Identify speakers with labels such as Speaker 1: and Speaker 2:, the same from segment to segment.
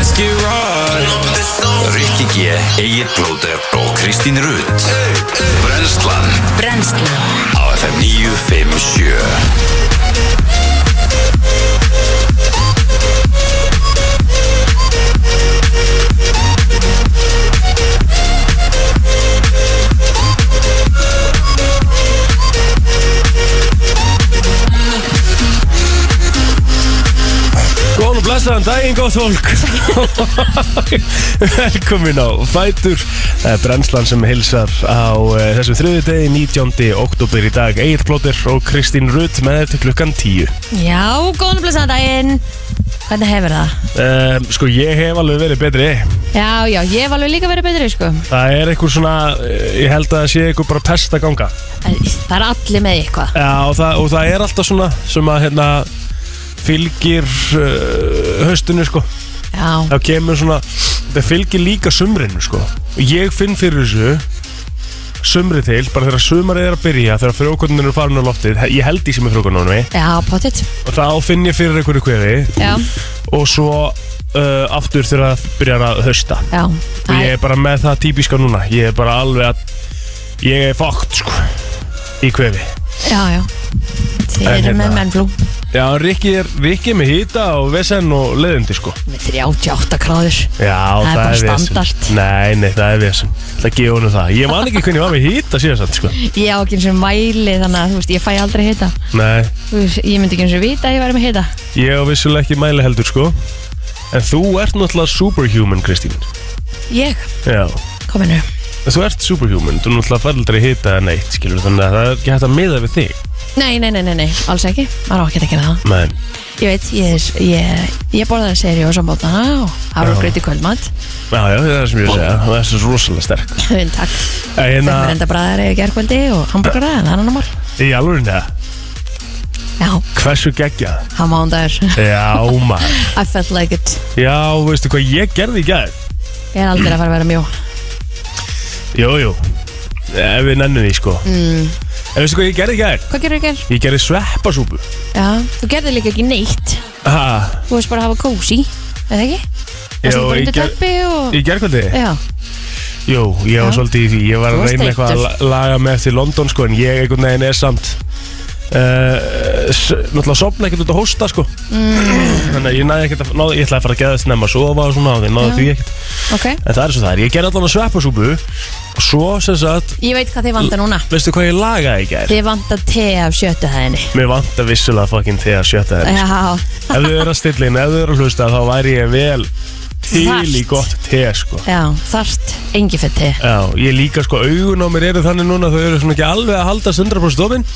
Speaker 1: ekki right
Speaker 2: Rikki G, Egil Blóter og Kristín Rutt Brenslan
Speaker 3: Brennslan
Speaker 2: á FM 957
Speaker 1: Góðan og blessaðan daginn, góð fólk Velkomin á Fætur Það er Brennslan sem hilsar á eh, þessum þriðu degi 19. oktober í dag Egil Plóter og Kristín Rutt með þér til klukkan 10
Speaker 3: Já, góðan og blessaðan daginn Hvernig hefur það?
Speaker 1: um, Sko, ég hef alveg verið betri
Speaker 3: Já, já, ég hef alveg líka verið betri, sko
Speaker 1: Það er einhver svona, eh, ég held að það sé einhver bara test að ganga
Speaker 3: Æ, Það er allir með eitthvað
Speaker 1: Já, og það, og það er alltaf svona sem að hérna fylgir uh, höstinu sko
Speaker 3: Já,
Speaker 1: þá kemur svona, það fylgir líka sumrinu sko og ég finn fyrir þessu sumri til, bara þegar sumarið er að byrja þegar frjókunnir eru farin á loftið he- ég held í sem er frjókunnunum
Speaker 3: já, pottitt
Speaker 1: og þá finn ég fyrir einhverju kvefi
Speaker 3: Já,
Speaker 1: og svo uh, aftur þegar það byrjar að hösta
Speaker 3: já
Speaker 1: og ég
Speaker 3: Æ,
Speaker 1: er bara með það típiska núna ég er bara alveg að ég er fókt sko í kvefi
Speaker 3: Já, já Þið
Speaker 1: En
Speaker 3: eru
Speaker 1: hérna-
Speaker 3: með mennflú
Speaker 1: Já, Rikki er, Rikki er með hýta og vesen og leðindi sko
Speaker 3: Með 38 gráður
Speaker 1: Já,
Speaker 3: Það er bara
Speaker 1: vesen.
Speaker 3: standard.
Speaker 1: Nei, nei, það er vesen Það gefur honum það Ég man ekki hvernig ég var með hýta síðan satt, sko
Speaker 3: Ég á ekki eins og mæli þannig að þú veist, ég fæ aldrei hita
Speaker 1: Nei,
Speaker 3: Þú veist, Ég myndi ekki eins og vita að ég væri með hita
Speaker 1: ég á vissulega ekki mæli heldur, sko En þú ert náttúrulega superhuman, Kristín
Speaker 3: Ég,
Speaker 1: Já,
Speaker 3: kominu
Speaker 1: þú ert superhuman Þú náttúrulega fær aldrei hýta en eitt, skilur Þannig að það er ekki hægt að miða við þig
Speaker 3: Nei, nei, nei, nei, nei, alls ekki Maður á ekki að gera það
Speaker 1: Nei,
Speaker 3: Ég veit, ég, er- ég, ég borðaði seri og sambótana og hafrugröð í kvöldmatt
Speaker 1: já, já, það er sem ég vil segja Það er svo rosalega sterk
Speaker 3: Hauðin takk
Speaker 1: En
Speaker 3: Þeim er
Speaker 1: að,
Speaker 3: enda bræðar eða gerkvöldi og hambúrgara en það er annar mál
Speaker 1: í alveg það,
Speaker 3: Já,
Speaker 1: hversu geggja
Speaker 3: hann mándagur
Speaker 1: Já, maður
Speaker 3: I felt like it
Speaker 1: Já, veistu hvað ég gerði í gær?
Speaker 3: Ég er aldrei að fara að vera mjó
Speaker 1: Jú, jú Ef við nennum því sko
Speaker 3: mm.
Speaker 1: En veistu hvað ég gerði í gær?
Speaker 3: Hvað gerur ykkur?
Speaker 1: Ég gerði sveppasúpu
Speaker 3: Já, þú gerði líka ekki neitt
Speaker 1: Ha,
Speaker 3: Þú veist bara að hafa kósi, eða ekki? Það
Speaker 1: Jó,
Speaker 3: slið bara
Speaker 1: ég
Speaker 3: undir
Speaker 1: ger-
Speaker 3: teppi og
Speaker 1: í gerðkvöldi?
Speaker 3: Já,
Speaker 1: Jú, ég var
Speaker 3: Já.
Speaker 1: svolítið í því Ég var
Speaker 3: Þú
Speaker 1: að
Speaker 3: varst
Speaker 1: reyna eitthvað að
Speaker 3: þreyttur.
Speaker 1: la- laga með eftir London sko En ég einhvern veginn er samt Uh, náttúrulega sopna ekkert út að hósta sko
Speaker 3: Mm.
Speaker 1: þannig að ég næði ekkert að náði, ég ætlaði að fara að geða þess nefn að sofa og svona og ég náði
Speaker 3: Já.
Speaker 1: því ekkert
Speaker 3: ok
Speaker 1: en það er svo það er, ég gerði allan að sveppasúpu og svo sem sagt,
Speaker 3: Ég veit hvað þið vantar núna
Speaker 1: veistu hvað ég lagaði í gær?
Speaker 3: Þið vantar te af sjötu hæðinni
Speaker 1: mér vant að vissulega fucking þegar sjötta þeir
Speaker 3: Já,
Speaker 1: ef þau eru að stilla inn, ef þau eru að hlusta þá væri ég vel til í
Speaker 3: Þarft.
Speaker 1: gott te sko.
Speaker 3: já, þarft engi fyrir te
Speaker 1: Já, ég líka sko, augun á mér eru þannig núna þau eru svona ekki alveg að halda 100% ofinn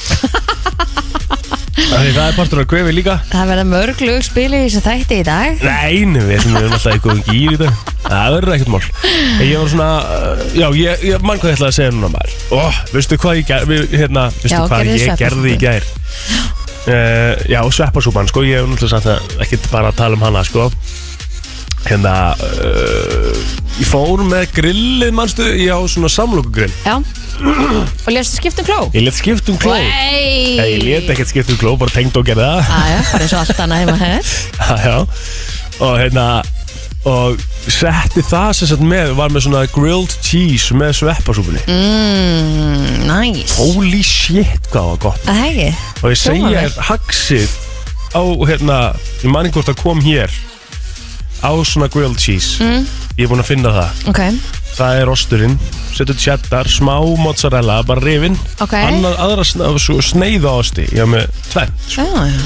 Speaker 1: Því það er partur að kvefi líka
Speaker 3: Það verða mörg lögspili í þessu þætti í dag
Speaker 1: Nei, nei, við erum við erum alltaf í góðum gýr í dag Það verður ekkert mál En Ég var svona, uh, já, ég, ég mann hvað ég ætlaði að segja núna maður Ó, veistu hvað ég, ger- við- hérna, veistu
Speaker 3: Já,
Speaker 1: hvað
Speaker 3: gerðu
Speaker 1: ég gerði í
Speaker 3: sveppasúpu.
Speaker 1: gær uh, Já, sveppasúpan, sko, ég hef náttúrulega sagt það ekkert bara að tala um hana, sko Hérna, uh, ég fór með grillið, manstu, ég á svona samlokugrill
Speaker 3: Já Og lestu skipt um kló?
Speaker 1: Ég let skipt um kló
Speaker 3: Nei
Speaker 1: Nei, ég let ekkert skipt um kló, bara tengd og gerði það
Speaker 3: Æja, bara eins og allt annað heima hér
Speaker 1: Já, já Og hérna Og setti það sem sagt með Var með svona grilled cheese með sveppasúpunni
Speaker 3: Mm. Mmm, næs
Speaker 1: Holy shit, hvað var gott
Speaker 3: Það hegi
Speaker 1: Og ég
Speaker 3: Hljómar
Speaker 1: segja
Speaker 3: vel.
Speaker 1: er haxið Á hérna, ég manni hvort að kom hér Á svona grilled cheese mm. Ég er búinn að finna það
Speaker 3: Ok,
Speaker 1: Það er osturinn, setur cheddar, smá mozzarella, bara rifin
Speaker 3: Ok.
Speaker 1: Annað, aðra sn- svo sneiða osti, ég var með tvenn sko.
Speaker 3: já, já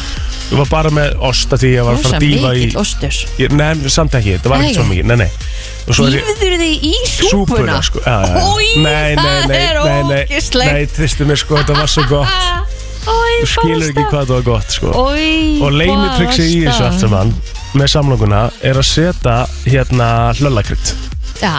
Speaker 1: Ég var bara með ost að því ég var að fara
Speaker 3: Ah, Rosa
Speaker 1: að dýfa í
Speaker 3: mikill ostur
Speaker 1: Ég- Nei, samt ekki, þetta var
Speaker 3: Nei.
Speaker 1: ekkert svo mikið, nei, nei Og svo er ég
Speaker 3: Dýfður þið í súpuna?
Speaker 1: súpuna, sko já, já, já.
Speaker 3: Új,
Speaker 1: Nei, nei,
Speaker 3: það
Speaker 1: nei,
Speaker 3: er Ah,
Speaker 1: nei, nei,
Speaker 3: ógislegt
Speaker 1: Nei, tristu mér, sko, þetta var svo gott
Speaker 3: Új,
Speaker 1: Þú skilur ekki hvað það var gott, sko
Speaker 3: Új,
Speaker 1: Og leinitriksi í þessu allt saman Með samlokuna er að setja hérna hlöllakrydd
Speaker 3: Já,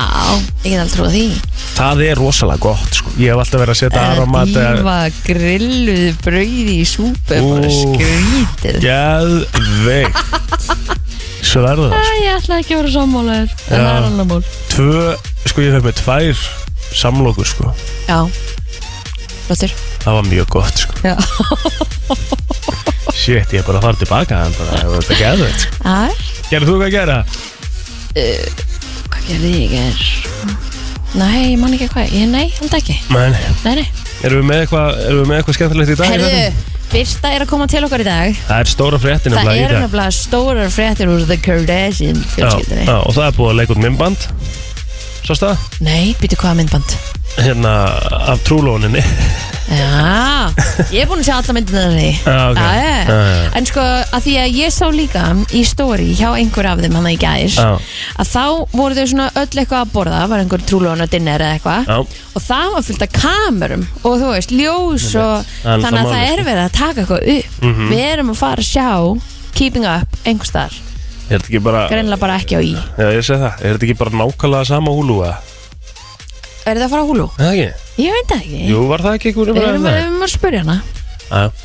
Speaker 3: ég get aldrei trúið því
Speaker 1: Það er rosalega gott, sko Ég hef alltaf verið að setja eh,
Speaker 3: Að
Speaker 1: aromat
Speaker 3: dýfa grilluð brauði í súpu er bara
Speaker 1: Úff.
Speaker 3: skrítið
Speaker 1: Gæðveikt Svo er það,
Speaker 3: Æ,
Speaker 1: sko
Speaker 3: ég ætla ekki að vera sammálaður En
Speaker 1: Já.
Speaker 3: það er annar mál
Speaker 1: Tvö, sko, ég hef með tvær samlokur, sko
Speaker 3: Já Flottur
Speaker 1: Það var mjög gott sko
Speaker 3: Já.
Speaker 1: Shit, ég er bara að fara tilbaka en bara, það var þetta geðveit
Speaker 3: Æ,
Speaker 1: Gerðu þú hvað að gera?
Speaker 3: uh, Hvað gerði ég í er Nei, ég man ekki hvað ég, Nei, held ekki
Speaker 1: Men,
Speaker 3: Nei, nei
Speaker 1: erum við með eitthvað, erum við með eitthvað skemmtilegt í dag? hérna?
Speaker 3: Herðu, Birta er að koma til okkar í dag
Speaker 1: Það er stóra fréttin
Speaker 3: Það
Speaker 1: nefnilega í
Speaker 3: eru
Speaker 1: dag.
Speaker 3: nefnilega stórar fréttir úr The Kardashian
Speaker 1: Já,
Speaker 3: fjölskyldinni
Speaker 1: já, og það er búið að leika út mymband Sást það?
Speaker 3: Nei, býtu hvaða myndband
Speaker 1: Hérna, af trúlóninni
Speaker 3: Já, ég er búin að sjá alla myndina þarna í
Speaker 1: Já, ok.
Speaker 3: já, já.
Speaker 1: Já, já, já.
Speaker 3: En sko, að því að ég sá líka í stóri hjá einhver af þeim hann í gæðis
Speaker 1: Já.
Speaker 3: að þá voru þau svona öll eitthvað að borða var einhver trúlóna dinner eða eitthvað
Speaker 1: Já.
Speaker 3: og það var fullt af kamerum og þú veist, ljós og
Speaker 1: Það er
Speaker 3: þannig að
Speaker 1: það
Speaker 3: það
Speaker 1: málið, sko. Mhm.
Speaker 3: er verið að taka eitthvað upp Við erum að fara að sjá Keeping Up einhvers þar,
Speaker 1: Er þetta ekki bara
Speaker 3: greinlega bara ekki á í
Speaker 1: Já, ég segi það Er þetta ekki bara nákvæmlega sama húlu eða?
Speaker 3: Er það að fara á húlu?
Speaker 1: Er Það ekki?
Speaker 3: Ég veit það ekki
Speaker 1: Jú, var það ekki einhver
Speaker 3: Við erum,
Speaker 1: umræðum
Speaker 3: við erum að spurja hana
Speaker 1: það?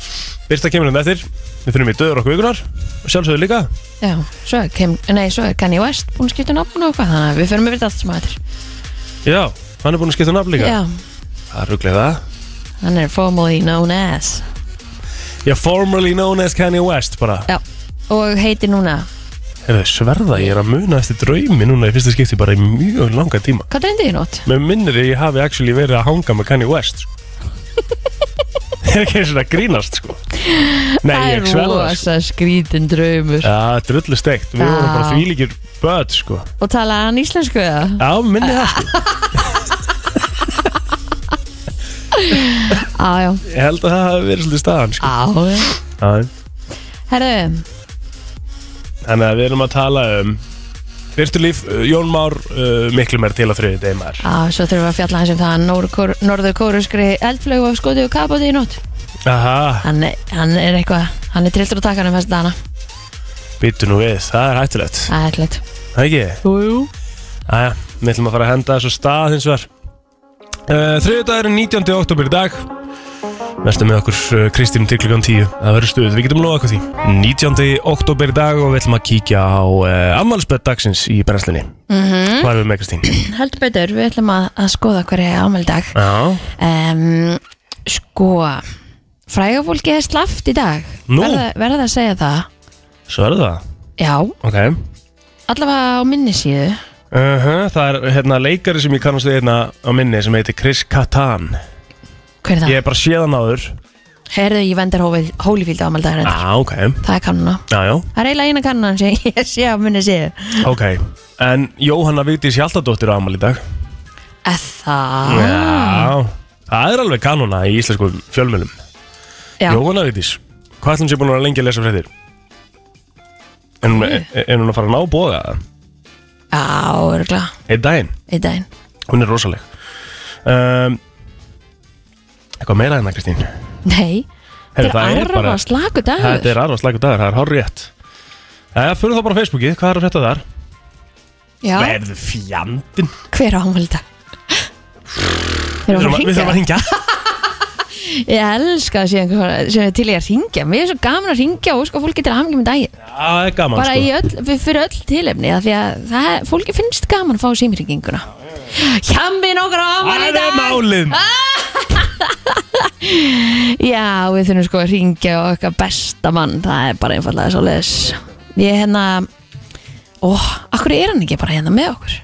Speaker 1: Byrsta kemur um eftir Við finnum í döður okkur vikunar Sjálfsögðu líka
Speaker 3: Já, svo er, kem, nei, svo er Kanye West búin að skipta nafn og eitthvað þannig að við förum yfir þetta allt sem að
Speaker 1: Já, hann er búin að skipta um nafn
Speaker 3: þetta
Speaker 1: líka
Speaker 3: Já,
Speaker 1: Það er rugglega það
Speaker 3: hann er formally known as
Speaker 1: Já, formerly known as Kanye West bara
Speaker 3: Já, og heitir núna
Speaker 1: Hefur sverða, ég er að muna eftir draumi núna í fyrsta skipti bara í mjög langa tíma
Speaker 3: Hvað dreymdi ég nótt?
Speaker 1: Mér minnir að ég hafi actually verið að hanga með Kanye West sko. Ég er ekki eins og það grínast sko. Nei, ég sverða sko.
Speaker 3: rosa skrítin draumur
Speaker 1: Já, drullu steikt Við vorum bara
Speaker 3: Já.
Speaker 1: þvílíkir börn sko.
Speaker 3: Og talaði hann íslensku eða?
Speaker 1: Já, minni það sko.
Speaker 3: Á, já,
Speaker 1: Ég held að það hafi verið svolítið staðan sko.
Speaker 3: á
Speaker 1: Já.
Speaker 3: Herðu,
Speaker 1: Þannig að við erum að tala um Virtulíf, Jón Már uh, miklu mér til að þriði degi maður
Speaker 3: á, svo þurfum við að fjalla hans um það að norður kóruskri eldflögu og skotið og kapotið í nótt
Speaker 1: Aha,
Speaker 3: hann, er- hann er eitthvað, hann er trilltur á takkanum fæst dana
Speaker 1: býttu nú við, það er hættulegt
Speaker 3: Það er ætlið
Speaker 1: Það er ekki?
Speaker 3: Jú, jú
Speaker 1: Æja, við ætlum að fara að henda þessu stað hins vegar uh, Þriði dagur 19. oktober í dag Verstu með okkur uh, Kristín til klukkan 10 Það verður stuð, við getum loða okkur því 19. oktober í dag og við ætlum að kíkja á uh, ammálspöld dagsins í brennslunni -hmm. Hvað erum við með Kristín?
Speaker 3: Heldur betur, við ætlum að, að skoða hverja ámeldag
Speaker 1: Já,
Speaker 3: um, Sko Frægafólki er slaft í dag
Speaker 1: Nú?
Speaker 3: verða, verða að segja það
Speaker 1: svo er það
Speaker 3: Já,
Speaker 1: Ok
Speaker 3: allavega á minni síðu
Speaker 1: Uh það er hérna leikari sem ég kannast við hérna á minni sem heitir Chris Katan
Speaker 3: Hver er það?
Speaker 1: Ég er bara séðan áður
Speaker 3: Heyrðu í Vendar Holyfield ámaldag
Speaker 1: Já,
Speaker 3: hérna
Speaker 1: ok,
Speaker 3: Það er kannuna
Speaker 1: já, já,
Speaker 3: Það er eiginlega eina kannan sem ég sé á minni síðu
Speaker 1: ok En Jóhanna Vigdís Hjaltadóttir á ámali í dag
Speaker 3: Eð Það
Speaker 1: Já, það er alveg kanona í íslensku fjölmjölum
Speaker 3: Já.
Speaker 1: Jóhanna Vigdís, hvað ætlum sé búin að vera lengi að lesa fréttir? En hún, er, er hún að fara að ná bóða það?
Speaker 3: Já, örgulega
Speaker 1: Einn daginn,
Speaker 3: Í daginn
Speaker 1: hún er rosaleg um, Eitthvað meira en það Kristín
Speaker 3: Nei,
Speaker 1: Heyrðu,
Speaker 3: þetta er arfa bara... slaku dagur
Speaker 1: Þetta er arfa slagur dagur, það er hár rétt Jæja, fyrir þá bara á Facebooki, hvað er að frétta þar?
Speaker 3: Já,
Speaker 1: Verðu fjandinn
Speaker 3: hver ámaldag
Speaker 1: Við þurfum að- við þurfum að ringja
Speaker 3: Ég elska að sé einhver sem er til í að ringja Mér er svo gaman að ringja og sko fólk getur hamngjum í daginn
Speaker 1: Já, það er gaman sko.
Speaker 3: Bara í öll, við- fyrir öll tilefni af Því að það, er- fólki finnst gaman að fá símringinguna Hjambin okkar á afmæli í
Speaker 1: Það er
Speaker 3: dag
Speaker 1: málið
Speaker 3: Ah. Já, við þurfum sko að ringja og okkar besta mann Það er bara einfallega svo leis Ég hérna Ó, akkur er hann ekki bara hérna með okkur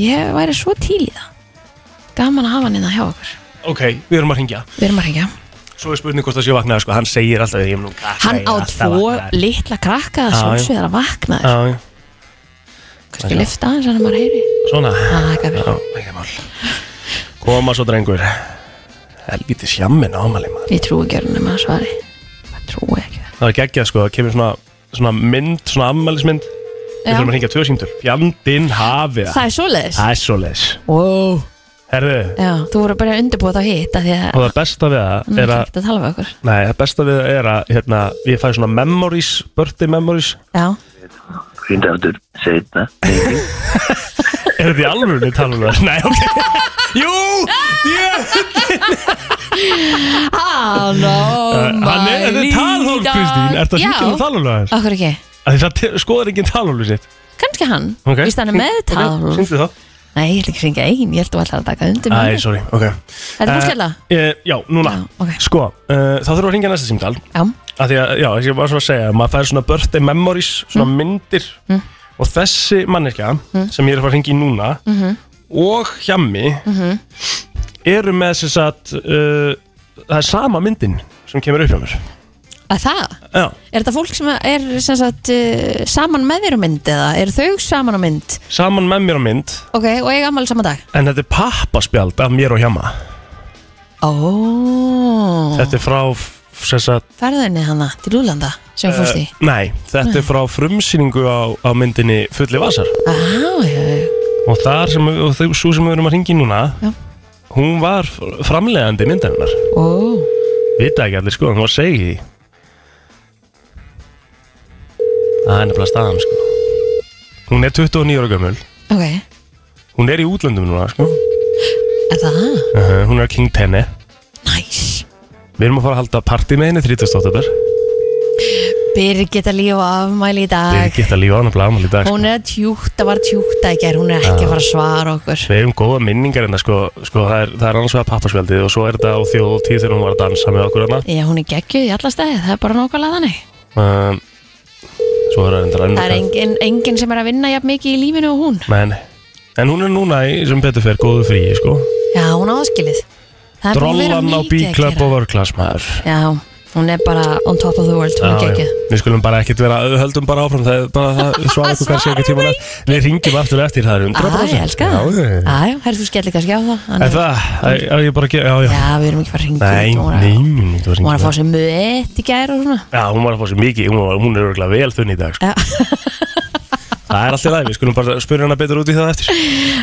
Speaker 3: Ég væri svo til í það Gaman að hafa hann hérna hjá okkur
Speaker 1: Ok, við erum að ringja
Speaker 3: Við erum að ringja
Speaker 1: Svo er spurning hvort það sé vaknaði, sko, hann segir alltaf ég er nú krakka,
Speaker 3: Hann
Speaker 1: ég er
Speaker 3: á
Speaker 1: alltaf
Speaker 3: tvo
Speaker 1: vaknaður.
Speaker 3: litla krakka að
Speaker 1: Já, já.
Speaker 3: sjálfsögða að vakna þér.
Speaker 1: Já, já,
Speaker 3: Kannski lifta aðeins hann að maður heyri
Speaker 1: svona
Speaker 3: Ah, Það er ekki að
Speaker 1: Já, ekki mál Koma svo drengur Helviti sjammin ámali maður
Speaker 3: Ég trúi ekki að hann að svari Ég trúi ekki
Speaker 1: Það er geggjað sko, það kemur svona, svona mynd, svona ammælismynd Við þurfum að ringja tvö síndur Fjandinn hafið
Speaker 3: Það er svoleiðis
Speaker 1: Það er svo leis
Speaker 3: wow.
Speaker 1: Herðu,
Speaker 3: Já, þú voru að byrja að undirbúa þá hitt af Því að
Speaker 1: og það besta við það
Speaker 3: hann
Speaker 1: er
Speaker 3: er
Speaker 1: að
Speaker 3: ekki að tala við okkur
Speaker 1: Nei, það besta við það er að hérna, ég fæ svona memories, birthday memories
Speaker 3: Já,
Speaker 4: Fint aftur setna.
Speaker 1: Er þetta í alvörunni talað um það? Nei, ok Jú, ég, Eh,
Speaker 3: hann
Speaker 1: hann er, þetta er talhólf, Kristín Er þetta hringið um talhólf að
Speaker 3: Okkur ekki,
Speaker 1: þess? Það skoðar enginn talhólf sitt
Speaker 3: kannski hann
Speaker 1: Ok.
Speaker 3: Vist hann er með
Speaker 1: Ok,
Speaker 3: talhólf
Speaker 1: Sýndu það
Speaker 3: Nei, ég ætla ekki að syngja ein, ég held þú alltaf að taka undir
Speaker 1: Æ,
Speaker 3: mig
Speaker 1: sorry, ok
Speaker 3: Þetta hérna? er búin að skella?
Speaker 1: Eh, Já, núna
Speaker 3: Já, ok.
Speaker 1: Sko, uh, þá þurfum við að ringja næsta símtal
Speaker 3: Já, Mm.
Speaker 1: að því að, já, þess að ég var svo að segja maður fær svona birthday memories, svona myndir Og þessi manneskja sem ég er að fara að ringa í núna
Speaker 3: Mhm.
Speaker 1: og hjammi eru með þess að uh, það er sama myndin sem kemur upp hjá mér.
Speaker 3: Að það?
Speaker 1: Já.
Speaker 3: Er þetta fólk sem er sem sagt, uh, saman með þér á mynd eða? Er þau saman á mynd?
Speaker 1: Saman með mér á mynd,
Speaker 3: Ok, og ég ammali sama dag?
Speaker 1: en þetta er pappaspjald af mér og hjamma.
Speaker 3: Ó,
Speaker 1: Þetta er frá, f- sem sagt,
Speaker 3: ferðinni hana til Úlanda sem fórst í?
Speaker 1: Eh, Nei, þetta er frá frumsýningu á, á myndinni Fulli Vasar
Speaker 3: Á, já, já,
Speaker 1: og þar sem, og þau, svo sem við erum að ringi núna
Speaker 3: Já.
Speaker 1: hún var fr- framleiðandi myndarinnar
Speaker 3: ó,
Speaker 1: vita ekki allir sko, hún var að segja því það er nefnilega staðan sko hún er 29 ára gömul
Speaker 3: ok,
Speaker 1: hún er í útlöndum núna sko uh
Speaker 3: er það? Uh-huh.
Speaker 1: hún er að King Tenni
Speaker 3: Næs.
Speaker 1: við erum að fara að halda partí með henni 30. oktober
Speaker 3: Birgit að lífa afmæli í dag.
Speaker 1: við geta lífa á hann að blaða í dag sko.
Speaker 3: Hún er tjúkt, það var tjúkt að gera, hún er ekki að fara að svara okkur.
Speaker 1: Við hefum góða minningar hérna sko, sko það, er, það er annars vegar pappasveldið og svo er þetta á þjóð tíð þegar hún var að dansa með okkur hérna
Speaker 3: Já, hún er geggjuð í alla stæði, það er bara nákvæmlega þannig.
Speaker 1: um, Svo er það reyndar
Speaker 3: Það er
Speaker 1: ennur
Speaker 3: engin, engin sem er að vinna jafn mikið í lífinu og hún.
Speaker 1: Men, En hún er núna í, sem betur fer, góðu frí sko.
Speaker 3: Já, hún áskilið. Það er búið að vera
Speaker 1: Drollan á
Speaker 3: mikið að
Speaker 1: B-Club
Speaker 3: gera.
Speaker 1: og Vörklass maður
Speaker 3: Já, hún er bara on top of the world, hún er
Speaker 1: Já, já.
Speaker 3: geggjuð.
Speaker 1: Við skulum bara ekkert vera, höldum bara áfram það, er bara, það svara okkur kannski ekki tíma Við ringjum aftur eftir, það er
Speaker 3: Æ,
Speaker 1: 100%
Speaker 3: ég elska það.
Speaker 1: Já,
Speaker 3: Já,
Speaker 1: já.
Speaker 3: já, herðu þú skellir kannski á það.
Speaker 1: Er
Speaker 3: annars-
Speaker 1: það, er, er ég bara að gera, já, já
Speaker 3: Já, við erum ekki fara að ringa.
Speaker 1: Nei,
Speaker 3: hún
Speaker 1: nei,
Speaker 3: var-
Speaker 1: nei, þú
Speaker 3: Hún var
Speaker 1: ringir.
Speaker 3: að fá sér mött í gær og svona.
Speaker 1: Já, hún var að fá sér mikið, hún, var, hún er örgulega vel þunni í dag sko.
Speaker 3: Já.
Speaker 1: Það er alltaf læg, við skulum bara spyrja hana betur út í það eftir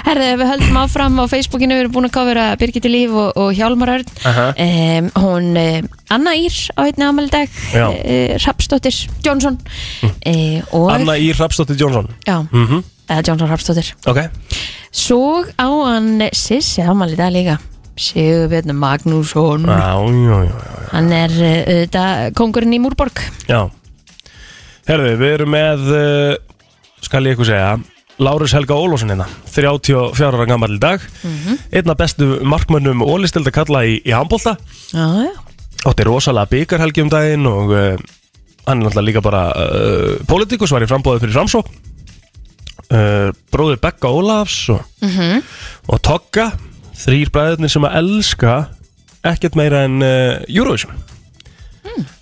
Speaker 3: Herðu, við höldum áfram á Facebookinu, við erum búin að kofera Birgitti Líf og, og Hjálmar Örn.
Speaker 1: Aha.
Speaker 3: um, hún, uh, Anna Ír á einni ámældag,
Speaker 1: Já. Hm.
Speaker 3: uh, Rapsdóttir, Jónsson, uh, og,
Speaker 1: Anna Ír Rapsdóttir Jónsson
Speaker 3: já,
Speaker 1: Mhm.
Speaker 3: eða Jónsson Rapsdóttir.
Speaker 1: Ok
Speaker 3: Svo á hann Sissi ámældag líka, Sigurbjörn Magnússon,
Speaker 1: Já, já, já, já,
Speaker 3: hann er uh, auðvitað kongurinn í Múrborg.
Speaker 1: já. Herðu, við erum með uh, skal ég eitthvað segja Lárus Helga Ólásson hérna 34 ára gammal í dag einna bestu markmönnum ólistilda kalla í, í handbólta
Speaker 3: Já, já.
Speaker 1: átti rosalega byggarhelgi um daginn og uh, hann er náttúrulega líka bara uh, politikus, var í frambóði fyrir framsó uh, bróðir Begga Ólafs og, og Togga þrýr bræðurnir sem að elska ekkert meira en uh, Eurovision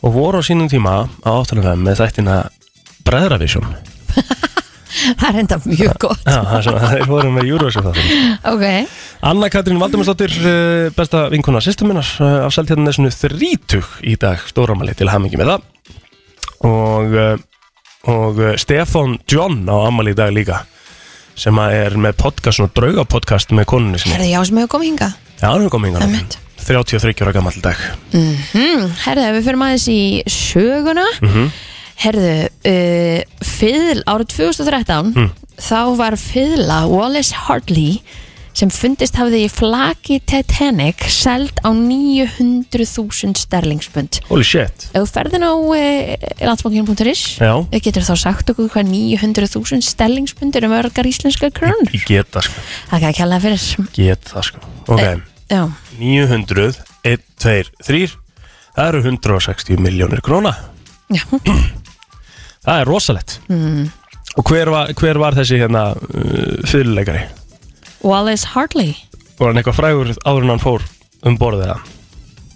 Speaker 1: og voru á sínum tíma á áttanum með þættina Bræðravision
Speaker 3: það er enda mjög gott.
Speaker 1: Já, það sem þeir voru með Eurovision þáttum
Speaker 3: Ok,
Speaker 1: Anna Katrín Valdimarsdóttir, uh, besta vinkona sýstuminnar uh, af Seltjarnesinu 30 í dag, stóramæli til hamingi með það og, uh, og uh, Stefan John á ammali í dag líka sem að er með podcast, svona draugapodcast með konunni sinni.
Speaker 3: herðu, já, sem hefur komið hingað.
Speaker 1: Já, hann er komið yngan
Speaker 3: Einmitt.
Speaker 1: 33 ára gammal dag
Speaker 3: Mm, herðu, við fyrir maður í söguna
Speaker 1: Mhm.
Speaker 3: Herðu, uh, fiðl árið 2013
Speaker 1: Mm.
Speaker 3: Þá var fiðla Wallace Hartley sem fundist hafði í flaki Titanic seld á 900.000 sterlingspund
Speaker 1: Holy shit
Speaker 3: Ef þú ferðin á uh, landsbankin.is
Speaker 1: Já,
Speaker 3: getur þá sagt okkur hvað 900.000 sterlingspund eru mörgar íslenska krón
Speaker 1: ég get það sko,
Speaker 3: Það kann ekki að fyrir
Speaker 1: get það sko Ok,
Speaker 3: Eh. Já,
Speaker 1: 900, 1, 2, 3 Það eru 160 miljónir króna
Speaker 3: já,
Speaker 1: Það er rosalegt Og hver var, hver var þessi hérna uh, fyrirleikari?
Speaker 3: Wallace Hartley
Speaker 1: Var hann eitthvað frægur áður en hann fór um borðið það?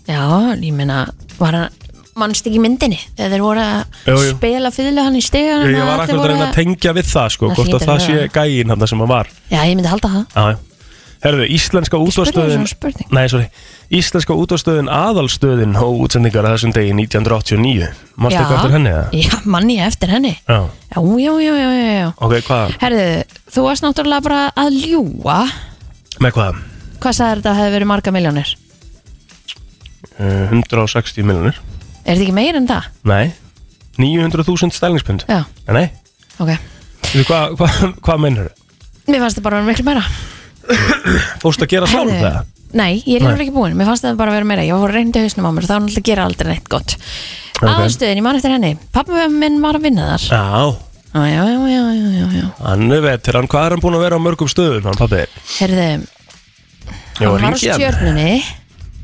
Speaker 3: Já, ég meina, var hann mannst ekki í myndinni þegar þeir voru að
Speaker 1: Jú, jú.
Speaker 3: spila fyrir hann í stegan
Speaker 1: Ég var akkur að reyna að tengja við það sko
Speaker 3: Það
Speaker 1: Hvort að
Speaker 3: hlýtur
Speaker 1: það
Speaker 3: að
Speaker 1: sé
Speaker 3: vera.
Speaker 1: gægin hann sem hann var
Speaker 3: Já, ég myndi halda það
Speaker 1: Já, já Herðu, íslenska
Speaker 3: spurði
Speaker 1: útvarstöðin
Speaker 3: svona spurning.
Speaker 1: Nei, sorry Íslenska útvarstöðin aðalstöðin og útsendingar að þessum degi 1989 Mástu
Speaker 3: Já.
Speaker 1: eitthvað eftir henni það?
Speaker 3: Já, manni ég eftir henni
Speaker 1: Já
Speaker 3: Já, já, já, já, já, já.
Speaker 1: Ok, hvað?
Speaker 3: Herðu, þú varst náttúrulega bara að ljúa
Speaker 1: Með hvað?
Speaker 3: Hvað sagði þetta hefði verið marga miljónir?
Speaker 1: Uh, 160 miljonir
Speaker 3: Er þetta ekki meir en það?
Speaker 1: Nei 900.000 stælingspund
Speaker 3: Já,
Speaker 1: Nei,
Speaker 3: ok
Speaker 1: Veitu, hvað hva, hva meinar þau?
Speaker 3: Mér fannst þetta bara að vera miklu meira
Speaker 1: Fórstu að gera sjálf
Speaker 3: Herðu,
Speaker 1: það?
Speaker 3: Nei, ég er
Speaker 1: Nei.
Speaker 3: yfir ekki búin, mér fannst það bara að vera meira Ég var fór að reynda hausnum á mér, þá er náttúrulega gera aldrei neitt gott
Speaker 1: Ok.
Speaker 3: Aðstöðin, ég man eftir henni Pappa minn var að vinna þar
Speaker 1: Já,
Speaker 3: Já,
Speaker 1: Ah.
Speaker 3: já, já, já, já, já, já.
Speaker 1: hann er veteran, hvað er hann búin að vera á mörgum stöðum, hann pappi?
Speaker 3: Herðu,
Speaker 1: Ég
Speaker 3: hann var á
Speaker 1: hringi í hann.
Speaker 3: stjörnunni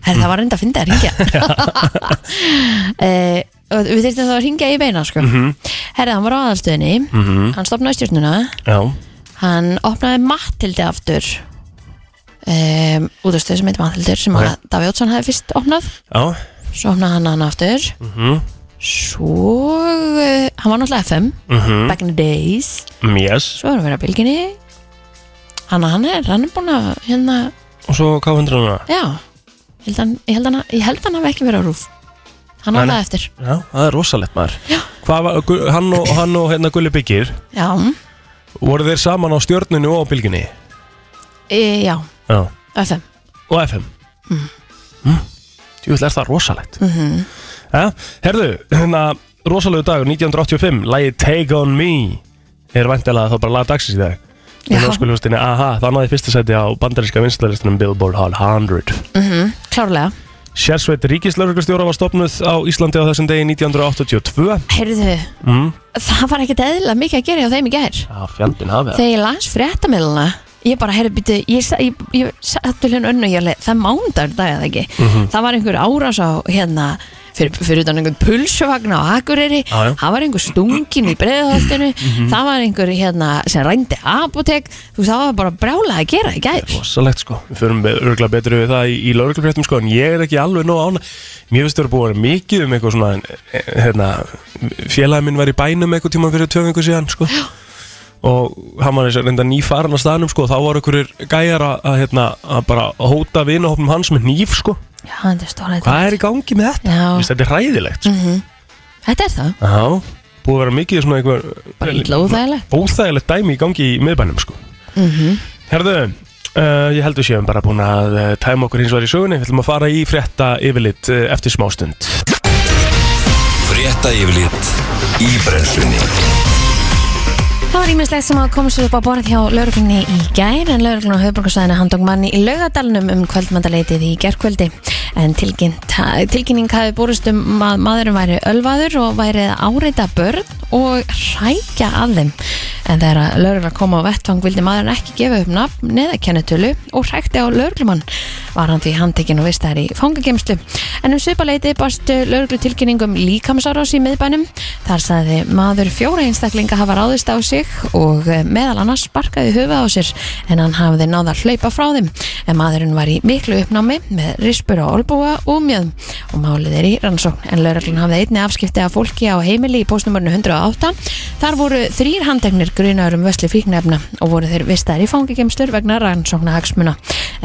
Speaker 3: Herðu, það var reynda að finna það, ringja uh, og við þyrftum þá að ringja í beina sko.
Speaker 1: Mhm.
Speaker 3: herri, hann var á aðalstöðinni hann stopnaði stjórnuna
Speaker 1: Já,
Speaker 3: hann opnaði Matildi aftur um, út af stöð sem heitir Matildur sem
Speaker 1: Ok.
Speaker 3: okay. Daví Ótsson hefði fyrst opnað
Speaker 1: já,
Speaker 3: svo opnaði hann hann aftur
Speaker 1: Mhm.
Speaker 3: svo uh, hann var náttúrulega FM
Speaker 1: mhm,
Speaker 3: back in the days
Speaker 1: mm yes
Speaker 3: svo erum við að vera á bylginni hann, hann er, hann er búin að hérna,
Speaker 1: Og svo K100
Speaker 3: já ég held hann, ég held hann, að- ég held hann hafi ekki verið á rúf hann
Speaker 1: Nei,
Speaker 3: opnaði
Speaker 1: nei.
Speaker 3: eftir
Speaker 1: Já, það er rosalegt maður
Speaker 3: Já.
Speaker 1: Hvað var, Gu- hann og, hann og hérna Gulli Byggir
Speaker 3: já,
Speaker 1: Voru þeir saman á stjörnunni og á bylginni?
Speaker 3: e, já,
Speaker 1: Já
Speaker 3: FM
Speaker 1: og FM mm. Mm. Júl, er það rosalegt mm Herðu, hérna rosalegu dagur 1985 Lægi Take On Me er vantilega þá bara laga dagsins í dag
Speaker 3: Já.
Speaker 1: Þannig að skulumstinni, aha, það náði fyrsta sæti á bandaríska vinstlæðlistunum Billboard Hall 100
Speaker 3: klárlega
Speaker 1: Sérsveit ríkislauruglustjóra var stopnuð á Íslandi á þessum degi 1982
Speaker 3: Heyrðu,
Speaker 1: mm.
Speaker 3: það var ekkert eðla mikið að gera hjá þeim í gær
Speaker 1: Já, Ah, fjandinn hafið það
Speaker 3: Þegar ég las fréttamiluna Ég bara, heyrðu, býtu, ég, sa- ég, ég sattu hérna önnu ég alveg, það mándar dag eða ekki
Speaker 1: Mhm.
Speaker 3: Það var einhver árás á hérna fyrir, fyrir utan einhvern pulsuvagna á Akureyri
Speaker 1: Já, Mhm. já.
Speaker 3: Það var einhver stungin í breiðholtinu Það var einhver hérna sem rændi apotek Þú veist, það var bara brjálað að gera í gær
Speaker 1: Rosalegt sko, við förum örgulega betur við það í, í lauruglufréttum sko En ég er ekki alveg nóg ána Mér finnst þér að búa að vera mikið um eitthvað svona eh, hérna, Félagi minn var í bænum eitthvað tíma fyrir tvö vingur síðan sko Og hann var eins og reynda nýfaran að staðnum sko Þá var einhverjir gæjar að, að, hérna, að bara hóta vinahopnum hans með nýf sko
Speaker 3: Já, þetta er stóra þetta
Speaker 1: Hvað er í gangi með þetta?
Speaker 3: Já. Mm.
Speaker 1: Mér finnst Þetta er hræðilegt sko
Speaker 3: Þetta er það,
Speaker 1: Já, búið að vera mikið svona
Speaker 3: bara
Speaker 1: einhver
Speaker 3: ítla óþægilegt
Speaker 1: óþægilegt dæmi í gangi í miðbænum sko. Herðu, uh, ég held við séum bara búin að uh, tæma okkur hins vegar í sögunni Við ætlum að fara í frétta yfirlit uh, eftir smástund
Speaker 2: Frétta yfirlit í brennslunni
Speaker 3: Það var ímislegt sem að komast upp á borð hjá lauruglunni í gær en lauruglun á höfbrukarsæðinu handtók manni í laugadalunum um kvöldmandaleitið í gerkvöldi en tilkynnt, tilkynning hafi borist um að maðurinn væri ölvaður og væri að áreita börn og hrækja að þeim en þegar að laurugla kom á vettvang vildi maðurinn ekki gefa upp nafn neða kennetölu og hrækti á lauruglumann var hann því handtekinn og vistar í fangagemslu en um svipaleiti barst lauruglu tilkynningum líkamsárás í miðbænum Þar sagði maður fjóra einstaklinga hafa ráðist á sig og eh, meðal annars sparkaði höfuð á sér en hann hafði náða að hlaupa frá þeim en maðurinn var í miklu uppnámi með rispur á olbúa og mjöðum og málið er í rannsókn en laurallin hafði einni afskipti af fólki á heimili í postnumörnu 108 þar voru þrýr handteknir grunar um vösli fíknefna og voru þeir vistaðir í fangikemslur vegna rannsókna hagsmuna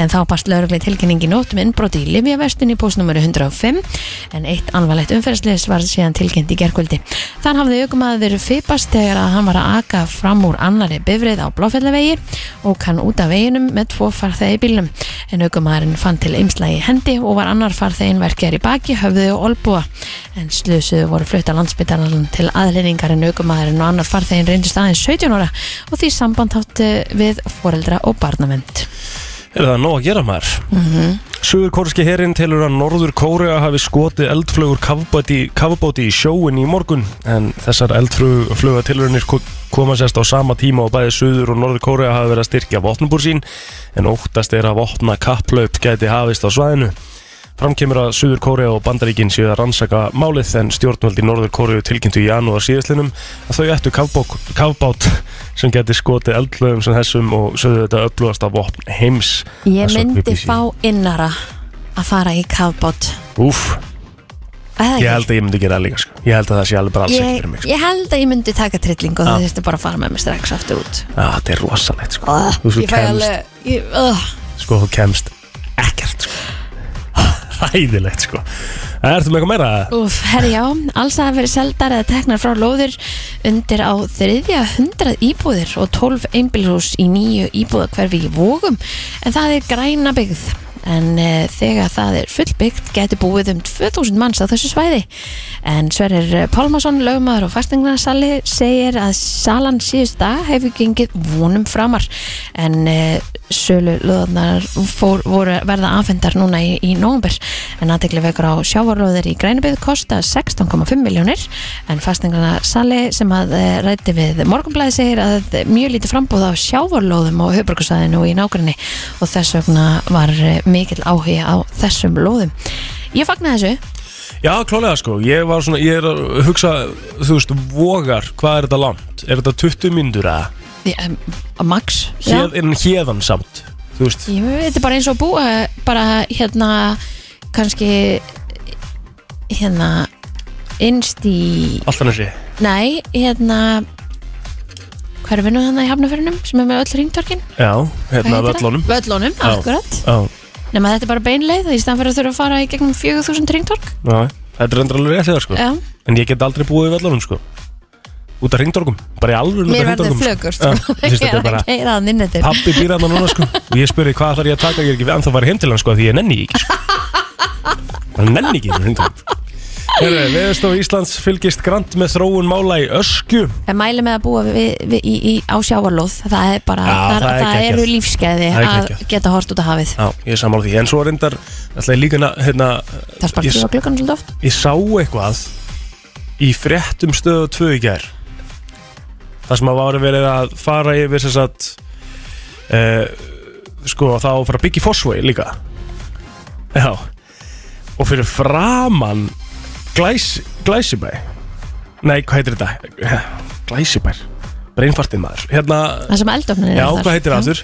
Speaker 3: en þá barst laurugli tilkynningi nótt um innbroti í Livjavestin í postnumöru 105 en eitt anvalegt umferðslis var síðan tilkynnt í gerkvöldi. Þann hafði aukumæður fipast þegar að hann var að aka fram úr annari bifrið á Bláfjallavegi og kann út af veginum með tvo farþegi í bílnum. En aukumæðurinn fann til ymslagi í hendi og var annar farþegin verkjar í baki, höfðu og olbúa. En slusuðu voru flutta landsbytarnan til aðlendingar en aukumæðurinn og annar farþegin reyndist aðeins 17 ára og því samband hátti við foreldra og barnavend.
Speaker 1: Er það nóg að gera maður? Mm -hmm. Suðurkórski herinn telur að Norður Kórea hafi skotið eldflögur kafbáti, kafbáti í sjóin í morgun En þessar eldfluga tilurinnir koma sérst á sama tíma og bæði Suður og Norður Kórea hafi verið að styrkja vopnubúr sín En óttast er að vopna kapplaup gæti hafist á svæðinu Framkemur að Suður Kórea og Bandaríkin séu að rannsaka málið en stjórnvöld í Norður Kóreu tilkynntu í janúar síðastlinum að þau ættu kafbók, kafbát sem geti skotið eldlögum sem þessum og sögðu þetta upplúðast af vopn heims
Speaker 3: Ég
Speaker 1: Að sögn
Speaker 3: myndi
Speaker 1: BBC.
Speaker 3: fá innara að fara í kafbót.
Speaker 1: Úf, ég
Speaker 3: Eða ekki?
Speaker 1: held að ég myndi gera það líka sko. Ég held að það sé alveg bara alls ekkert
Speaker 3: ég,
Speaker 1: fyrir mig sko. Ah.
Speaker 3: ég held að ég myndi taka trillingu og það þurfti bara að fara með mig strax aftur út
Speaker 1: Á, Ah, Þetta er rosalegt sko.
Speaker 3: Ah,
Speaker 1: Þú svo
Speaker 3: Ég fæ
Speaker 1: kemst,
Speaker 3: alveg ég, uh,
Speaker 1: sko, þú kemst ekkert sko. Ræðilegt sko. Ertu með eitthvað meira?
Speaker 3: Úf, herri já, alls að verið seldar eða teknar frá lóðir undir á þriðja hundrað íbúðir og 12 einbílhús í nýju íbúða hverfi í vógum en það er græna byggð en e, þegar það er fullbyggt getur búið um 2000 manns á þessu svæði en Sverrir Pálmason, lögmaður og fastingarsali segir að salan síðust dag hefur gengið vonum framar en e, sölu löðarnar fór, voru verða afhendar núna í, í nómber en aðtekli vekur á sjávarlóðir í grænubið kosta 16,5 miljónir en fastingarna Sali sem að eh, ræddi við morgunblæði segir að mjög lítið frambúð á sjávarlóðum á höfbrukusæðinu og í nágrinni og þess vegna var eh, mikill áhugi á þessum lóðum. Ég fagna þessu
Speaker 1: Já, klálega sko, ég var svona, ég er að hugsa, þú veist, vogar, hvað er þetta langt? Er þetta 20 myndur eða?
Speaker 3: Ég, em, Max já.
Speaker 1: Hér, en héðan samt, þú veist,
Speaker 3: Ég veit bara eins og að búa bara hérna kannski hérna innst í
Speaker 1: alltaf næri.
Speaker 3: nei, hérna hvað er vinnum þannig í hafnafyrinum sem er með öll ringtorkin?
Speaker 1: Já, hérna völlunum.
Speaker 3: Völlunum,
Speaker 1: Já.
Speaker 3: akkurat
Speaker 1: Já,
Speaker 3: Nefna þetta er bara beinleið í staðan fyrir að þurfa að fara í gegnum 4000 ringtork
Speaker 1: já, þetta er endur alveg rétt þegar sko.
Speaker 3: Já,
Speaker 1: En ég get aldrei búið í völlunum sko. Út af ringdorgum, bara í alveg út af
Speaker 3: mér verður
Speaker 1: ringdorgum.
Speaker 3: flögur
Speaker 1: sko. Já, þú veist,
Speaker 3: Ég
Speaker 1: þetta
Speaker 3: er
Speaker 1: er bara,
Speaker 3: að keira hann inn eftir
Speaker 1: pappi býr hann núna sko. Og ég spurði hvað ætlar ég að taka, ég er ekki ennþá að fara heim til hann sko, því ég nenni því ekki sko. Bara nenni ekki hérna ringdorgum. Herre, Veðurstof Íslands fylgist grant með þróun mála í ösku
Speaker 3: Ég mæli með að búa við, við, í, í, á sjávarlóð Það er bara,
Speaker 1: Já,
Speaker 3: það,
Speaker 1: það er
Speaker 3: það
Speaker 1: geggjað.
Speaker 3: eru lífskeiði
Speaker 1: Það er
Speaker 3: að
Speaker 1: geggjað.
Speaker 3: geta hort út af hafið
Speaker 1: Já, ég er sammála því, en svo reyndar ætla ég líka na- hérna,
Speaker 3: Það
Speaker 1: ég,
Speaker 3: sparkir á klukkan svolítið oft
Speaker 1: ég sá eitthvað í fréttum stöðu 2 í gær þar sem að varu verið að fara yfir sem sagt e, sko þá að fara að byggja í Fossvei líka Já og fyrir framan glæs, glæsibæ Nei, hvað heitir þetta? Eh, Glæsibær, breinfartið maður Hérna,
Speaker 3: Það sem eldofnin er
Speaker 1: já, hvað heitir það aftur?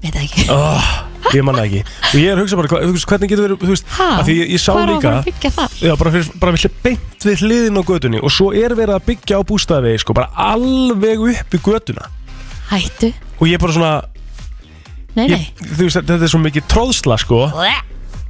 Speaker 3: Veit það ekki
Speaker 1: oh, ég manna ekki og ég er að hugsa bara, hva- þú veist, hvernig getur verið þú veist,
Speaker 3: Ha?
Speaker 1: að því ég, ég sá
Speaker 3: Hvar á að
Speaker 1: líka
Speaker 3: fara að byggja þar?
Speaker 1: já, bara, fyrir, bara við beint við hliðin á götunni og svo er verið að byggja á bústæðvegi sko, bara alveg upp í götuna
Speaker 3: Hættu
Speaker 1: og ég er bara svona
Speaker 3: Nei, nei
Speaker 1: ég, þú veist, þetta er svo mikið tróðsla sko, að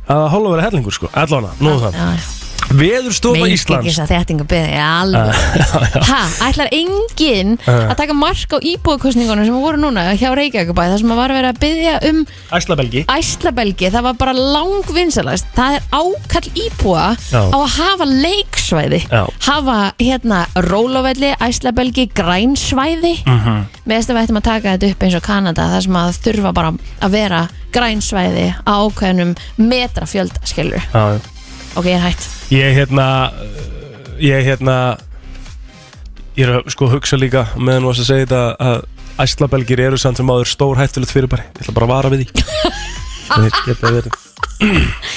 Speaker 1: það hálfa að vera hellingur sko, allan að, nóðu það Veðurstofa
Speaker 3: Meik ekki
Speaker 1: Íslands
Speaker 3: þess að þettinga beði alveg
Speaker 1: Ah,
Speaker 3: Ha, ætlar enginn
Speaker 1: Já.
Speaker 3: að taka mark á íbúðkostningunum sem voru núna hjá Reykjavíkabæ þar sem að var verið að byggja um
Speaker 1: Æslabelgi
Speaker 3: æslabelgi, það var bara langvinsalast það er ákall íbúa
Speaker 1: Já.
Speaker 3: á að hafa leiksvæði
Speaker 1: Já.
Speaker 3: hafa hérna rólavelli æslabelgi, grænsvæði mm -hmm.
Speaker 1: Mhm.
Speaker 3: með þess að við ættum að taka þetta upp eins og Kanada, þar sem að þurfa bara að vera grænsvæði á ákveðnum metrafjölda, skilur
Speaker 1: Já, já.
Speaker 3: ok, ég er hætt
Speaker 1: ég hérna uh, ég hérna ég er að sko hugsa líka meðan þú varst að segja þetta að æslabelgir eru samt sem áður stór hættulegt fyrirbæri ég ætla bara að vara við því Þeir geta verið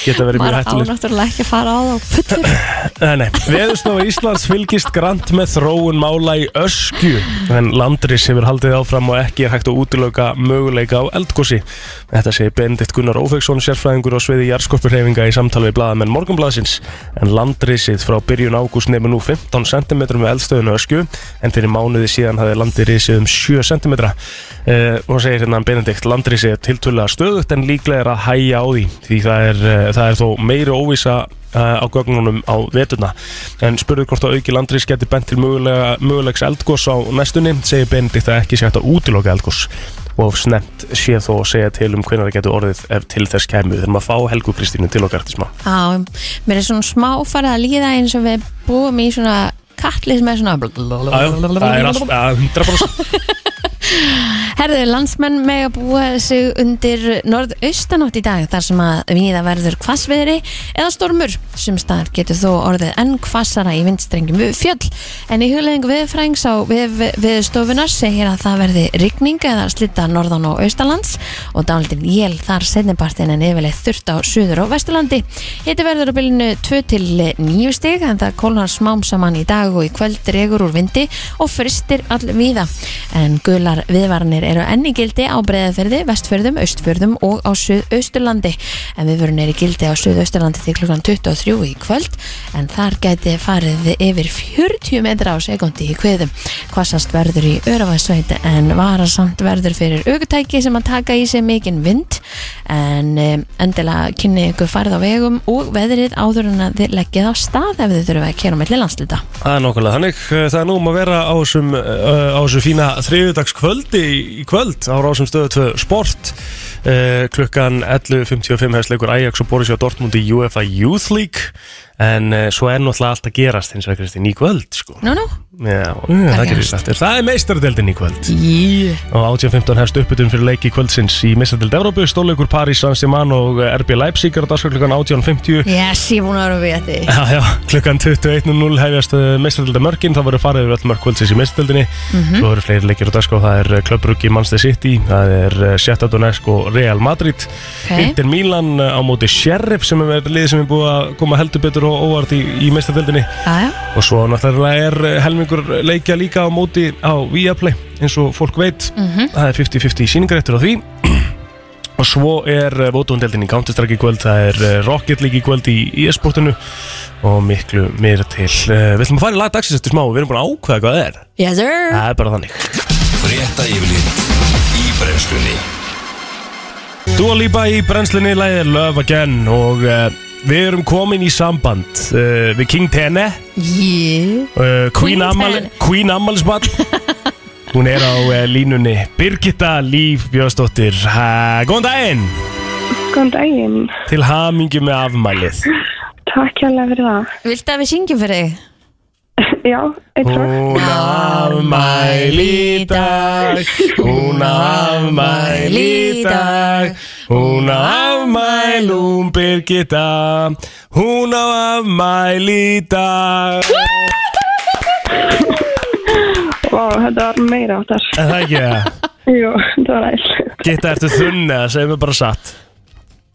Speaker 1: geta verið mjög
Speaker 3: maður á
Speaker 1: hættulegt
Speaker 3: náttúrulega ekki að fara á það á fullur
Speaker 1: Eh, Nei, nei, Veðurstofa Íslands fylgist grant með þróun mála í öskju en landris hefur haldið áfram og ekki er hægt að útlöka möguleika á eldgósi. Þetta segir Benedikt Gunnar Ófeksson, sérfræðingur á sviði jarðskorpurhefinga í samtali við blaðamenn Morgunblaðsins en landrisið frá byrjun ágúst nefnir nú 15 cm með eldstöðinu öskju en fyrir mánuði síðan hafði landrisið um 7 cm uh, og segir hérna Benedikt landrisið er tiltölulega stöðugt en líklega er að hæja á því því það er, uh, það er þó meiri óvisa eh, á gögnunum á veturna en spurðu hvort að auki landrís geti bent til mögulega, mögulegs eldgós á næstunni segir Benedikt að ekki sé hægt að útiloka eldgós og snemt sé þó að segja til um hvenær það getur orðið ef til þess kæmu þegar maður fá Helgu Kristínu til okkar eftir smá
Speaker 3: Já, mér er svona smá farið að líða eins og við búum í svona kattlið sem er svona
Speaker 1: Æjá, það er allt að 100%
Speaker 3: Herðu, landsmenn með að búa sig undir norðaustanátt í dag þar sem að viða verður hvassviðri eða stormur. Sum staðar getur þó orðið enn hvassara í vindstrengjum við fjöll. En í hugleðingu viðfrængs á við, viðstofunar segir að það verði rigning eða slitta norðan og austalands og dálítinn jél þar setnipartin en yfirleitt þurft á suður og vesturlandi. Hiti verður á bylunu 2 til 9 stig en það kólnar smám saman í dag og í kvöld regur úr vindi og fristir allvíða. En gular viðvarnir eru enni gildi á Breiðafyrði, Vestfyrðum, Östfyrðum og á Suðausturlandi. En viðvörun er í gildi á Suðausturlandi til klukkan 23 í kvöld en þar gæti farið yfir 40 metra á sekundi í kveðum. Hvassast verður í Öravæðsveit en varasamt verður fyrir aukutæki sem að taka í sig mikinn vind en em, endilega kynni ykkur farið á vegum og veðrið áður en að þið leggið á stað ef þið þurfum að kera mellir landslita.
Speaker 1: Það er nokkulega þannig, eh, það er nú um að vera á þessum, eh, á þessum fína þriðudagskvöldi í í kvöld á rásum stöðu 2 sport eh, klukkan 11.55 hefst leikur Ajax og Borussia Dortmund í UEFA Youth League En uh, svo er náttúrulega allt að gerast hins vegar Kristín í kvöld sko
Speaker 3: Nú, nú
Speaker 1: Já, uh, það gerir
Speaker 3: gerast?
Speaker 1: aftur Það er meistaradeldin í kvöld
Speaker 3: Jí
Speaker 1: Og 18.15 hefst uppbytun fyrir leiki kvöldsins í meistaradeld Evrópu Stórleikur París, Saint-Germain og eh, RB Leipzig er á dagskaklugan 18.50
Speaker 3: Yes, ég er búin að vera við þetta
Speaker 1: Já, já, klukkan 21.00 hefjast meistardölda mörkin, það verður farið yfir öll mörk kvöldsins í meistardöldinni, svo verður fleiri leikir og dagskrá, það er Klöbruggi, Manchester City það er Sjætta Donetsk og Real Madrid
Speaker 3: Ok.
Speaker 1: Inter Milan eh, á móti Sheriff sem er lið sem er búið að koma heldur betur og óvart í, í meistardöldinni
Speaker 3: Jæja
Speaker 1: og svo náttúrulega er eh, helmingur leikja líka á móti á Viaplay eins og fólk veit, það er 50-50 síningaréttur á því og svo er votundeldin í Counter-Strike í kvöld það er eh, Rocket League í kvöld í í e-sportinu og miklu meira til Eh, við ætlum að fara í lag dagsins eftir smá og við erum búin að ákveða hvað það er
Speaker 3: Yes, sir
Speaker 1: það er bara þannig
Speaker 2: Frétta yfirlit í brennslunni
Speaker 1: Dua Lipa í brennslunni læðir Love Again og uh, við erum komin í samband uh, við King Tene
Speaker 3: Jí
Speaker 1: Uh, Queen,
Speaker 3: Queen
Speaker 1: Amal,
Speaker 3: Ten.
Speaker 1: Queen Amalisball Hún er á uh, línunni Birgitta Líf Björnsdóttir ha, Góðan daginn
Speaker 5: Góðan daginn.
Speaker 1: Til hamingju með afmælið
Speaker 5: Takk hérlega fyrir það.
Speaker 3: Viltu að við syngjum fyrir þig?
Speaker 5: Já, eitt svo.
Speaker 1: Hún afmæli í dag Hún afmæli í dag Hún afmælum Birgitta Hún á afmæli í dag
Speaker 5: Vá, þetta var meira áttar.
Speaker 1: Er Það ekki það
Speaker 5: Jú, þetta var æsl.
Speaker 1: Gitta, ertu þunn eða segir mér bara satt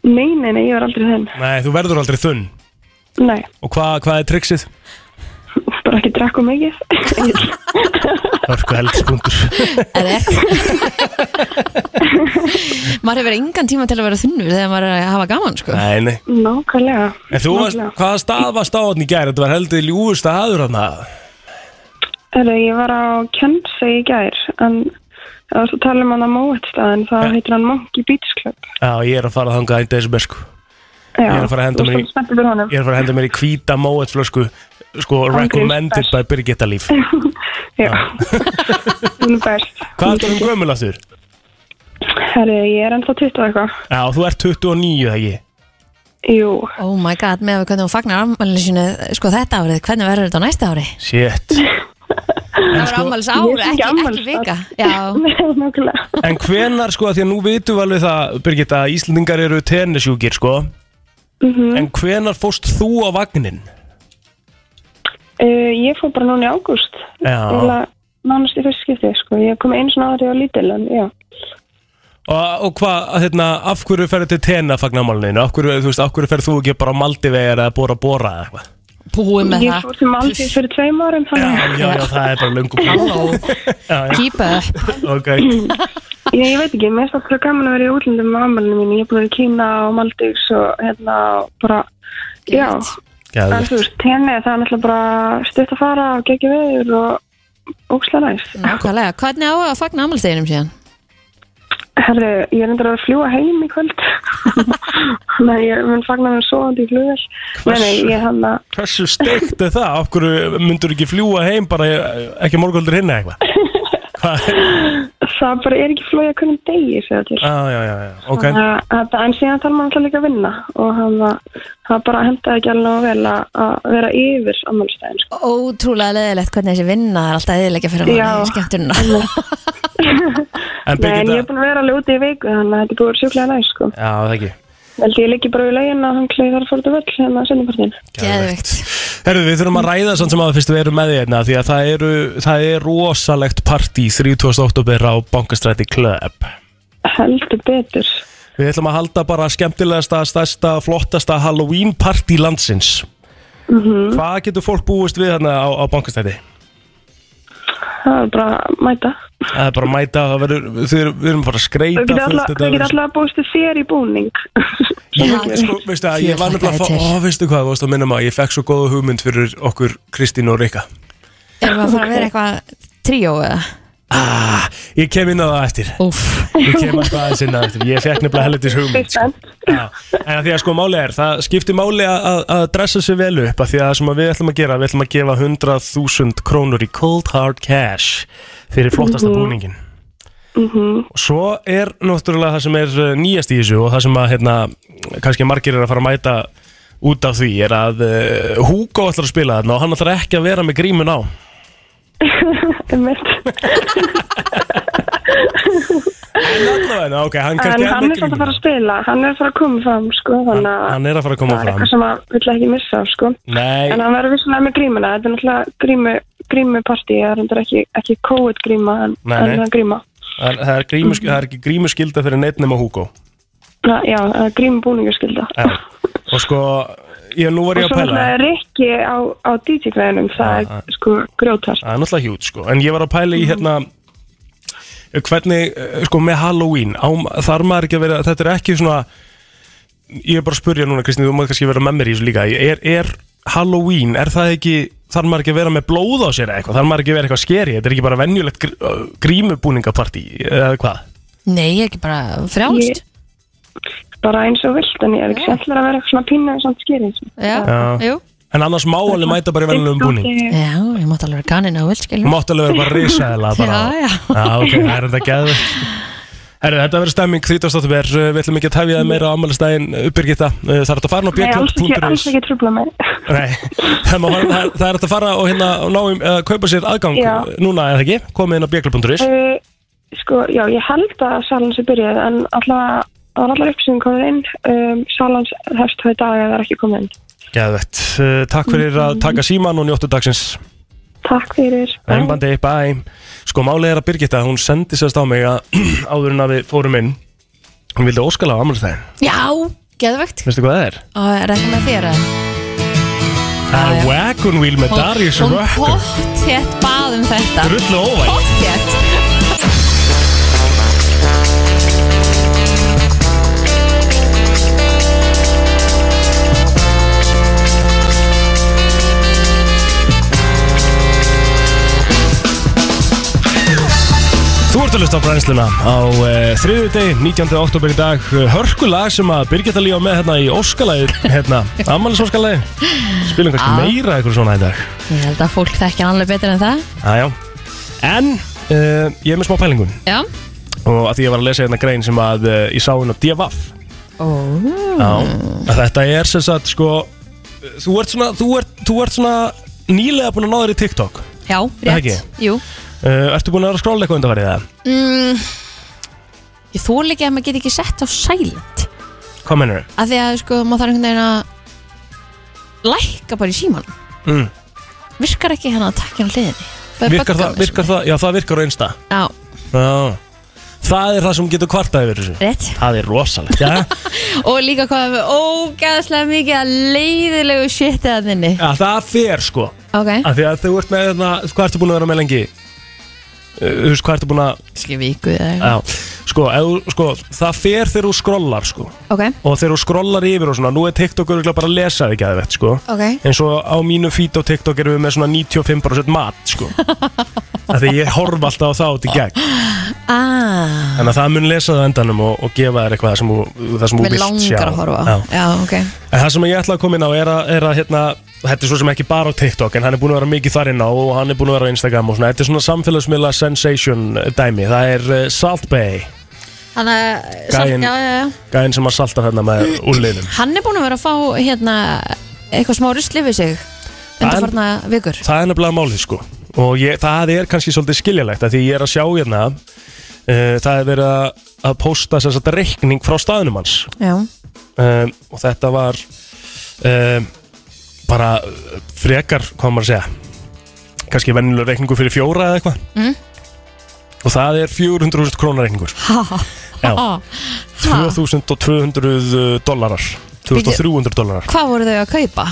Speaker 5: Nei, nei, nei, ég var aldrei þinn.
Speaker 1: Nei, þú verður aldrei þunn
Speaker 5: Nei,
Speaker 1: Og hvað hva er triksið?
Speaker 5: bara ekki drakku mikið.
Speaker 1: Hörku helgspunktur
Speaker 3: Er maður hefur engan tíma til að vera þunnur þegar maður er að hafa gaman sko
Speaker 1: Nei, nei
Speaker 5: Nákvæmlega.
Speaker 1: En þú varst,
Speaker 5: Nákvæmlega.
Speaker 1: hvaða stað varst á hann í gær? Þetta var heldur ljúfust staður hann
Speaker 5: Herru, ég var á Kensei í gær, en það var svo að tala um hann á móetstaðin,
Speaker 1: Eh.
Speaker 5: það heitir hann Monkey Beach Club.
Speaker 1: Já, ég er að fara þangað í desember sko
Speaker 5: Já,
Speaker 1: Ég er að fara að henda mér í-
Speaker 5: Þú spennt fyrir honum.
Speaker 1: Ég er að fara að henda mér í hvíta móet flösku Sko, recommended by Birgitta Líf
Speaker 5: Já. Hún er best.
Speaker 1: Ah. Hvað er það um gömul aftur?
Speaker 5: Herru, ég er ennþá 20 og eitthvað.
Speaker 1: Já, þú ert 29 þegar ég
Speaker 5: Jú,
Speaker 3: Oh my god, með að við hvernig hún fagnar afmælisinu sko þetta árið, hvernig verður þetta á næsta ári?
Speaker 1: Shit
Speaker 3: Það var afmælis
Speaker 5: Ég
Speaker 3: ári,
Speaker 5: er ekki
Speaker 3: ekki, ekki
Speaker 5: afmælis-
Speaker 3: vika Já,
Speaker 5: nákvæmlega.
Speaker 1: En hvenar sko, af því að nú vitum við alveg það Birgitta, að Íslendingar eru tennisjúkir sko En hvenar fóst þú á vagnin?
Speaker 5: Uh, ég fór bara núna í ágúst
Speaker 1: Já.
Speaker 5: Eiginlega nánast í fyrst skipti sko. ég kom eins og náður ég var lítil en já
Speaker 1: Og, og hvað, að hérna, af hverju ferðu til Tena fagnamáluninu? Af hverju, þú veist, af hverju ferðu þú ekki bara á Maldivegar eða Bora Bora eða eitthvað?
Speaker 3: búið með
Speaker 5: ég
Speaker 3: það
Speaker 5: fór til Maldi fyrir tveim árum
Speaker 1: Já,
Speaker 5: þannig
Speaker 1: já, já, það er bara löngum Já, já,
Speaker 3: Keep up
Speaker 1: ok
Speaker 5: ég, ég veit ekki, mér finnst alltaf gaman að vera í útlöndum með ammælinu mín, ég er búin í Kína og Maldíks og hérna bara, já, en þú
Speaker 1: Gæðvögt
Speaker 5: veist tenni það er náttúrulega bara stutt að fara og geggi veður og ókslega næst
Speaker 3: Nákvæmlega, hvernig á að fagna afmælisdeginum síðan?
Speaker 5: herri, ég er endur að fljúa heim í kvöld þannig að ég mun fagna mér svo í flugvel, nei, nei, ég hérna, hann að
Speaker 1: Hversu steikt er það? Af hverju myndur ekki fljúa heim bara eh, ekki morgöldur hinn eða eitthvað? Hvað?
Speaker 5: það bara er ekki flóið að kunum degi segja til
Speaker 1: Já, já, já, já, ok
Speaker 5: Þannig að- að- en síðan þarf maður alltaf líka að vinna og hann var, það bara hendaði ekki alveg nógu vel að, að vera yfir ammálstæðin sko.
Speaker 3: Ótrúlega leðilegt hvernig þessi vinna er alltaf eðilegja fyrir
Speaker 5: Já.
Speaker 3: manni í skemmtununa
Speaker 1: En
Speaker 5: Nei, en ég er
Speaker 1: Birgitta
Speaker 5: búin að vera alveg úti í viku þannig að þetta er búið sjúklega næst sko.
Speaker 1: Já, það ekki
Speaker 5: Veldi ég liggi bara í laugin að hann kleiði þar að fór þetta völl hérna að sendapartin
Speaker 3: Geðveikt.
Speaker 1: Herru, við þurfum að ræða samt sem að fyrst við erum með því hérna Því að það, eru, það er rosalegt partí 30. oktober á Bankastræti Club
Speaker 5: heldur betur
Speaker 1: Við ætlum að halda bara skemmtilegasta, stærsta, flottasta Halloween party landsins
Speaker 5: Mhm.
Speaker 1: Hvað getur fólk búist við hérna á, á bankastæti?
Speaker 5: það er bara að mæta
Speaker 1: Það er bara að mæta, það verður, þið eru- við erum bara að skreita
Speaker 5: þau geta
Speaker 1: fullt,
Speaker 5: alla-
Speaker 1: þetta
Speaker 5: þau geta
Speaker 1: verður-
Speaker 5: alltaf búist til þér í búning
Speaker 1: Ég, sko, veistu að ég var
Speaker 3: Ég
Speaker 1: nefnilega að
Speaker 3: hlakkaði
Speaker 1: fá,
Speaker 3: til.
Speaker 1: ó, veistu hvað, þú varst að minna maður, ég fekk svo góða hugmynd fyrir okkur Kristín og Rikka
Speaker 3: Erum við að fara að vera eitthvað tríó eða?
Speaker 1: ah, Ég kem inn á það eftir,
Speaker 3: Úff
Speaker 1: ég kem alltaf aðeins inn á það eftir, ég fekk nefnilega hellitis hugmynd sko. Já, en að því að sko máli er, það skiptir máli að, að- að dressa sér vel upp að því að það sem að við ætlum að gera, við ætlum að gefa 100.000 krónur í cold hard cash fyrir flottasta
Speaker 5: Mhm.
Speaker 1: búningin og svo eh, er náttúrulega það sem er uh, nýjast í þessu og það sem að hérna, kannski margir er að fara að mæta út af því er að uh, Hugo ætlar að spila þarna og hann ætlar ekki að vera með grímun á
Speaker 5: Einmitt.
Speaker 1: En allavega, ok, hann
Speaker 5: En
Speaker 1: kannski
Speaker 5: hann
Speaker 1: með
Speaker 5: er samt að fara
Speaker 1: grímuna.
Speaker 5: að spila, hann er að fara að koma fram sko, þannig að
Speaker 1: Hann er að fara að koma
Speaker 5: það er
Speaker 1: fram
Speaker 5: eitthvað sem að vill ekki missa af, sko.
Speaker 1: Nei,
Speaker 5: En hann verður vissulega með grímuna, þetta er náttúrulega grímu, grímupartí, það er endur ekki, ekki COVID gríma en,
Speaker 1: Nei, nei.
Speaker 5: en það er gríma.
Speaker 1: það er- það er grímus-
Speaker 5: Mhm.
Speaker 1: það er ekki grímuskylda fyrir neitt nema Hugo
Speaker 5: Na, já, það er grímubúningaskylda.
Speaker 1: Já. Og sko, ég nú var
Speaker 5: Og
Speaker 1: ég að
Speaker 5: svo
Speaker 1: pæla Ah,
Speaker 5: náttúrulega er Rikki á, á DJ-græðinum, það
Speaker 1: Já,
Speaker 5: er sko grjótast.
Speaker 1: Það er náttúrulega hjút sko En ég var að pæla
Speaker 5: Mhm.
Speaker 1: í hérna Hvernig, eh, sko með Halloween á, Þar maður ekki að vera, þetta er ekki svona Ég er bara að spurja núna Kristín, þú maður kannski vera með mér í þessu líka Er, er Halloween, er það ekki Þar maður ekki að vera með blóð á sér eða eitthvað Þar maður ekki að vera eitthvað skeri, þetta er ekki bara venjulegt gr- ö, Grímubúningapartí, eða hvað
Speaker 3: Nei, ég er ekki bara frjálst
Speaker 5: Bara eins og vilt, en ég er ekki sjallar að vera eitthvað svona pínu eins og skýrið. sko.
Speaker 3: Já,
Speaker 1: Já.
Speaker 3: jú
Speaker 1: En annars má alveg mæta bara í venjulegum búning
Speaker 3: Já, ég mátt alveg vera kaninn á vilt,
Speaker 1: Þú
Speaker 3: skiljum
Speaker 1: mátt alveg vera bara risaðilega bara
Speaker 3: Já, já.
Speaker 1: ok, það er þetta geðvægt Herru, þetta verður stemming 30. ver, eh, við ætlum ekki að tefja það meira á ámælistægin uppbyrgita, Eh, það er hægt að fara inn á
Speaker 5: Nei, alls ekki, alls
Speaker 1: björnlöf.is
Speaker 5: ekki trúbla mig.
Speaker 1: Nei, það má fara- það- það er hægt að fara og hérna og ná um, uh, kaupa sér aðgang
Speaker 5: Já.
Speaker 1: núna eða ekki, komið inn á björnlöf.is
Speaker 5: Uh, sko, já, ég held að salans er byrjuð, en allavega, það var allar upplýsingum komið inn, um, salans hefst það í dag að það er ekki komið inn.
Speaker 1: Geðvægt, uh, takk fyrir að taka síman og njóttu dagsins
Speaker 5: Takk fyrir.
Speaker 1: Einbandi, bæ Sko málið er að Birgitta, hún sendi sérst á mig að áður en að við fórum inn hún vildi óskala á ámælistægin,
Speaker 3: Já, geðvegt
Speaker 1: veistu hvað það er?
Speaker 3: Og er ekki með þér að
Speaker 1: Það
Speaker 3: Já,
Speaker 1: er
Speaker 3: já.
Speaker 1: Wagon Wheel með Darius
Speaker 3: Hún
Speaker 1: Rökkur
Speaker 3: pottétt bað um þetta
Speaker 1: Drullu óvæg
Speaker 3: Pottétt
Speaker 1: Þú ert að lusta á brennsluna á uh, þriðu deg, 19. oktober í dag Hörkulag sem að Birgitta lífa með hérna í Óskalæði hérna, Amalisóskalæði Spilum kannski
Speaker 3: Já.
Speaker 1: meira eitthvað svona í dag
Speaker 3: Ég held að fólk þekkja hann alveg betur en það
Speaker 1: Jájá En uh, ég er með smá pælingun
Speaker 3: Já
Speaker 1: og að því ég var að lesa hérna grein sem að uh, ég sá hérna á DFF
Speaker 3: Ó,
Speaker 1: Já, að þetta er sem sagt sko eh, Þú ert svona, þú ert, þú ert svona nýlega búin að ná þér í TikTok uh,
Speaker 3: Já,
Speaker 1: ekki?
Speaker 3: rétt Jú
Speaker 1: Ertu búin að vera að skrála eitthvað undanfærið það?
Speaker 3: mm, Ég þól ekki að maður geti ekki sett á silent
Speaker 1: Hvað mennur
Speaker 3: Af því að sko, maður þarf einhvern veginn að lækka bara í síman
Speaker 1: Mm.
Speaker 3: Virkar ekki hérna að takja á hliðinni Það er
Speaker 1: virkar
Speaker 3: böggað
Speaker 1: það,
Speaker 3: með
Speaker 1: virkar það, já það virkar á einsta
Speaker 3: þessu. Já,
Speaker 1: Já Það er það sem getur kvartað yfir þessu
Speaker 3: rétt
Speaker 1: Það er rosalegt Já,
Speaker 3: Og líka hvað er með ógæðslega mikið að leiðilegu shit að þinni
Speaker 1: já það fer sko
Speaker 3: Ok,
Speaker 1: Af því að þú ert með þarna, hvað ertu búin að vera með lengi? Uh, Þú veist, hvað ertu búin að
Speaker 3: skil vikuð eða eitthvað.
Speaker 1: Já, sko, eð, sko það fer þegar þú skrollar sko
Speaker 3: Ok,
Speaker 1: Og þegar þú skrollar yfir og svona Nú er TikTok örugglega bara að lesa þig að veit sko
Speaker 3: ok
Speaker 1: En svo á mínu feed á TikTok erum við með svona 95% mat sko Af því ég horf alltaf á það út í gegn
Speaker 3: Ah,
Speaker 1: Þannig að það mun lesa það á endanum og, og gefa þér eitthvað sem, þú- það sem þú
Speaker 3: með
Speaker 1: vilt sjá
Speaker 3: langar að horfa á.
Speaker 1: Já.
Speaker 3: Já, ok
Speaker 1: En það sem ég ætla að koma inn á er að, er að hérna, þetta er svo sem ekki bara á TikTok en hann er búin að vera mikið þar inn á og hann er búin að vera á Instagram og svona, þetta er svona samfélagsmiðla sensation eh, dæmi, það er uh, Salt Bay,
Speaker 3: Þannig að,
Speaker 1: Gæinn-
Speaker 3: já, já, já
Speaker 1: gæðin sem að salta þarna með úrliðnum.
Speaker 3: Hann er búinn að vera að fá hérna eitthvað smá rusli við sig undarfarna vikur
Speaker 1: Það er nefnilega málið sko og ég, það er kannski svolítið skiljalegt að því ég er að sjá hérna uh, það er verið að, að posta þess að reikning frá staðnum hans
Speaker 3: Já,
Speaker 1: um, og þetta var um, bara uh, frekar, hvað á maður að segja kannski venjulegur reikningur fyrir fjóra eða eitthvað
Speaker 3: Mm.
Speaker 1: og það er 400.000 krónar reikningur
Speaker 3: ha, ha,
Speaker 1: Já.
Speaker 3: ha.
Speaker 1: 2200 eh, dollarar 2300 dollarar
Speaker 3: Hvað voru þau að kaupa?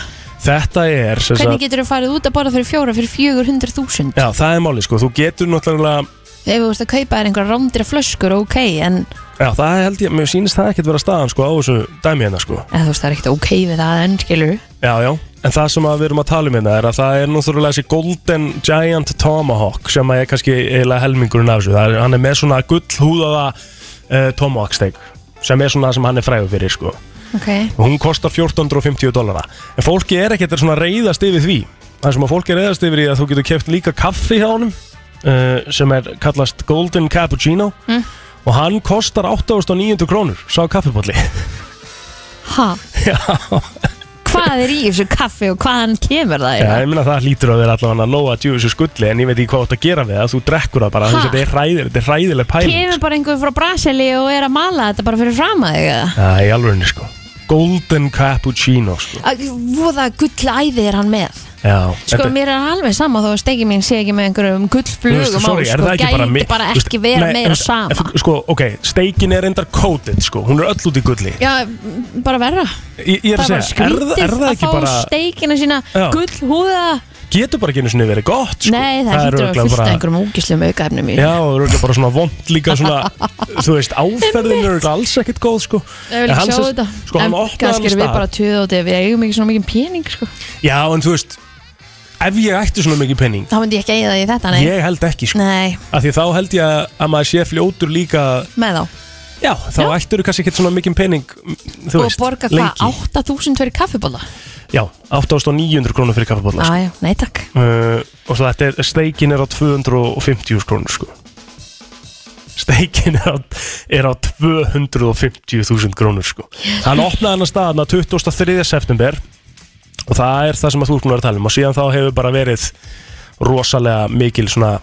Speaker 1: þetta er sem
Speaker 3: Hvernig
Speaker 1: sagt,
Speaker 3: getur þau farið út að borða fyrir fjóra fyrir 400.000?
Speaker 1: já, það er máli sko, þú getur náttúrulega
Speaker 3: Ef þú ert að kaupa þér einhverja rándýra flöskur, ok en
Speaker 1: já, það held ég, mér sýnist það ekkert vera staðan sko á þessu dæmi hérna sko
Speaker 3: eða, þú veist það er ekkert ok við það enn, skilur
Speaker 1: Já, já, en það sem að við erum að tala um hérna er að það er náttúrulega þessi Golden Giant Tomahawk sem að er kannski eiginlega helmingurinn af þessu, það er, hann er með svona gull húðaða uh, Tomahawk steak sem er svona það sem hann er frægur fyrir sko og
Speaker 3: Ok,
Speaker 1: hún kostar 1450 dollara en fólki er ekkert svona að reyðast yfir því það sem að fólki er að reyðast yfir því að þú getur keft líka kaffi hjá honum uh, sem er kallast Golden Cappuccino
Speaker 3: Mm.
Speaker 1: og hann kostar 8900 krónur sá kaffipolli
Speaker 3: ha,
Speaker 1: Já,
Speaker 3: hvað er í þessu kaffi og hvaðan kemur það
Speaker 1: Já,
Speaker 3: ja.
Speaker 1: ég minna það hlýtur að vera allavega að nóa djúvisu skulli en ég veit ekki hvað þú átt að gera við það, þú drekkur það bara, þú
Speaker 3: Ha?
Speaker 1: veist, þetta er hræðileg, þetta er hræðileg pæling
Speaker 3: Kemur
Speaker 1: sko.
Speaker 3: bara einhver frá Brasili og er að mala þetta bara fyrir fram að þig eða?
Speaker 1: Já, í alvegni sko Golden Cappuccino sko
Speaker 3: Að- Voða gullæði er hann með
Speaker 1: Já,
Speaker 3: Sko mér er alveg sama þó að steiki mín sé ekki með einhverjum gullflugum á
Speaker 1: sorry,
Speaker 3: sko,
Speaker 1: er það ekki bara
Speaker 3: gæti
Speaker 1: mi-
Speaker 3: bara
Speaker 1: þú veist,
Speaker 3: ekki vera
Speaker 1: nei,
Speaker 3: meira
Speaker 1: en-
Speaker 3: sama
Speaker 1: en- Sko, ok, steikin er endar coated sko, hún er öll út í gulli
Speaker 3: Já, bara verra
Speaker 1: Ég, ég er
Speaker 3: Það
Speaker 1: að
Speaker 3: er
Speaker 1: segja,
Speaker 3: bara
Speaker 1: er,
Speaker 3: skrítið
Speaker 1: það- er það
Speaker 3: að
Speaker 1: ekki
Speaker 3: fá
Speaker 1: bara
Speaker 3: steikina sína
Speaker 1: Já.
Speaker 3: gullhúða
Speaker 1: getur bara ekki einu sinni verið gott sko.
Speaker 3: Nei, það hlýtur að
Speaker 1: örugglega
Speaker 3: fylta
Speaker 1: bara-
Speaker 3: einhverjum úkislum aukaefnum í
Speaker 1: Já, og eru bara svona vond líka svona, þú veist, áferðin eru alls ekkert góð, sko.
Speaker 3: Ég vil
Speaker 1: En hann
Speaker 3: ekki sjá
Speaker 1: sem-
Speaker 3: þetta
Speaker 1: Sko, hann
Speaker 3: En
Speaker 1: opnaði
Speaker 3: kannski
Speaker 1: hann
Speaker 3: erum við
Speaker 1: stað.
Speaker 3: bara töð og við eigum ekki svona mikið pening sko.
Speaker 1: Já, en þú veist, ef ég ætti svona mikið penning,
Speaker 3: Þá myndi ég ekki eigið það í þetta, nei
Speaker 1: ég held ekki, sko.
Speaker 3: Nei,
Speaker 1: Af því þá held ég að- að maður sé fljótur líka,
Speaker 3: með þá
Speaker 1: já, þá
Speaker 3: Já.
Speaker 1: ættur þú kannski ekkert svona mikið penning, m, þú
Speaker 3: Og
Speaker 1: veist,
Speaker 3: borga
Speaker 1: lengi.
Speaker 3: hvað, 8000 fyrir kaffibóla?
Speaker 1: Já, 8.900 krónur fyrir kaffabólla, sko.
Speaker 3: Já, já, nei takk
Speaker 1: Uh, og svo þetta er, steikin er á 250 krónur, sko. Steikin er á, er á 250.000 krónur sko. Hann opnaði hann að staðna 23. september og það er það sem að þú erum að vera að tala um og síðan þá hefur bara verið rosalega mikil svona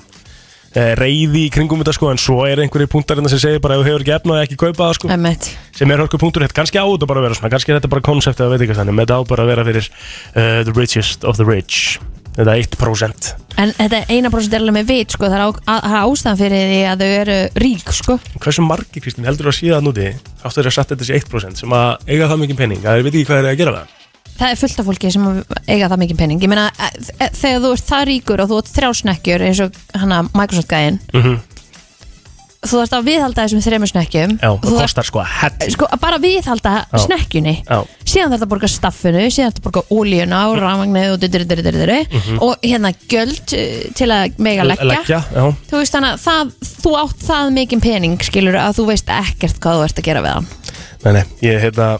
Speaker 1: eh, reyði í kringum þetta sko en svo er einhverjir punktar hérna sem segir bara ef þú hefur ekki efnaði ekki kaupa það sko
Speaker 3: Emmett
Speaker 1: sem er hörku punktur hitt, kannski á þetta bara að vera svona kannski er þetta bara konsept eða veit ekki hvað þannig þetta á bara að vera fyrir uh, the richest of the rich þetta 1%
Speaker 3: En þetta eina prosent er alveg með vit sko, það er á- á- það er ástæðan fyrir því að þau eru rík sko.
Speaker 1: hversu margi Kristín heldur þú að síða núti áttu þeir að setja þetta sér 1% sem að eiga það mikið pening að þeir veit ekki hvað þeir eru að gera við hann
Speaker 3: Það er fullt af fólki sem eiga það mikið pening Ég meina, e- e- þegar þú ert það ríkur og þú ert þrjá snekkjur eins og hana Microsoft gæinn
Speaker 1: Mhm.
Speaker 3: Þú þarfst að viðhalda þessum þremur snekkjum
Speaker 1: já,
Speaker 3: og
Speaker 1: það
Speaker 3: þú
Speaker 1: kostar sko að hell
Speaker 3: sko, að bara viðhalda
Speaker 1: Já.
Speaker 3: snekkjunni
Speaker 1: Já.
Speaker 3: síðan þarf það að borga staffinu, síðan þarf það að borga ólíuna
Speaker 1: Mhm.
Speaker 3: og rafmagnið og dyrir, dyrir, dyrir og hérna gjöld eh, til að mega leggja,
Speaker 1: leggja já.
Speaker 3: þú veist þannig að það, þú átt það mikið pening skilur að þú veist ekkert hvað þú ert að gera við hann
Speaker 1: Nei, nei, ég hérna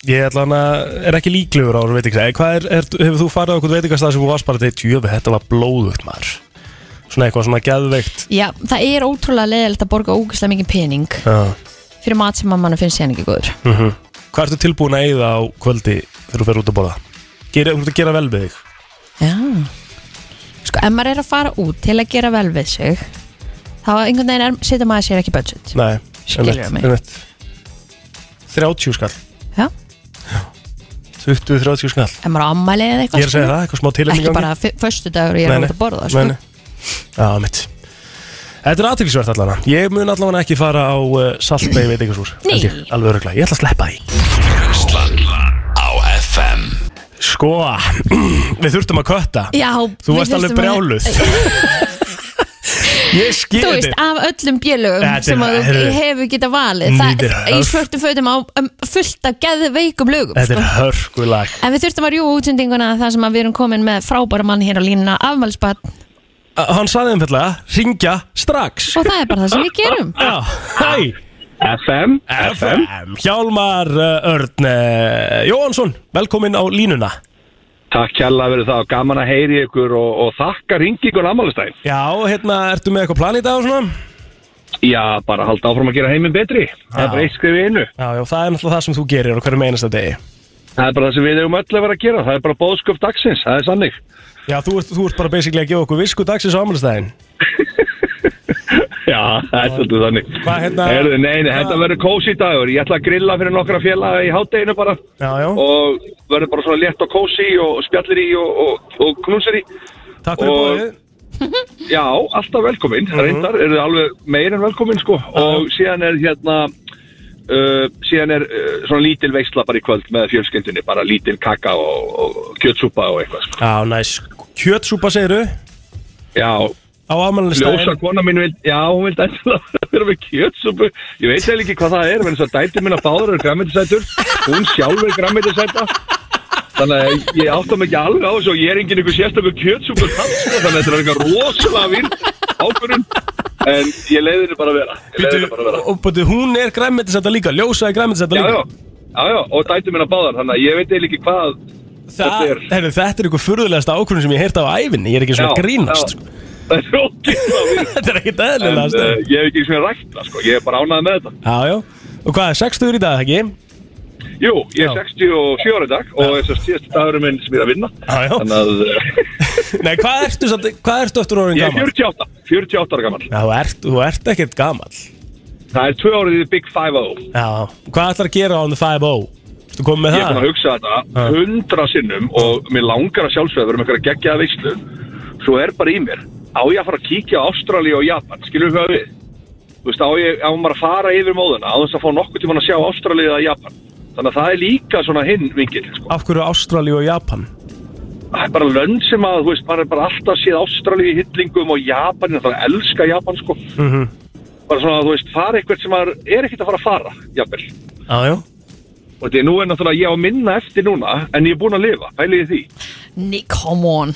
Speaker 1: Ég allan að er ekki líklegur á veit ekki Hvað er, er, hefur þú farið á okkur veit ekki stað sem þú varst bara til tjöfi, þetta var blóðugt maður Svona eitthvað svona geðveikt
Speaker 3: Já, það er ótrúlega leðilegt að borga ógeðslega mikið pening
Speaker 1: uh,
Speaker 3: fyrir mat sem að mann finnst sér ekki góður
Speaker 1: uh Hvað ertu tilbúin að eigða á kvöldi þegar þú fer út að borða? Gera, þú ert að gera vel við þig
Speaker 3: Já Sko, ef maður er að fara út til að gera vel við sig þá einhvern veginn er, setja maður sér ekki budget
Speaker 1: Nei,
Speaker 3: Skilurðu
Speaker 1: einmitt,
Speaker 3: mig?
Speaker 1: einmitt. 30 skall
Speaker 3: Já,
Speaker 1: 20-30 skall
Speaker 3: ef maður á ammæli eða eitthvað
Speaker 1: Ég er að segja það, eitthvað smá tilum
Speaker 3: Ekki bara förstu dagur og ég er út að borða sko.
Speaker 1: Nei, nei. Já, mitt Þetta er aðtilsvært allavega Ég mun allavega ekki fara á uh, saltbei veit eitthvað súr
Speaker 3: Nei.
Speaker 1: Alveg öruglega, ég ætla að sleppa því
Speaker 2: Brennslan á FM
Speaker 1: Sko, við þurftum að kötta
Speaker 3: Já,
Speaker 1: Þú
Speaker 3: við
Speaker 1: varst alveg
Speaker 3: þurftum að-
Speaker 1: brjáluð Ég skil
Speaker 3: Þú veist,
Speaker 1: þetta
Speaker 3: af öllum bjölugum
Speaker 1: Þetta er-
Speaker 3: sem að þú
Speaker 1: heyrðu.
Speaker 3: hefur geta valið það,
Speaker 1: Þetta er-
Speaker 3: í svörtum fötum á um, fullt af geðveikum lögum
Speaker 1: Þetta
Speaker 3: sko.
Speaker 1: er hörkulag
Speaker 3: En við þurftum að rjúa útsendinguna þar sem að við erum komin með frábæra mann hér á línuna afmælspatt
Speaker 1: A- Hann saði um fjallega, ringja strax
Speaker 3: og það er bara það sem við gerum
Speaker 1: Já, hæ
Speaker 6: FM
Speaker 1: FM Hjálmar uh, Örn uh, Jóhansson, velkomin á línuna
Speaker 6: Takk kjalla fyrir það og gaman að heyri ykkur og, og þakka ringingun ammálistæn
Speaker 1: Já, hérna, ertu með eitthvað plan í dag og svona?
Speaker 6: Já, bara halda áfram að gera heiminn betri Það
Speaker 1: Já.
Speaker 6: er bara eitt skrif í einu
Speaker 1: Já, já, það er náttúrulega það sem þú gerir á hverjum einasta degi.
Speaker 6: Það er bara það sem við eigum öll að vera að gera Það er bara bóðsköp dagsins, það er sannig
Speaker 1: Já, þú ert, þú ert bara basically að gefa okkur visku dagsins á ámælistæðin.
Speaker 6: Já, það er svolítið þannig
Speaker 1: Hvað, hérna-
Speaker 6: Heyrðu, nei, nei,
Speaker 1: Hvað-
Speaker 6: þetta verður kósi dagur Ég ætla að grilla fyrir nokkra félaga í hátteginu bara
Speaker 1: Já, já,
Speaker 6: Og verður bara svona létt og kósi og spjallir í og, og, og knúsir í
Speaker 1: takk fyrir
Speaker 6: og-
Speaker 1: bóðið.
Speaker 6: Já, alltaf velkomin, reyndar, eru þið alveg meir en velkomin sko og síðan er hérna, uh, síðan er uh, svona lítil veisla bara í kvöld með fjölskyndinni, bara lítil kaka og, og kjötsúpa og eitthvað sko.
Speaker 1: Já, næs. Kjötsúpa segiru á
Speaker 6: Já, ljósa
Speaker 1: ámælistæðin.
Speaker 6: kona mín vild, já, hún um vild endilega vera með kjötsúpu, ég veit eða ekki hvað það er, menn þess að dæti minna báður er grammetisætur, hún sjálf er grammetisæta. Þannig að ég átta mig ekki alveg á þessu og ég er enginn einhver sérstaklega kjötsúpur sko, þannig að þetta er eitthvað rosalega virð ákvörun, en ég leiði henni bara að vera. Ég leiði henni bara að vera.
Speaker 1: Og búinu, hún er græmmetisæta líka, ljósa er græmmetisæta
Speaker 6: Já, já,
Speaker 1: líka.
Speaker 6: já, já, og dæti minna báðar, þannig að ég veit eiginlega ekki hvað
Speaker 1: Það,
Speaker 6: Þetta er-
Speaker 1: herru, þetta er eitthvað furðulegasta ákvörðun sem ég heirt á ævinni, ég er ekki svona að
Speaker 6: Já,
Speaker 1: grínast.
Speaker 6: já.
Speaker 1: sko.
Speaker 6: Það er ógeðslega virð.
Speaker 1: Þetta er ekkit
Speaker 6: En
Speaker 1: eðlilega.
Speaker 6: uh,
Speaker 1: stæðin.
Speaker 6: ég hef ekki svona rækt það, sko, ég er bara ánæðið með þetta.
Speaker 1: Já, já. Og hvað, 60 í dag, ekki?
Speaker 6: Jú, ég er
Speaker 1: Já.
Speaker 6: 67 ára í dag og þess að síðast dagurum minn sem ég er að vinna
Speaker 1: Já, já.
Speaker 6: Þannig að eh,
Speaker 1: Nei, hvað ertu, samt- hvað ertu eftir orðin
Speaker 6: ég er
Speaker 1: gammal?
Speaker 6: 48, 48 ára gammal
Speaker 1: Já, þú ert, þú ert ekkert gammal
Speaker 6: Það er tvö árið í Big 5-0
Speaker 1: Já, hvað ætlar að gera on the 5-0? Þú komið með
Speaker 6: Ég er
Speaker 1: það?
Speaker 6: búin að hugsa þetta hundra sinnum og mér langar að sjálfsögða vera með einhverja geggjaða veislu Svo er bara í mér Á ég að fara að kíkja á Ástralíu og Japan Skilur hvað við? Þú veist, á ég á maður að fara yfir móðuna á þess að fá nokkuð tíma að sjá Ástralíu eða Japan Þannig að það er líka svona hinn vingil sko.
Speaker 1: Af hverju Ástralíu og Japan?
Speaker 6: Það er bara lönd sem að, þú veist, maður er bara alltaf séð Ástralíu í hyllingum og Japan Það er að elska Japan, sko
Speaker 1: Mhm.
Speaker 6: Bara svona, þú veist, fara eitthvað sem maður er ekkert að fara að fara, jafnvel
Speaker 1: Já, já
Speaker 6: Og þetta er nú er náttúrulega ég á að minna eftir núna En ég er búin að lifa, pæliði því
Speaker 3: Nei, come on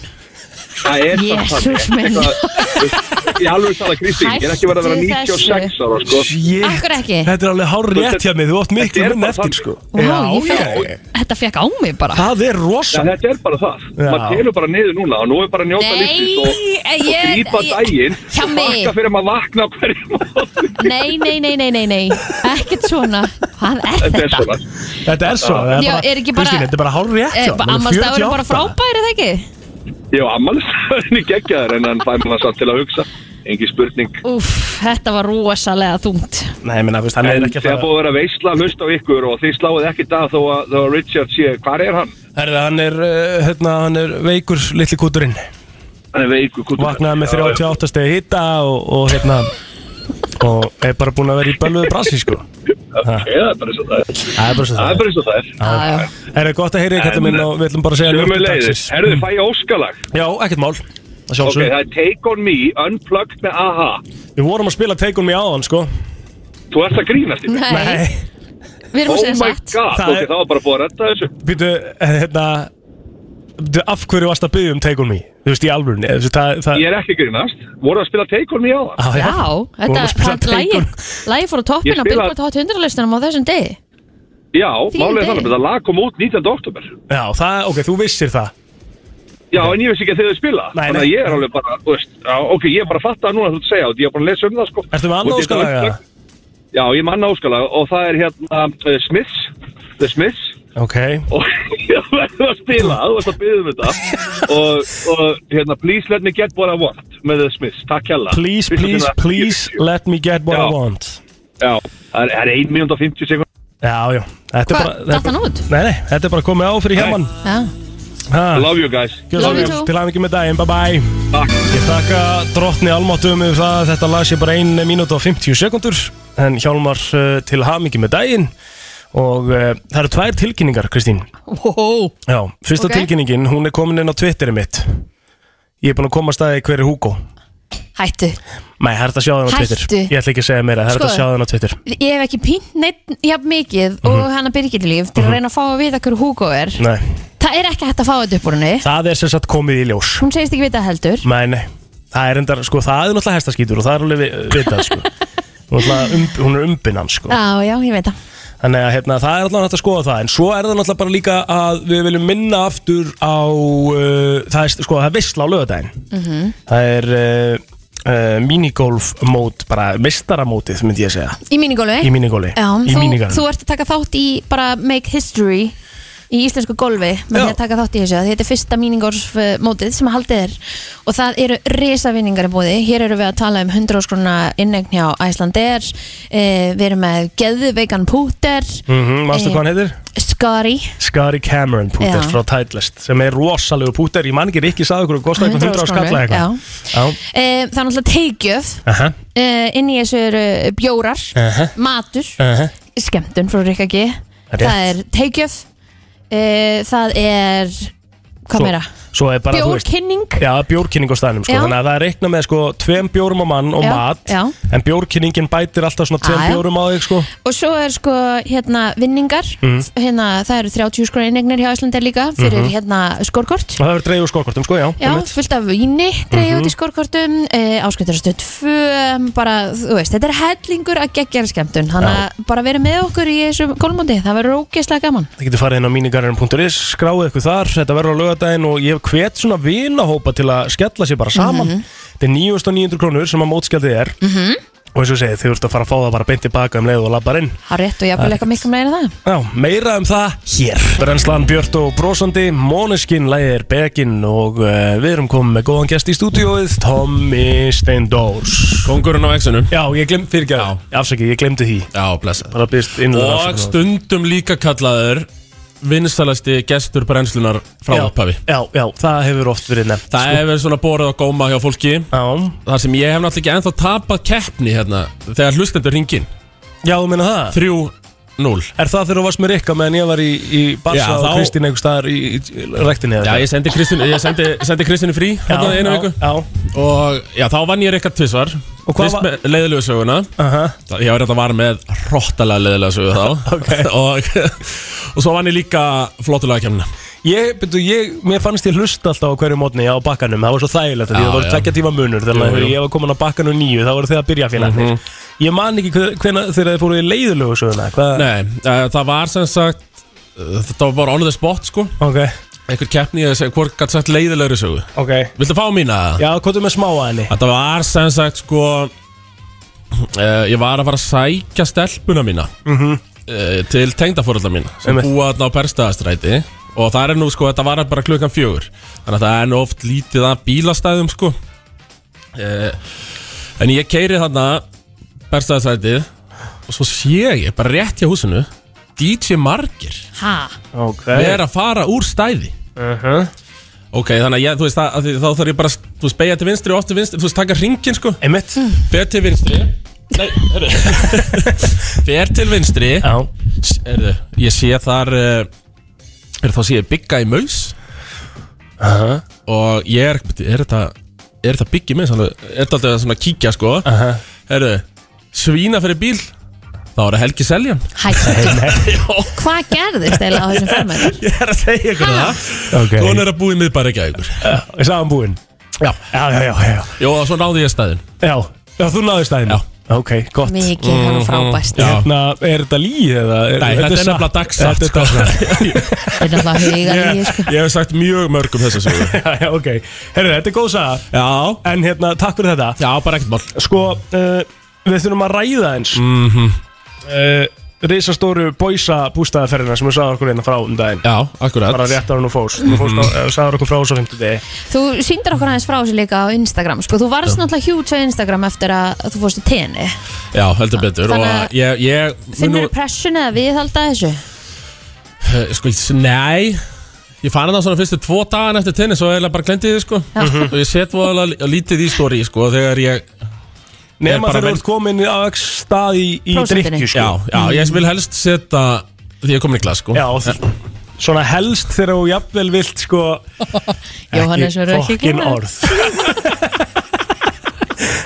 Speaker 6: Það er bara
Speaker 3: Jesús
Speaker 6: þannig.
Speaker 3: minn.
Speaker 6: Eitthvað- Ég alveg tala Kristín, ég er ekki verið að vera
Speaker 3: Hættu
Speaker 6: 96 ára sko.
Speaker 1: Shit.
Speaker 3: Af hverju ekki?
Speaker 1: Þetta er alveg hár rétt hjá mig, þú átt
Speaker 6: Þetta
Speaker 1: miklu
Speaker 6: er
Speaker 1: minn
Speaker 6: bara
Speaker 1: eftir
Speaker 6: þannig.
Speaker 1: sko
Speaker 3: Vá, ég fekk-
Speaker 1: já.
Speaker 3: Þetta fekk á mig bara
Speaker 1: Það er
Speaker 6: Já,
Speaker 1: rosa
Speaker 6: þetta er bara það,
Speaker 1: Já.
Speaker 6: maður telur bara niður núna og nú er bara að njóta
Speaker 3: Nei,
Speaker 6: lífsins og, og
Speaker 3: ég-
Speaker 6: grípa
Speaker 3: ég-
Speaker 6: daginn
Speaker 3: Hjá
Speaker 6: og
Speaker 3: mig.
Speaker 6: vakka fyrir að maður vakna á hverju móti.
Speaker 3: Nei, nei, nei, nei, nei, nei Ekkert svona Hvað er
Speaker 6: Þetta er
Speaker 3: þetta?
Speaker 6: svona,
Speaker 1: Þetta er svo það
Speaker 3: Já, er ekki bara-
Speaker 1: Kristín, þetta er bara hár rétt hjá honum,
Speaker 3: Eh, Amma stafur er
Speaker 1: 48.
Speaker 3: bara frábæri, er það ekki?
Speaker 6: ég á ammalstæðinni geggjaður en hann fær manna satt til að hugsa, engi spurning.
Speaker 3: Úf, þetta var rosalega þungt
Speaker 1: Nei, menn, þú veist, hann er
Speaker 6: En
Speaker 1: ekki að
Speaker 6: þegar
Speaker 1: fara
Speaker 6: búið að vera veisla að hlusta á ykkur og þið sláið ekki dag þó að, þó að Richard sé, hvar er hann?
Speaker 1: Herði, hann er, uh, hérna, hann er veikur litli kúturinn
Speaker 6: Hann er veiku kútur.
Speaker 1: Vaknaði með 38 stegi hitta og, og hérna Og er bara búin að vera í bölvuðu brasi, sko
Speaker 6: Já, það er bara eins og það er.
Speaker 1: Það er bara svo
Speaker 6: Það er
Speaker 1: það
Speaker 6: bara eins og það er.
Speaker 3: Já, já.
Speaker 1: Er það gott að heyri, kallum minn, og við ætlum bara að segja
Speaker 6: Sjömu
Speaker 1: njóttu
Speaker 6: leiðis,
Speaker 1: dagsins. Mm.
Speaker 6: herðu fæ ég óskalag
Speaker 1: Já, ekkert mál Það
Speaker 6: Ok,
Speaker 1: sjálfsög
Speaker 6: það er Take On Me, Unplugged með AHA
Speaker 1: Við vorum að spila Take On Me áðan, sko
Speaker 6: Þú ert að grínast í mig
Speaker 3: Nei, við erum
Speaker 6: Oh
Speaker 3: að segja
Speaker 6: my
Speaker 3: satt
Speaker 6: god,
Speaker 1: Það
Speaker 6: ok,
Speaker 1: er-
Speaker 6: það var bara búið að redda þessu
Speaker 1: Býtu, hérna býtu, Af hverju varst að byggja um Take On Me? Þú veist, í alvörunni eða þú veist, það, það,
Speaker 6: Ég er ekki að grínast, voru að spila Take On Me á það
Speaker 1: á,
Speaker 3: Já,
Speaker 1: Vorum að spila
Speaker 3: þetta
Speaker 1: Take On-
Speaker 3: Lægi fór á
Speaker 6: Ég
Speaker 3: toppin á
Speaker 6: spila-
Speaker 3: Billboard Hot 100 listanum á þessum degi
Speaker 6: Já,
Speaker 3: Þín
Speaker 6: málið er
Speaker 3: degi.
Speaker 6: þannig, að það lag kom út 19. oktober
Speaker 1: Já, það, ok, þú vissir það
Speaker 6: Já, en ég veist ekki að þið þau spila
Speaker 1: Nei,
Speaker 6: Þannig
Speaker 1: nei.
Speaker 6: að ég er alveg bara, þú veist já, Ok, ég er bara að fatta það núna að þú ert að segja þetta, Ég er bara að lesa um það, sko
Speaker 1: Ertu með annað
Speaker 6: Og þetta er
Speaker 1: óskalag,
Speaker 6: Unplugged. Já, ég er með annað óskalag og það er hérna uh, Smiths, The Smiths
Speaker 1: Ok
Speaker 6: og ég verði að spila þú varst að byggja um þetta og, og hérna, please let me get what I want með The Smiths, takk hella
Speaker 1: Please, please, please let me get what
Speaker 6: Já.
Speaker 1: I want
Speaker 6: Já, það er- það er 1 minúnd og 50 sekund
Speaker 1: Já, já Þetta er
Speaker 3: Hvað,
Speaker 1: bara þetta er
Speaker 3: datt hann
Speaker 1: bara-
Speaker 3: út?
Speaker 1: Nei, nei, þetta er bara komið á fyrir hjemman
Speaker 3: Já,
Speaker 6: Love you guys
Speaker 3: Love you too.
Speaker 1: Til hann með daginn, bye bye
Speaker 6: Takk.
Speaker 1: Ég þakka drottni almáttum yfir það að Þetta lag sé bara 1 mínúti og 50 sekundur En Hjálmar uh, til hamingi með daginn Og uh, það eru tvær tilkynningar, Kristín
Speaker 3: wow
Speaker 1: Já, fyrsta
Speaker 3: Ok.
Speaker 1: tilkynningin, hún er komin inn á Twitterið mitt Ég er búin að koma að staði hver er Hugo
Speaker 3: Hættu,
Speaker 1: Nei, það er að sjá það á Twitter
Speaker 3: Hættu.
Speaker 1: Ég ætla ekki að segja meira, það er að
Speaker 3: Skoðum.
Speaker 1: sjá það á Twitter
Speaker 3: ég hef ekki pínt neitt jafn mikið og hann að byrja líf til að reyna að fá að vita hver Hugo er
Speaker 1: Nei,
Speaker 3: Það er ekki hægt að fá þetta upp úr henni
Speaker 1: það er sem sagt komið í ljós
Speaker 3: Hún segist ekki vita heldur
Speaker 1: Nei, nei, það er endar, sko, það er náttúrulega hestaskítur og það er alveg vi- vitað, sko Hún er náttúrulega um, hún er umbinnan, sko
Speaker 3: Já, já, ég veit það
Speaker 1: Þannig að hérna, það er allavega hægt að skoða það En svo er það náttúrulega bara líka að við viljum minna aftur á uh, Það er, sko, það er visla á lögadaginn
Speaker 3: Mhm.
Speaker 1: Það er uh, uh, minigolf mót, bara mistaramótið, myndi ég segja
Speaker 3: Í mínigólfi?
Speaker 1: Í minigolfi,
Speaker 3: Já,
Speaker 1: í
Speaker 3: þú,
Speaker 1: minigarðinum.
Speaker 3: þú ert að taka þátt í bara make history í íslensku golfi með
Speaker 1: Já.
Speaker 3: því að taka þátt í þessu Því þetta er fyrsta míningolf eh, mótið sem að haldið er og það eru risavinningar í bóði hér eru við að tala um 100 óskrona innegn hjá Æslandir eh, við erum með geðveikan púter Eh,
Speaker 1: mm
Speaker 3: Mhm,
Speaker 1: Manstu hvað hann heitir?
Speaker 3: Skari
Speaker 1: Scotty Cameron púter
Speaker 3: Já.
Speaker 1: frá Titleist sem er rosalegu púter, ég man ekki ekki sagði okkur og kostaði eitthvað 100 á
Speaker 3: 100
Speaker 1: skalla
Speaker 3: krónur,
Speaker 1: eitthvað Já,
Speaker 3: eh, það er náttúrulega teikjöf
Speaker 1: aha,
Speaker 3: eh, inn í þessu eru bjórar
Speaker 1: aha,
Speaker 3: matur
Speaker 1: aha
Speaker 3: skemmtun frá Rikka G það er teikjöf uh, það er hvað
Speaker 1: Svo-
Speaker 3: meira?
Speaker 1: Svo er bara, þú veist
Speaker 3: Bjórkynning
Speaker 1: Já, bjórkynning á staðnum, sko,
Speaker 3: Já.
Speaker 1: þannig að það er reikna með sko tveim bjórum á mann og
Speaker 3: Já,
Speaker 1: mat
Speaker 3: já.
Speaker 1: en bjórkynningin bætir alltaf svona tveim
Speaker 3: Já, já.
Speaker 1: bjórum á þig, sko
Speaker 3: og svo er sko hérna vinningar
Speaker 1: Mhm.
Speaker 3: hérna, það eru 30 skrona innegnir hjá Íslandi líka fyrir hérna skorkort
Speaker 1: og það verður dreifur skorkortum, sko, já,
Speaker 3: Já,
Speaker 1: Mhm. einmitt. Mhm.
Speaker 3: fullt af víni dreigði út í skorkortum e, áskriftararstöð 2 bara, þú veist, þetta er hellingur að geggjara skemmtun þannig að bara verið með okkur í þessum gólmóti, það verður ógeðslega gaman
Speaker 1: Það getur farið inn á minigarinn.is, skráið ykkur þar, þetta verður á lögadaginn og ég hef hvet svona
Speaker 3: Mhm.
Speaker 1: vinahópa til að skella sér bara saman. Þetta er 9.900 krónur sem að mótskjaldið er. og eins og ég segi þú ert að fara að fá það bara beint í baka um leið og labbar inn
Speaker 3: Há rétt og jafnvel eitthvað miklu meira en það
Speaker 1: Já, meira um það hér Brennslan Björn og Brósandi, Móneskin, Læðir, Begin og uh, við erum komið með góðan gest í stúdíóið Tommy Steindors
Speaker 7: Kongurinn á exunum
Speaker 1: Já, ég glemt fyrir ekki að Afsaki, ég glemdi því
Speaker 7: Já, blessa
Speaker 1: Bara byrst inn
Speaker 7: Og stundum líka kallaður vinstalasti gestur brennslunar frá upphafi
Speaker 1: Já, já, það hefur oft verið nefnt sko.
Speaker 7: Það hefur svona borðið á góma hjá fólki
Speaker 1: Já,
Speaker 7: Þar sem ég hef náttúrulega ekki ennþá tapað keppni hérna Þegar hlustendur ringin
Speaker 1: já, þú meina það
Speaker 7: 3-0
Speaker 1: Er það þegar þú varst með Rikka meðan ég var í, í Barsa
Speaker 7: Já,
Speaker 1: og
Speaker 7: þá-
Speaker 1: Kristín einhver staðar í, í, í rektinni
Speaker 7: Já, ég sendi Kristínu ég sendi, sendi Kristínu frí hérna
Speaker 1: já,
Speaker 7: einu
Speaker 1: já,
Speaker 7: viku
Speaker 1: já,
Speaker 7: Og já, þá vann ég Rikard Tvissvar
Speaker 1: Og hvað
Speaker 7: Fyrst
Speaker 1: var-
Speaker 7: með leiðilegu söguna
Speaker 1: aha,
Speaker 7: Það- Ég var rétt að var með hróttalega leiðilega sögu þá
Speaker 1: Ok.
Speaker 7: og, og svo vann ég líka flottulega kemna
Speaker 1: Ég, byrju, ég, mér fannst ég hlusta alltaf á hverju mótni á bakkanum, það var svo þægilegt að því
Speaker 7: Já,
Speaker 1: það voru
Speaker 7: já.
Speaker 1: tvekja tíma munur, þannig að
Speaker 7: Jú,
Speaker 1: þegar
Speaker 7: jú. Mhm.
Speaker 1: ég var komin á bakkanu nýju, þá voru þið að byrja félagarnir. Ég man ekki hver- hvenær þegar þið fóruð í leiðulegu söguna, hvað?
Speaker 7: Nei, uh, það var sem sagt uh, Þetta var bara on the spot sko
Speaker 1: Ok,
Speaker 7: Einhver keppni, ég segi hvort gætt sagt leiðilegri sögu
Speaker 1: ok.
Speaker 7: Viltu fá mína það?
Speaker 1: Já, hvað er með smá að henni?
Speaker 7: Þetta var sem sagt sko uh, Ég var að fara að sækja stelpuna mína uh, Til tengdafórulda mína Sem
Speaker 1: Einmitt.
Speaker 7: búa þarna á Perstaðastræti Og það er nú sko, þetta var bara klukkan fjögur Þannig að það er nú oft lítið að bílastæðum sko uh, En ég keiri þarna Perstaðastrætið Og svo sé ég bara rétt hjá húsinu DJ Margir
Speaker 3: Ha,
Speaker 1: Ok.
Speaker 7: vera að fara úr stæði
Speaker 1: Uh-huh.
Speaker 7: Ok, þannig að ég, þú veist, það, að því- þá þarf ég bara Þú veist, beigja til vinstri og oft til vinstri Þú veist, taka ringin sko
Speaker 1: Einmitt?
Speaker 7: Fer til vinstri Nei, hörru Fer til vinstri
Speaker 1: Já.
Speaker 7: Hörru, ég sé þar Hörru, þá sé ég bygga í maus
Speaker 1: Aha.
Speaker 7: Og ég er, bíddu, er þetta Er þetta byggi í maus? alveg? Er þetta alltaf svona að kíkja sko
Speaker 1: Aha.
Speaker 7: Hörru, svína fyrir bíl Þá er það Helgi Seljan
Speaker 3: hættu Hvað gerðist eiginlega á þessum Ah, formöður?
Speaker 7: Ég er að segja ykkur það
Speaker 1: Ok.
Speaker 7: Hún er að búið mið bara ekki að ykkur
Speaker 1: Ég sagði hann búinn.
Speaker 7: Já.
Speaker 1: Já, já, já, já.
Speaker 7: Jó, og svo náði ég staðin
Speaker 1: Já, já þú náðist að henni?
Speaker 7: Já.
Speaker 1: Ok, gott.
Speaker 3: Mikið, það var frábært
Speaker 7: Já.
Speaker 1: Hérna, er þetta líð eða?
Speaker 7: Nei, þetta er
Speaker 1: satt?
Speaker 7: nefnilega dagsatt
Speaker 1: Þetta er
Speaker 7: sko.
Speaker 1: dagsatt.
Speaker 3: Þetta er alltaf huga
Speaker 7: Ég
Speaker 3: líði sko
Speaker 7: ég hef sagt mjög mörg um þessa sögu
Speaker 1: Já, já, ok. Herru, þetta er góð saga.
Speaker 7: Já,
Speaker 1: En hérna, takk fyrir þetta.
Speaker 7: já, Mhm. bara ekkert mál
Speaker 1: Sko, uh, við þurfum að ræða eins mm -hmm. uh, Rísastóru bóisa bústæðaferðina sem við sagði okkur hérna frá um daginn
Speaker 7: Já, Mhm. akkurat
Speaker 1: bara rétt ára nú fóst, nú fóst á, sagði okkur frá þessu á fimmtudegi
Speaker 3: Þú sýndir okkur aðeins frá þessu líka á Instagram sko. Þú varst náttúrulega huge á Instagram eftir að þú fórst í tenni
Speaker 7: Já, heldur betur
Speaker 3: Þannig
Speaker 7: og
Speaker 3: að-
Speaker 7: ég, ég mun
Speaker 3: Finnur þú pressun eða viðhalda þessu?
Speaker 7: nú- sko, ég- nei Ég fann það svona fyrstu tvo dagan eftir tennis og eiginlega bara glendi því, sko og ég set voðalega lítið í stóri, sko þegar ég,
Speaker 1: Nefn
Speaker 7: bara
Speaker 1: að þeir
Speaker 7: menn-
Speaker 1: eru komin á öll stað í, í
Speaker 3: Prósentinni.
Speaker 1: drikju sko.
Speaker 7: já, já,
Speaker 3: Mm.
Speaker 7: ég vil helst setja því ég er komin í glas, sko
Speaker 1: Já, og þ- svona helst þegar þú jafnvel vilt sko
Speaker 3: Jóhannes verður ekki að
Speaker 1: fokkin
Speaker 3: gleyma.
Speaker 1: orð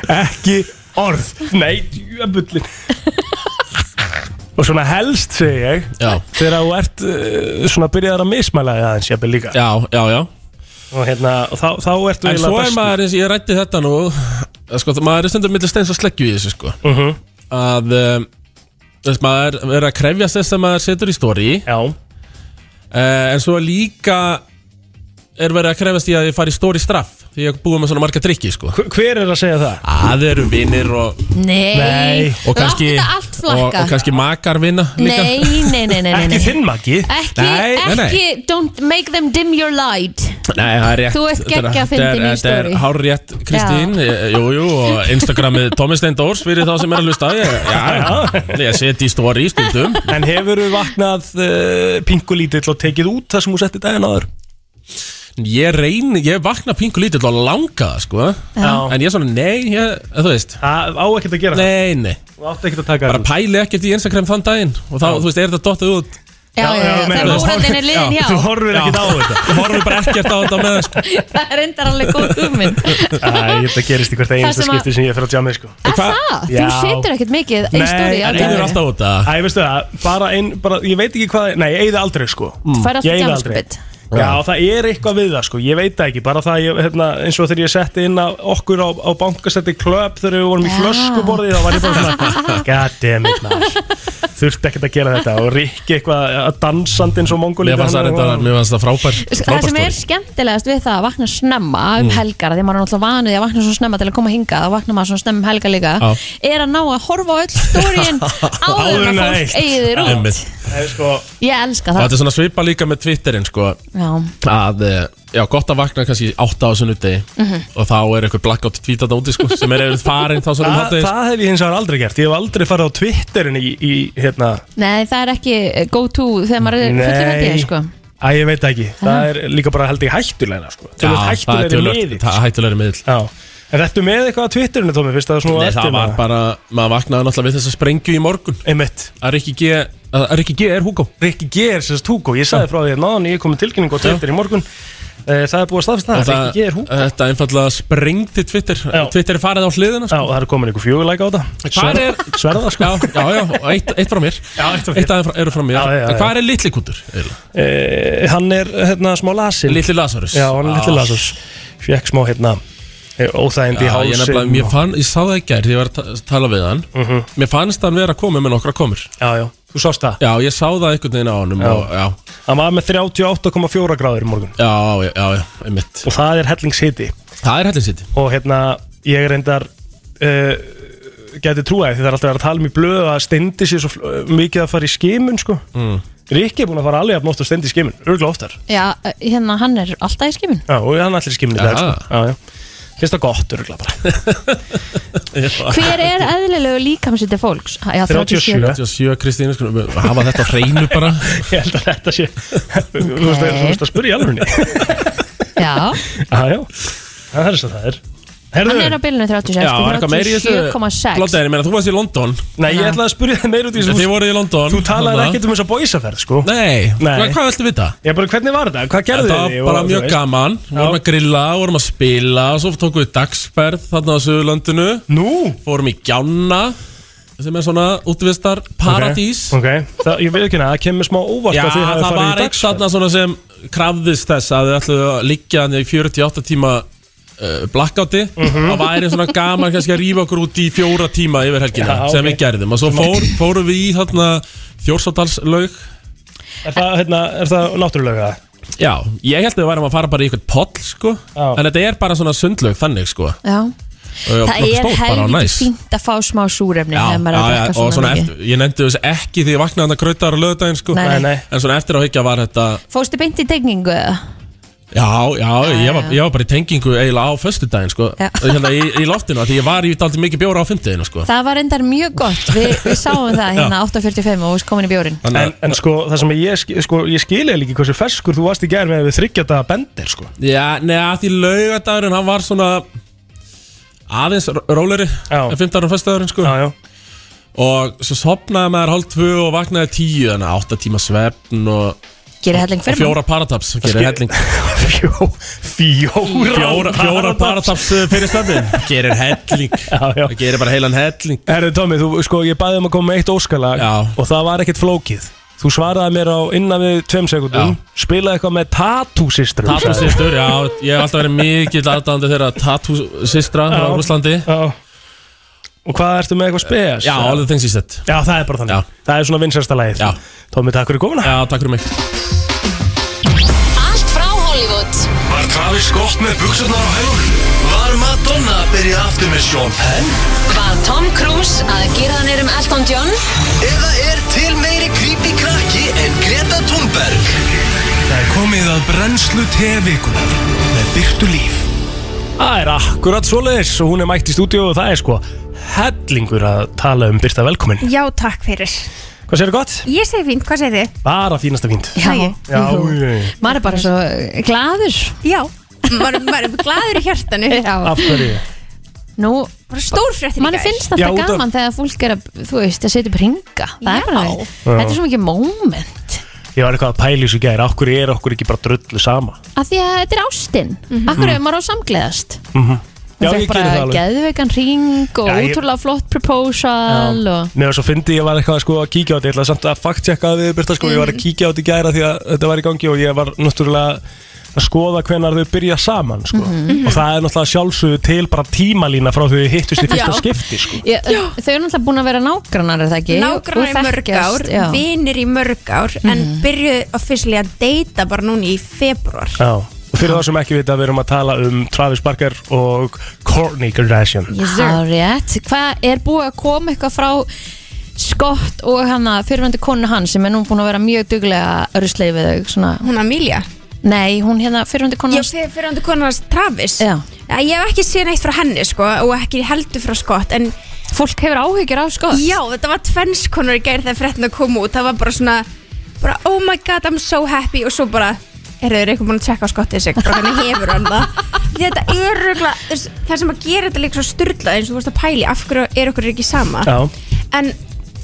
Speaker 1: Ekki orð Nei, jöfullin Og svona helst segi ég
Speaker 7: Já.
Speaker 1: Þegar þú ert uh, svona byrjaðar að mismæla þig aðeins jafnvel líka
Speaker 7: já, já, já.
Speaker 1: og, hérna, og þá, þá ertu
Speaker 7: En svo
Speaker 1: eiginlega
Speaker 7: er
Speaker 1: bestur.
Speaker 7: maður, eins- ég rætti þetta nú eh, sko, maður er stundur millir steins og sleggju í þessu, sko -huh.
Speaker 1: Mhm.
Speaker 7: að um, þess maður er að krefjast þess að maður setur í stóri
Speaker 1: Já,
Speaker 7: uh, En svo líka er verið að krefast í að ég fari í stóri straff Því ég er búið með svona marga drikki sko
Speaker 1: Hver- hver er að segja það?
Speaker 7: Það eru vinnir og,
Speaker 3: Nei,
Speaker 1: Nei.
Speaker 7: og kannski
Speaker 3: Láttu þetta allt
Speaker 7: og,
Speaker 3: flakka
Speaker 7: og kannski makar vinna líka
Speaker 3: nei, nei, nei, nei, nei, nei.
Speaker 1: Ekki þinn magi
Speaker 3: Ekki,
Speaker 7: Nei, nei, nei.
Speaker 3: ekki, don't make them dim your light
Speaker 7: Nei, það er rétt
Speaker 3: Þú ert
Speaker 7: Þetta er-
Speaker 3: geggjað
Speaker 7: þetta er-
Speaker 3: fyndin í
Speaker 7: Þetta er
Speaker 3: story.
Speaker 7: hár rétt Kristín eh, Jú, jú, og Instagramið Tommy Steindors Fyrir þá sem er að hlusta Ég, já, já, ég seti í story stundum
Speaker 1: En hefur þú vaknað uh, pingulítill og tekið út það sem þú setti daginn áður?
Speaker 7: Ég reyni, ég vakna pingu lítið og langa það sko
Speaker 1: Já.
Speaker 7: En ég er svona, nei, ég, þú veist
Speaker 1: Það á ekkert að gera það
Speaker 7: Nei, nei,
Speaker 1: Þú átt ekkert að taka
Speaker 7: bara
Speaker 1: það
Speaker 7: pæli ekkert í Instagram þann daginn Og þá, þú veist, er þetta dottað út
Speaker 3: Já, já,
Speaker 1: já,
Speaker 3: já,
Speaker 1: meina
Speaker 3: þegar
Speaker 1: það.
Speaker 3: múrandinn er liðin
Speaker 7: Já,
Speaker 3: hjá
Speaker 1: Þú horfir ekkert á þetta
Speaker 7: Við horfum bara ekkert á þetta með sko.
Speaker 3: Það er endar alveg góð hugmynd
Speaker 1: Æ, þetta gerist í hvert einasta
Speaker 3: sem að-
Speaker 1: skipti sem ég fer að tjámið sko
Speaker 3: Er það? Þú
Speaker 1: Já.
Speaker 3: setur ekkert mikið
Speaker 1: Nei,
Speaker 3: í stóri
Speaker 1: en
Speaker 7: Það er
Speaker 1: Nei.
Speaker 7: alltaf út að
Speaker 1: Æ, veistu það, bara einn, bara, ég veit ekki hvað, nei, ég eyði aldrei sko
Speaker 3: Fær alltaf
Speaker 1: Ég eyði
Speaker 3: djamaskapit
Speaker 1: Já, það er eitthvað við það sko, ég veit það ekki, bara það, ég, hérna, eins og þegar ég setti inn á okkur á, á bankastætti klöp þegar við vorum í
Speaker 3: Já.
Speaker 1: flöskuborði, þá var ég bara svona, god damn it maður, þurfti ekkert að gera þetta og Rikki eitthvað að dansandi eins og mongolíti
Speaker 7: Mér fannst það reyndar- mér fannst það frábær frábær
Speaker 3: Það sem er
Speaker 7: stóri Mm.
Speaker 3: skemmtilegast við það að vakna snemma um helgar því að maður er náttúrulega vanuð að vakna svo snemma til að koma hingað og vakna maður svo snemma um helgar líka
Speaker 7: Já.
Speaker 3: er að ná að horfa á öll stóriinn áður
Speaker 1: Áður
Speaker 3: en
Speaker 1: en
Speaker 3: að
Speaker 1: eitt.
Speaker 3: fólk eigið þér út
Speaker 7: Einmitt.
Speaker 1: sko,
Speaker 3: Ég elska
Speaker 7: Og
Speaker 3: það
Speaker 7: þetta er svona svipa líka með Twitterin sko
Speaker 3: Já,
Speaker 7: að, eh, já, gott að vakna kannski átta á sunnudegi
Speaker 3: Mhm.
Speaker 7: og þá er einhver blackout tweetað úti sko sem er eða farin þá svona um
Speaker 1: það,
Speaker 7: háttegis
Speaker 1: það hef ég hins vegar aldrei gert Ég hef aldrei farið á Twitterin í, í hérna
Speaker 3: nei það er ekki go to þegar maður er fullur held ég sko
Speaker 1: Æ, ég veit það ekki Það er líka bara held ég hættulegna sko.
Speaker 7: Já,
Speaker 1: Tölvöld
Speaker 7: það er
Speaker 1: hættulegri
Speaker 7: tölvöld-
Speaker 1: miðið
Speaker 7: það er hættulegri miðl
Speaker 1: Já En þetta með eitthvað á Twitterinu, Tómi, finnst það svona
Speaker 7: Nei, það var bara, maður vaknaði náttúrulega við þess að sprengju í morgun
Speaker 1: Einmitt
Speaker 7: að Rikki G, að Rikki G er Hugo
Speaker 1: Rikki G er sérst Hugo, ég sagði frá því að náðan ég kom með tilkynningu á Twitter í morgun Eh, Það er búið að staðfesta
Speaker 7: Og
Speaker 1: það,
Speaker 7: það-
Speaker 1: Rikki G er Hugo
Speaker 7: Þetta einfallega sprengdi Twitter
Speaker 1: Já.
Speaker 7: Twitter er farið á hliðina
Speaker 1: Já,
Speaker 7: sko.
Speaker 1: og það er komin einhver fjöguleika á þetta
Speaker 7: Hvar er-
Speaker 1: Sverð- Sverða sko
Speaker 7: Já, já, já, og eitt, eitt frá mér
Speaker 1: Já, eitt frá mér.
Speaker 7: Eitt aðeins frá- eru frá mér
Speaker 1: Já, já, já.
Speaker 7: En Hvað er litli kútur? eiginlega?
Speaker 1: eh, Hann er hérna smá lasin
Speaker 7: Litli Ah. Lazarus
Speaker 1: Já, hann er litli lasus Fekk smá hérna eh, óþægindi í
Speaker 7: Já, ég,
Speaker 1: hálsin
Speaker 7: nefnilega, ég, fann, ég sá það í gær þegar ég var að ta- tala við hann
Speaker 1: Mhm.
Speaker 7: Mér fannst hann vera að koma með nokkra komur
Speaker 1: Já, já, þú sást það
Speaker 7: Já, ég sá það einhvern veginn á honum
Speaker 1: Já.
Speaker 7: já. Og, já,
Speaker 1: Hann var með 38,4 gráður í morgun
Speaker 7: já, já, já, já, einmitt
Speaker 1: Og það er hellingshiti
Speaker 7: Það er hellin sitt
Speaker 1: Og hérna, ég reyndar uh, Gæti trúaði því það er alltaf verið að tala um í blöð Að stendi sér svo fl- eh, mikið að fara í skimun sko mm. Rikki er búin að fara alveg að móta að stendi í skimun Örgla oftar
Speaker 3: Já, hérna hann er alltaf í skimun
Speaker 1: Já, og hann allir skimun í dag
Speaker 7: Jaha.
Speaker 1: sko Já, já Finnst það gott, örgla bara
Speaker 3: Hver er eðlilegu líkamsýtti fólks? Já,
Speaker 1: 37.
Speaker 7: 37 Kristín, sko, hafa þetta á hreinu bara
Speaker 1: Ég held að þetta sé Þú veist að- þú veist að spurja alveg
Speaker 3: Já,
Speaker 1: Já, já, það er svo það er Herðu,
Speaker 3: hann er á bylunum 36
Speaker 7: Já, var eitthvað meiri í þessu
Speaker 3: 37,6
Speaker 7: Blótaðir, ég meina, þú varst í London
Speaker 1: nei, ég ætlaði að spurja þið meir út í þessu
Speaker 7: Þið voruð í London
Speaker 1: Þú talaði
Speaker 7: þarna.
Speaker 1: ekkert um þess að bóisaferð, sko
Speaker 7: Nei,
Speaker 1: Nei.
Speaker 7: Hvað, hvað viltu vita?
Speaker 1: Ég bara, hvernig var þetta? Hvað gerðu
Speaker 7: Þetta
Speaker 1: þið?
Speaker 7: var bara mjög gaman Við vorum
Speaker 1: Já.
Speaker 7: að grilla, vorum að spila Svo tókum við dagsferð þarna á Suðurlandinu
Speaker 1: Nú,
Speaker 7: Fórum í Gjána Sem er svona útvistar paradís
Speaker 1: ok, það, ég veit ekki hana, það kemur smá óvart
Speaker 7: Já,
Speaker 1: að þið hafið
Speaker 7: það
Speaker 1: farið í
Speaker 7: var eitt
Speaker 1: dagsferð
Speaker 7: þarna svona sem krafðist þess að þið ætluðu að liggja þannig í 48 tíma uh, blackouti Það væri svona gaman kannski að rífa okkur út í fjóra tíma yfir helgina
Speaker 1: Já,
Speaker 7: sem
Speaker 1: ok.
Speaker 7: við gerðum og svo fór, fórum við í þarna Þjórsáttalslaug
Speaker 1: Er það, hérna, er það náttúrulega það?
Speaker 7: Já, ég held að við værum að fara bara í eitthvað poll sko
Speaker 1: Já.
Speaker 7: En þetta er bara svona sundlaug þannig sko
Speaker 3: Já, það er helviti fínt að fá smá súrefni
Speaker 7: Já, já,
Speaker 3: þegar maður er að
Speaker 7: já,
Speaker 3: drekka
Speaker 7: og svona
Speaker 3: mikið.
Speaker 7: eftir, ég nefndi þessu ekki því ég vaknaði þannig að krautar á löðdæðin sko
Speaker 3: Nei,
Speaker 1: Nei, nei,
Speaker 7: En svona eftir á higgja var þetta
Speaker 3: Fóstu beint í tegningu eða?
Speaker 7: Já, já, ég var, ég var bara í tengingu eiginlega á föstudaginn sko
Speaker 3: Já.
Speaker 7: Ég held að í, í loftinu af því ég var í daldi mikið bjóra á fymtudaginn sko
Speaker 3: Það var endar mjög gott, Vi, við sáum það hérna 8.45 og við komin í bjórin
Speaker 7: Þannig
Speaker 1: En,
Speaker 7: að,
Speaker 1: en sko, það sem ég, sk- sko, ég skilja líki hversu ferskur þú varst í gær með við þryggjata bendir, sko
Speaker 7: já, neða, því laugadagurinn hann var svona aðeins ró- rólegri
Speaker 1: Já.
Speaker 7: en fymtudagurinn og föstudagurinn sko
Speaker 1: Já, já,
Speaker 7: Og svo sopnaði maður hálf tvö og vaknaði tíu Þannig að átta tíma svefn og,
Speaker 3: Gerir helling
Speaker 7: og
Speaker 3: fyrir
Speaker 7: fjóra parataps Gerir helling
Speaker 1: Fjó, fjóra
Speaker 7: Fjóra, fjóra parataps uh, fyrir stöndin Gerir helling
Speaker 1: Já, já.
Speaker 7: Það Gerir bara heilan helling
Speaker 1: Herðu Tómi, þú, sko, ég bæði um að koma með eitt óskalag
Speaker 7: Já.
Speaker 1: og það var ekkert flókið. Þú svaraði mér á innan við tveim sekundum, spilaði eitthvað með Tattoo Sistrum.
Speaker 7: Tattoo systur, já, ég hef alltaf verið mikill aðdáðandi þeirra Tattoo systra frá
Speaker 1: Já.
Speaker 7: Rúslandi
Speaker 1: Já. Og hvað ertu með eitthvað spes?
Speaker 7: Já, all the things he said
Speaker 1: Já, það er bara þannig.
Speaker 7: Já.
Speaker 1: Það er svona vinsælsta lagið.
Speaker 7: Já.
Speaker 1: Tómi, takk fyrir komuna.
Speaker 7: Já, takk fyrir mig
Speaker 8: Allt frá Hollywood
Speaker 2: Var Travis gott með buksurnar á hælunum? Var Madonna að byrja aftur með Sean Penn?
Speaker 8: Var Tom Cruise að gera hann erum Elton John
Speaker 2: Eða er til meiri creepy krakki en Greta Thunberg? Það er komið að brennslu tevikunar með byrtu líf.
Speaker 1: Það er akkurat svoleiðis og hún er mætt í stúdíu og það er sko hellingur að tala um Birta velkomin.
Speaker 9: Já, takk fyrir.
Speaker 1: Hvað séu gott?
Speaker 9: Ég segi fínt, hvað segir þið?
Speaker 1: Bara fínasta fínt.
Speaker 3: Já,
Speaker 9: Hæ.
Speaker 1: Já, jú.
Speaker 3: maður er bara svo gladur
Speaker 9: Já. Maður maður er gladur í hjartanu.
Speaker 3: Já,
Speaker 1: af hverju?
Speaker 3: nú,
Speaker 9: Bara stórfréttir í
Speaker 3: manni
Speaker 9: gær.
Speaker 3: finnst
Speaker 1: Já,
Speaker 3: alltaf
Speaker 1: út af-
Speaker 3: gaman þegar fólk er að, þú veist, að setja upp ringa Það er bara,
Speaker 9: Já.
Speaker 3: þetta er svo mikið moment
Speaker 1: Ég var eitthvað að pæli þessu gæri, af hverju er okkur ekki bara drullu sama?
Speaker 3: Af því að þetta er ástinn,
Speaker 9: Mhm.
Speaker 3: akkur er maður á samgleðast
Speaker 1: Mhm. Já, ég
Speaker 3: Hún fekk
Speaker 1: gerir það
Speaker 3: bara
Speaker 1: alveg.
Speaker 3: geðveikan ring og
Speaker 1: Já, ég-
Speaker 3: útrúlega flott proposal
Speaker 1: Já.
Speaker 3: og
Speaker 1: Mér var svo fyndi ég var eitthvað sko að kíkja á þetta Ég
Speaker 9: Mhm.
Speaker 1: ætlaði samt að faktjekka það við Birta sko Ég var að kíkja á þetta í gæra því að þetta var í gangi Og ég var náttúrulega að skoða hvenar þau byrja saman sko.
Speaker 9: Mhm.
Speaker 1: og það er náttúrulega sjálfsögðu til bara tímalína frá þau hittust í fyrsta
Speaker 3: Já.
Speaker 1: skipti sko.
Speaker 3: Já, þau eru náttúrulega búin að vera nágrannar er það ekki?
Speaker 9: nágrannar í
Speaker 3: Og
Speaker 9: mörg
Speaker 3: þekkjast,
Speaker 9: ár,
Speaker 3: já.
Speaker 9: vinir í mörg ár en byrjuðu officially að deyta bara núna í februar
Speaker 1: Já. og fyrir þá sem ekki vita við erum að tala um Travis Barker og Kourtney Kardashian
Speaker 3: Já, rétt. Hvað er búið að koma eitthvað frá Scott og hana fyrirvendu konu hans sem er nú búin að vera mjög duglega rusleið við þau svona.
Speaker 9: hún Amelia
Speaker 3: Nei, hún hérna fyrirvendu konu
Speaker 9: Já,
Speaker 3: hans
Speaker 9: fyrir hann konars Travis
Speaker 3: Já.
Speaker 9: Ég hef ekki séð neitt frá henni sko og ekki heldur frá Scott en
Speaker 3: Fólk hefur áhyggjur af Scott
Speaker 9: já, þetta var tvennskonar í gær þegar frettin að koma út það var bara svona, bara oh my god I'm so happy og svo bara eru þeir eitthvað búin að tjekka á Scottið sig bara hvernig hefur hann það þetta er rögla, það sem að gera þetta líka svo styrla eins og þú vorst að pæli af hverju er okkur ekki sama
Speaker 1: Já.
Speaker 9: en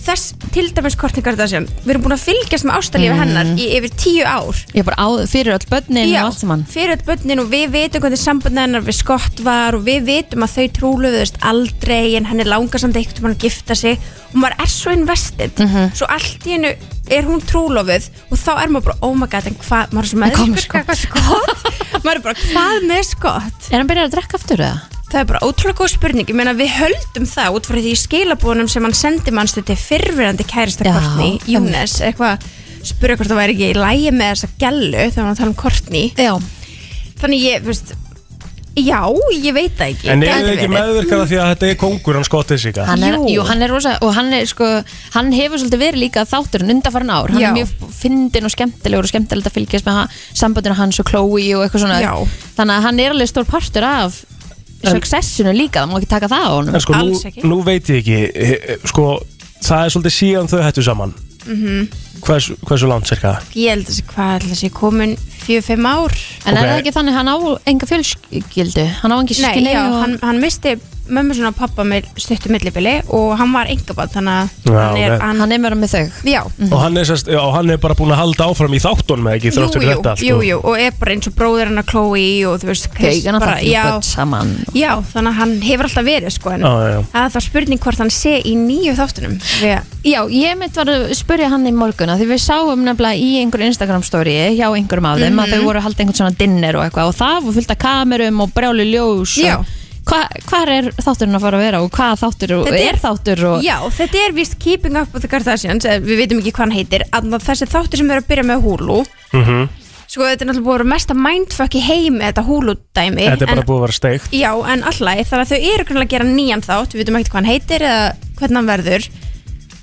Speaker 9: þess til dæmis Kourtney Kardashian við erum búin að fylgjast með ástalífi hennar í yfir tíu ár
Speaker 3: Ég bara á, fyrir öll börnin
Speaker 9: Já,
Speaker 3: og allt saman
Speaker 9: fyrir öll börnin og við vitum hvernig samband hennar við Scott var og við vitum að þau trúluðust aldrei en henni langar samt eitt um hann að gifta sig og maður er svo invested
Speaker 3: Mhm.
Speaker 9: svo allt í hennu er hún trúlofuð og þá er maður bara, oh my god, en hvað maður er svo
Speaker 3: En hvað með
Speaker 9: meðvirkur gagnvart Scott maður er bara, hvað með Scott
Speaker 3: Er hann byrjað að drekka aftur eða?
Speaker 9: það er bara ótrúlega góð spurning ég meina við höldum það út frá því í skilabónum sem hann sendi mannstu til fyrfirandi kærista
Speaker 3: Já,
Speaker 9: Kortni,
Speaker 3: einmitt.
Speaker 9: Júnes eitthvað, spurði hvort það væri ekki í lægi með þessa gælu þegar hann tala um Kortni
Speaker 3: Já,
Speaker 9: þannig ég, veist já, ég veit það ekki
Speaker 1: en
Speaker 9: Gæti
Speaker 1: eru þau ekki
Speaker 9: verið.
Speaker 1: meðvirkara því að þetta er kongur hann skottið sig
Speaker 3: hann er,
Speaker 9: Jú.
Speaker 3: jú, hann er rosa og hann er sko, hann hefur svolítið verið líka þátturinn undarfæran ár, hann
Speaker 9: Já.
Speaker 3: er mjög fyndin og skemmtilegur og skemmtilegt að fylgjast með hann, sambandinu hans og Chloe og eitthvað svona
Speaker 9: Já.
Speaker 3: þannig að hann er alveg stór partur af successinu líka, það má ekki taka það á honum
Speaker 1: en sko nú,
Speaker 9: Alls ekki.
Speaker 1: nú veit ég ekki eh, eh, sko það er svolítið síðan þau hættu saman
Speaker 9: Mhm.
Speaker 1: hversu, hversu langt cirka
Speaker 9: ég held þessi, hvað held þessi, komin 4-5 ár
Speaker 3: en
Speaker 1: sko-
Speaker 3: er
Speaker 1: ok.
Speaker 3: það ekki þannig, hann á enga fjölskyldu hann á engi
Speaker 9: nei,
Speaker 3: skinni
Speaker 9: já,
Speaker 3: og
Speaker 9: hann, hann misti mömmu svona og pappa með stuttu millibili og hann var engaball, þannig
Speaker 1: Já,
Speaker 9: að hann er
Speaker 1: ok.
Speaker 9: hann,
Speaker 3: hann er verið með þau
Speaker 9: já,
Speaker 1: og hann, er, sest, og hann er bara búin að halda áfram í þáttunum eða ekki
Speaker 9: jú,
Speaker 1: þráttur
Speaker 9: jú,
Speaker 1: þetta allt sko.
Speaker 9: jú,
Speaker 1: og-
Speaker 9: jú, og er bara eins og bróður hennar Chloe og þú veist, Chris,
Speaker 3: Gaugan að það fyrir
Speaker 9: já,
Speaker 3: börn saman
Speaker 9: já, þannig að hann hefur alltaf verið sko, en
Speaker 1: Já, já, já.
Speaker 9: það er þá spurning hvort hann sé í nýju þáttunum því að
Speaker 3: Já, ég mitt var að spyrja hann í morguna því við sáum nefnilega í einhverju Instagram story hjá einhverjum af þeim að
Speaker 9: Mhm.
Speaker 3: þau voru að halda einhvern svona dinner og eitthvað og það var fullt af kamerum og brjálu ljós
Speaker 9: Já.
Speaker 3: og hva- hvar er þátturinn að fara að vera og hvað þáttur og
Speaker 9: Þetta
Speaker 3: er,
Speaker 9: er-
Speaker 3: þáttur og
Speaker 9: Já, þetta er vist Keeping Up with the Kardashians eða við veitum ekki hvað hann heitir að þessi þáttur sem er að byrja með Hulu
Speaker 1: Mhm.
Speaker 9: sko þetta er náttúrulega búið að vera mesta mindfuck í heimi þetta Hulu dæmi
Speaker 1: þetta er bara
Speaker 9: en,
Speaker 1: búið að vera steikt
Speaker 9: Já, en allagi þannig að þau eru grunlega að gera nýjan þátt við veitum ekkert hvað hann heitir eða hvernig hann verður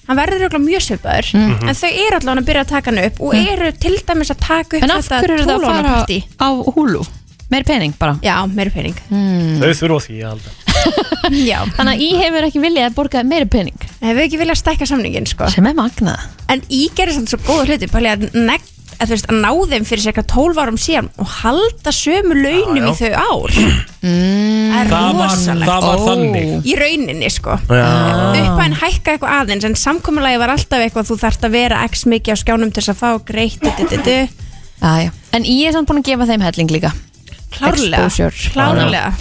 Speaker 9: hann verður örugglega mjög svipaður
Speaker 3: Mhm.
Speaker 9: en þau eru allavega að byrja að taka hann upp og eru til dæmis að taka upp
Speaker 3: en af hverju eru
Speaker 9: þetta
Speaker 3: það að fara
Speaker 9: tólónapartí
Speaker 3: á húlu meir pening bara
Speaker 9: Já, meiri pening Mm.
Speaker 1: Þau þurfa á því að halda
Speaker 9: Já,
Speaker 3: Mhm. þannig að ég hefur ekki viljað að borga meiri pening
Speaker 9: hefur ekki viljað stækka samningin sko
Speaker 3: sem er magna
Speaker 9: En ég gerði samt svo góða hluti Pæli að nekt að þú veist að ná þeim fyrir sér eitthvað 12 árum síðan og halda sömu launum í þau ár mm,
Speaker 1: Það var, það Ah. var þannig
Speaker 9: í rauninni sko
Speaker 1: Já,
Speaker 9: upphæðin hækka eitthvað aðeins en samkomulagi var alltaf eitthvað þú þarft að vera x mikið á skjánum til þess að fá greitt du, du, du, du.
Speaker 3: Já, já. en ég er samt búin að gefa þeim helling líka
Speaker 9: klárlega,
Speaker 3: Exposure.
Speaker 9: klárlega.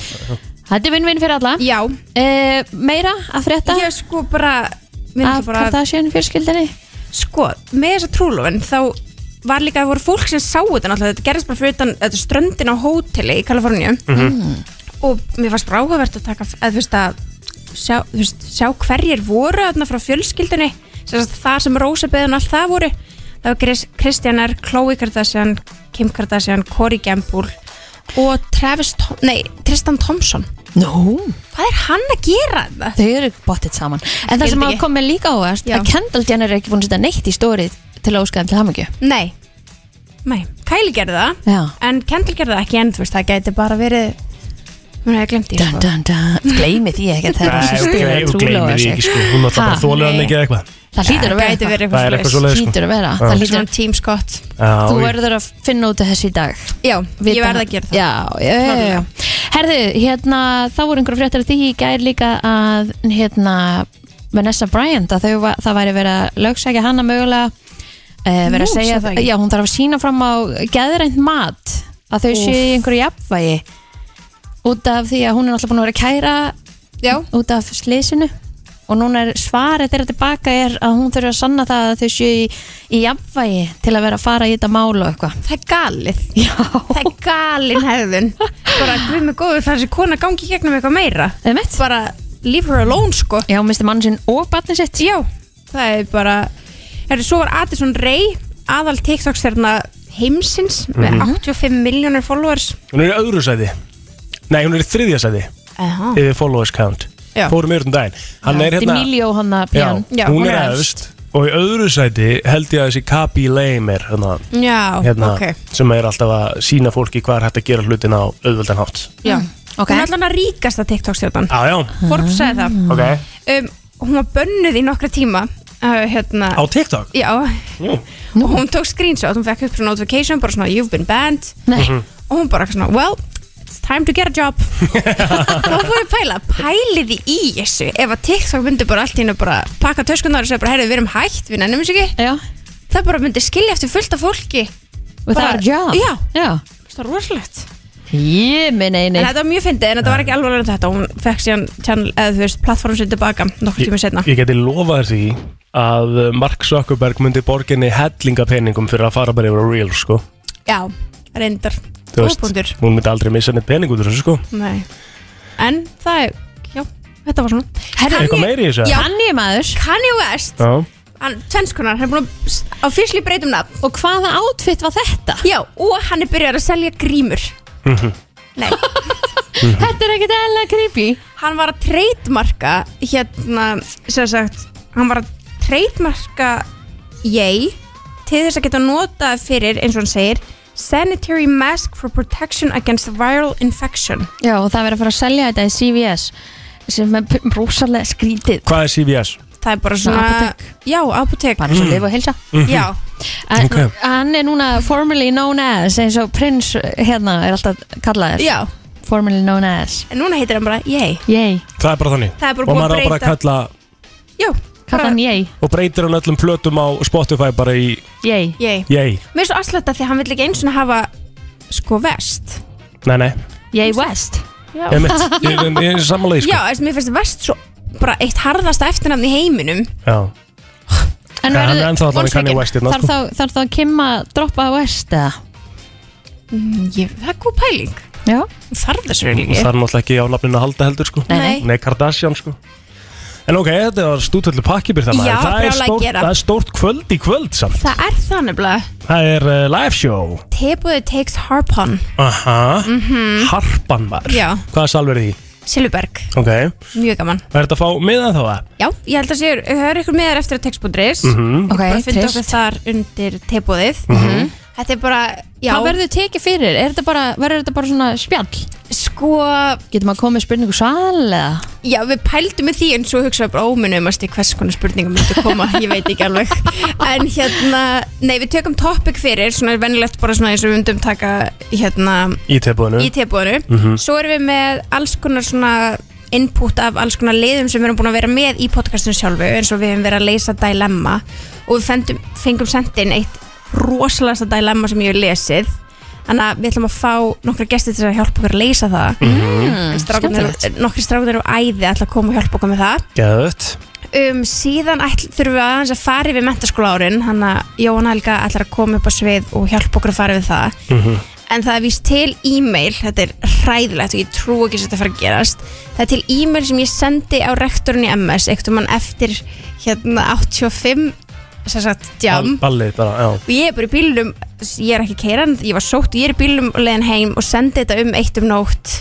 Speaker 3: þetta er vinn-vinn fyrir alla
Speaker 9: já,
Speaker 3: Eh, meira að frétta
Speaker 9: ég sko bara, mér
Speaker 3: af
Speaker 9: finnst bara
Speaker 3: Kardashian fjörskildinni
Speaker 9: sko, með þessa trúlofin þá var líka, það voru fólk sem sáu þetta náttúrulega, þetta gerðist bara fyrir utan þetta er ströndin á hóteli í Kaliforníu og mér fannst bara áhugavert að taka að þú veist að sjá, þú veist, sjá hverjir voru þarna frá fjölskyldinni sem sagt, það sem Rósa beðan allt það voru það var Chris, Kristjanar, Khloe Kardashian Kim Kardashian, Corey Gamble og Travis, Tom, nei Tristan Thompson,
Speaker 3: Nú,
Speaker 9: hvað er hann að gera það?
Speaker 3: þau eru bóttið saman En það
Speaker 9: Ég
Speaker 3: sem
Speaker 9: veit
Speaker 3: að
Speaker 9: ekki.
Speaker 3: kom með líka ávast
Speaker 9: Já.
Speaker 3: að Kendall Jenner er ekki búin að setja neitt í stórið til að óskaðan til hamingju
Speaker 9: Nei, nei, Kylie gerði það
Speaker 3: Já
Speaker 9: En Kendall gerði það ekki en þú veist það gæti bara verið Hún hefði glemt því
Speaker 3: Dun,
Speaker 9: sko.
Speaker 3: dun, dun. Gleimi því ekki að það er að
Speaker 1: Nei,
Speaker 3: sýstir að
Speaker 1: og
Speaker 3: trúlega
Speaker 1: gleymir því ekki sko Hún alltaf bara
Speaker 3: Ha,
Speaker 1: þólir hann
Speaker 9: nei.
Speaker 1: ekki eða eitthvað
Speaker 3: Það hlýtur að vera
Speaker 9: Gæti verið
Speaker 1: Það er eitthvað svoleiðis
Speaker 9: svoleiðis.
Speaker 1: sko
Speaker 3: Hlýtur að vera
Speaker 1: Já.
Speaker 3: Það hlýtur
Speaker 9: Svona team Scott
Speaker 1: Já,
Speaker 3: Þú
Speaker 1: ég-
Speaker 3: verður að finna út af þessu í dag
Speaker 9: Já, ég
Speaker 3: Vita-
Speaker 9: verði að gera það
Speaker 3: Já, já, já, já. Herðu, hérna þá voru einhverjum fréttar af því í gær líka að hérna Vanessa Bryant að þau, va- það væri verið að lögsækja hana mögulega uh, verið að
Speaker 9: Nú,
Speaker 3: segja
Speaker 9: sagði það ekki.
Speaker 3: já, hún þarf að sína fram á geðrænt mat að þau séu í einhverju jafnvægi út af því að hún er alltaf búin að vera að kæra
Speaker 9: Já,
Speaker 3: út af slísinu og núna er svarið þeirra tilbaka er að hún þurfi að sanna það að þau séu í, í jafnvægi til að vera að fara í þetta mál og eitthvað
Speaker 9: Það er galið
Speaker 3: Já,
Speaker 9: Það er galin hefðun Bara við með góður það þessi kona gangi í gegnum eitthvað meira
Speaker 3: einmitt
Speaker 9: Bara leave her alone sko
Speaker 3: Já, misti mann sinn og barnið sitt
Speaker 9: Já, það er bara Herri, svo var Addison Ray aðal TikTok stjarna heimsins
Speaker 1: Mhm.
Speaker 9: með 85 miljónir followers
Speaker 1: Hún er í öðru sæði Nei, hún er í þriðja sæði
Speaker 9: Aha.
Speaker 1: Yfir followers count
Speaker 9: Já.
Speaker 1: Fórum yfir um daginn Hann er hérna
Speaker 3: Dimiljó hann að pján
Speaker 1: Já, hún er efst Og í öðru sæti held ég að þessi Kabi Lame er hérna,
Speaker 9: Já,
Speaker 1: hérna
Speaker 9: ok
Speaker 1: sem er alltaf að sína fólki hvað er hægt að gera hlutin á auðveldan hátt
Speaker 9: Já.
Speaker 3: Ok.
Speaker 9: Mm. Hún er hérna. allan að ríkasta TikTok stjarnan
Speaker 1: Já, já,
Speaker 9: Forbes sagði það
Speaker 1: ok
Speaker 9: um, Hún var bönnuð í nokkra tíma uh, hérna,
Speaker 1: Á TikTok?
Speaker 9: Já,
Speaker 1: Jú
Speaker 9: og hún tók screenshot, hún fekk upp svona notification bara svona you've been banned
Speaker 3: Nei,
Speaker 1: Mhm.
Speaker 9: og hún bara svona, well, it's time to get a job þá fór ég að pæla pæliði í þessu ef að TikTok myndi bara allt í hennu bara pakka töskunar og segja bara, heyrðu, við erum hægt, við nennum þessu ekki
Speaker 3: já
Speaker 9: það bara myndi skilja eftir fullt af fólki
Speaker 3: Og það
Speaker 9: Bara-
Speaker 3: er job
Speaker 9: Já.
Speaker 3: Já
Speaker 9: það er rosalegt
Speaker 3: Ég minn eini
Speaker 9: en þetta var mjög fyndið, en þetta var ekki alveg alveg þetta hún fekk síðan channel, eða þú veist, plattform sér tilbaka nokkur tíma setna
Speaker 1: Ég geti lofað þér því að Mark Zuckerberg myndi borginni hellinga peningum fyrir að fara bara yfir á Reels sko.
Speaker 9: já, reyndar,
Speaker 1: Þú veist,
Speaker 9: góðbúndur
Speaker 1: Hún myndi aldrei missa neitt pening út úr þessu sko.
Speaker 9: nei, en það er já, þetta var svona
Speaker 3: Herri,
Speaker 1: Eitthvað meiri í þessu?
Speaker 9: Já.
Speaker 3: Hann ég maður
Speaker 9: Kanye West,
Speaker 1: Já.
Speaker 9: hann, tvennskonar, hann er búin að s- á fyrstli breytum nafn
Speaker 3: Og hvaða átfitt var þetta?
Speaker 9: Já, og hann er byrjar að selja grímur Nei,
Speaker 1: Mhm.
Speaker 3: Þetta er ekkert eðla creepy
Speaker 9: hann var að treytmarka hérna, sem sagt hann var að treytmarka ég til þess að geta notað fyrir, eins og hann segir sanitary mask for protection against viral infection
Speaker 3: Já, og það verður að fara að selja þetta í CVS sem er p- rosalega skrítið
Speaker 1: Hvað er CVS?
Speaker 9: það er bara
Speaker 3: Svona
Speaker 9: svona
Speaker 3: apótek.
Speaker 9: Já, apotek
Speaker 3: bara eins og lifa og heilsa
Speaker 9: Já,
Speaker 3: en,
Speaker 1: Mm. Ok.
Speaker 3: Hann er núna formerly known as eins og prins hérna er alltaf kallaður
Speaker 9: já,
Speaker 3: formerly known as
Speaker 9: en núna heitir hann bara ég
Speaker 3: Yay,
Speaker 1: Það er bara þannig
Speaker 9: Það er
Speaker 1: Og
Speaker 9: bara búið að
Speaker 1: maður á bara að
Speaker 9: breyta.
Speaker 1: kalla
Speaker 9: Já,
Speaker 3: kalla hann yay,
Speaker 1: Og breytir hann öllum plötum á Spotify bara í
Speaker 3: yay
Speaker 9: ég
Speaker 1: Yay
Speaker 9: Mér er svo aðslata því að hann vill ekki eins og hafa sko vest
Speaker 1: Nei, nei
Speaker 3: Yay West
Speaker 1: Ég er mitt Ég er- ég er samanlega sko.
Speaker 9: Já, þess að mér finnst vest svo bara eitt harðasta eftirnafn í heiminum
Speaker 1: Já
Speaker 3: En
Speaker 1: En hann er ennþá allan í Kanye
Speaker 3: vonsvikinn.
Speaker 1: West hérna,
Speaker 3: Þarf
Speaker 1: sko.
Speaker 3: þá- þarf þá að kimma droppa á West eða? Mm,
Speaker 9: ég, Það er góð pæling
Speaker 3: Já
Speaker 9: Hún Þarf þessu
Speaker 1: Og
Speaker 9: reyli ekki
Speaker 1: það er náttúrulega ekki á nafninu að halda heldur sko.
Speaker 3: Nei,
Speaker 9: Nei.
Speaker 1: Nei, Kardashian sko En ok, þetta var stútvöldu pakkibir það maður.
Speaker 9: Já,
Speaker 1: það er
Speaker 9: brjálæði
Speaker 1: stórt-
Speaker 9: gera.
Speaker 1: það er stórt kvöld í kvöld samt
Speaker 9: Það er það nefnilega
Speaker 1: Það er uh, live show
Speaker 9: Tebúði takes Harpon
Speaker 1: Aha, harpan maður
Speaker 9: Mhm. Já.
Speaker 1: Hvaða salver er því?
Speaker 9: Silverberg,
Speaker 1: Ok, er
Speaker 9: mjög gaman
Speaker 1: þetta að fá miðan þá eh? að?
Speaker 9: Já, ég held að sé, það er ykkur meðar eftir að text.ris
Speaker 1: Mm.
Speaker 3: Ok,
Speaker 9: Bara fundi okkur
Speaker 3: trist
Speaker 9: þar undir tebúðið Þetta er bara, já
Speaker 3: Hvað verður tekið fyrir? Er þetta bara, verður þetta bara svona spjall?
Speaker 9: Sko,
Speaker 3: Getur maður komið spurningu sal eða?
Speaker 9: já, við pældum með því en svo hugsaðum bara óminnumast í hvers konar spurningum myndi koma, ég veit ekki alveg En hérna, nei, við tökum topic fyrir, svona venjulegt bara svona eins og við myndum taka, hérna,
Speaker 1: Í tilbúinu
Speaker 9: í tilbúinu svo erum við með alls konar svona input af alls konar leiðum sem við erum búin að vera með í podcastinu sjálfu eins og við hefum verið að leysa dilemma og við fendum, fengum sendin eitt rosalasta dilemma sem ég hef lesið þannig að við ætlum að fá nokkra gesti til að hjálpa okkur að leysa það
Speaker 3: Mm,
Speaker 9: strákunir,
Speaker 3: skemmtilegt.
Speaker 9: nokkri strákunir og æði ætla að koma og hjálpa okkur með það
Speaker 1: Gæðut
Speaker 9: um, síðan ætl, þurfum við aðeins að fara yfir mentaskóla árin hann að Jóhann Helga ætlar að koma upp á svið og hjálpa okkur að fara yfir það en það er víst til e-mail þetta er hræðilegt og ég trú ekki að þetta fara að gerast það er til e-mail sem ég sendi á rektorinn í MS eitt um hann eftir hérna 85 sem sagt jam
Speaker 1: Ballið bara, já
Speaker 9: og ég er bara í bílum ég er ekki keiran, ég var sótt og ég er í bílum og leiðin heim og sendi þetta um eitt um nótt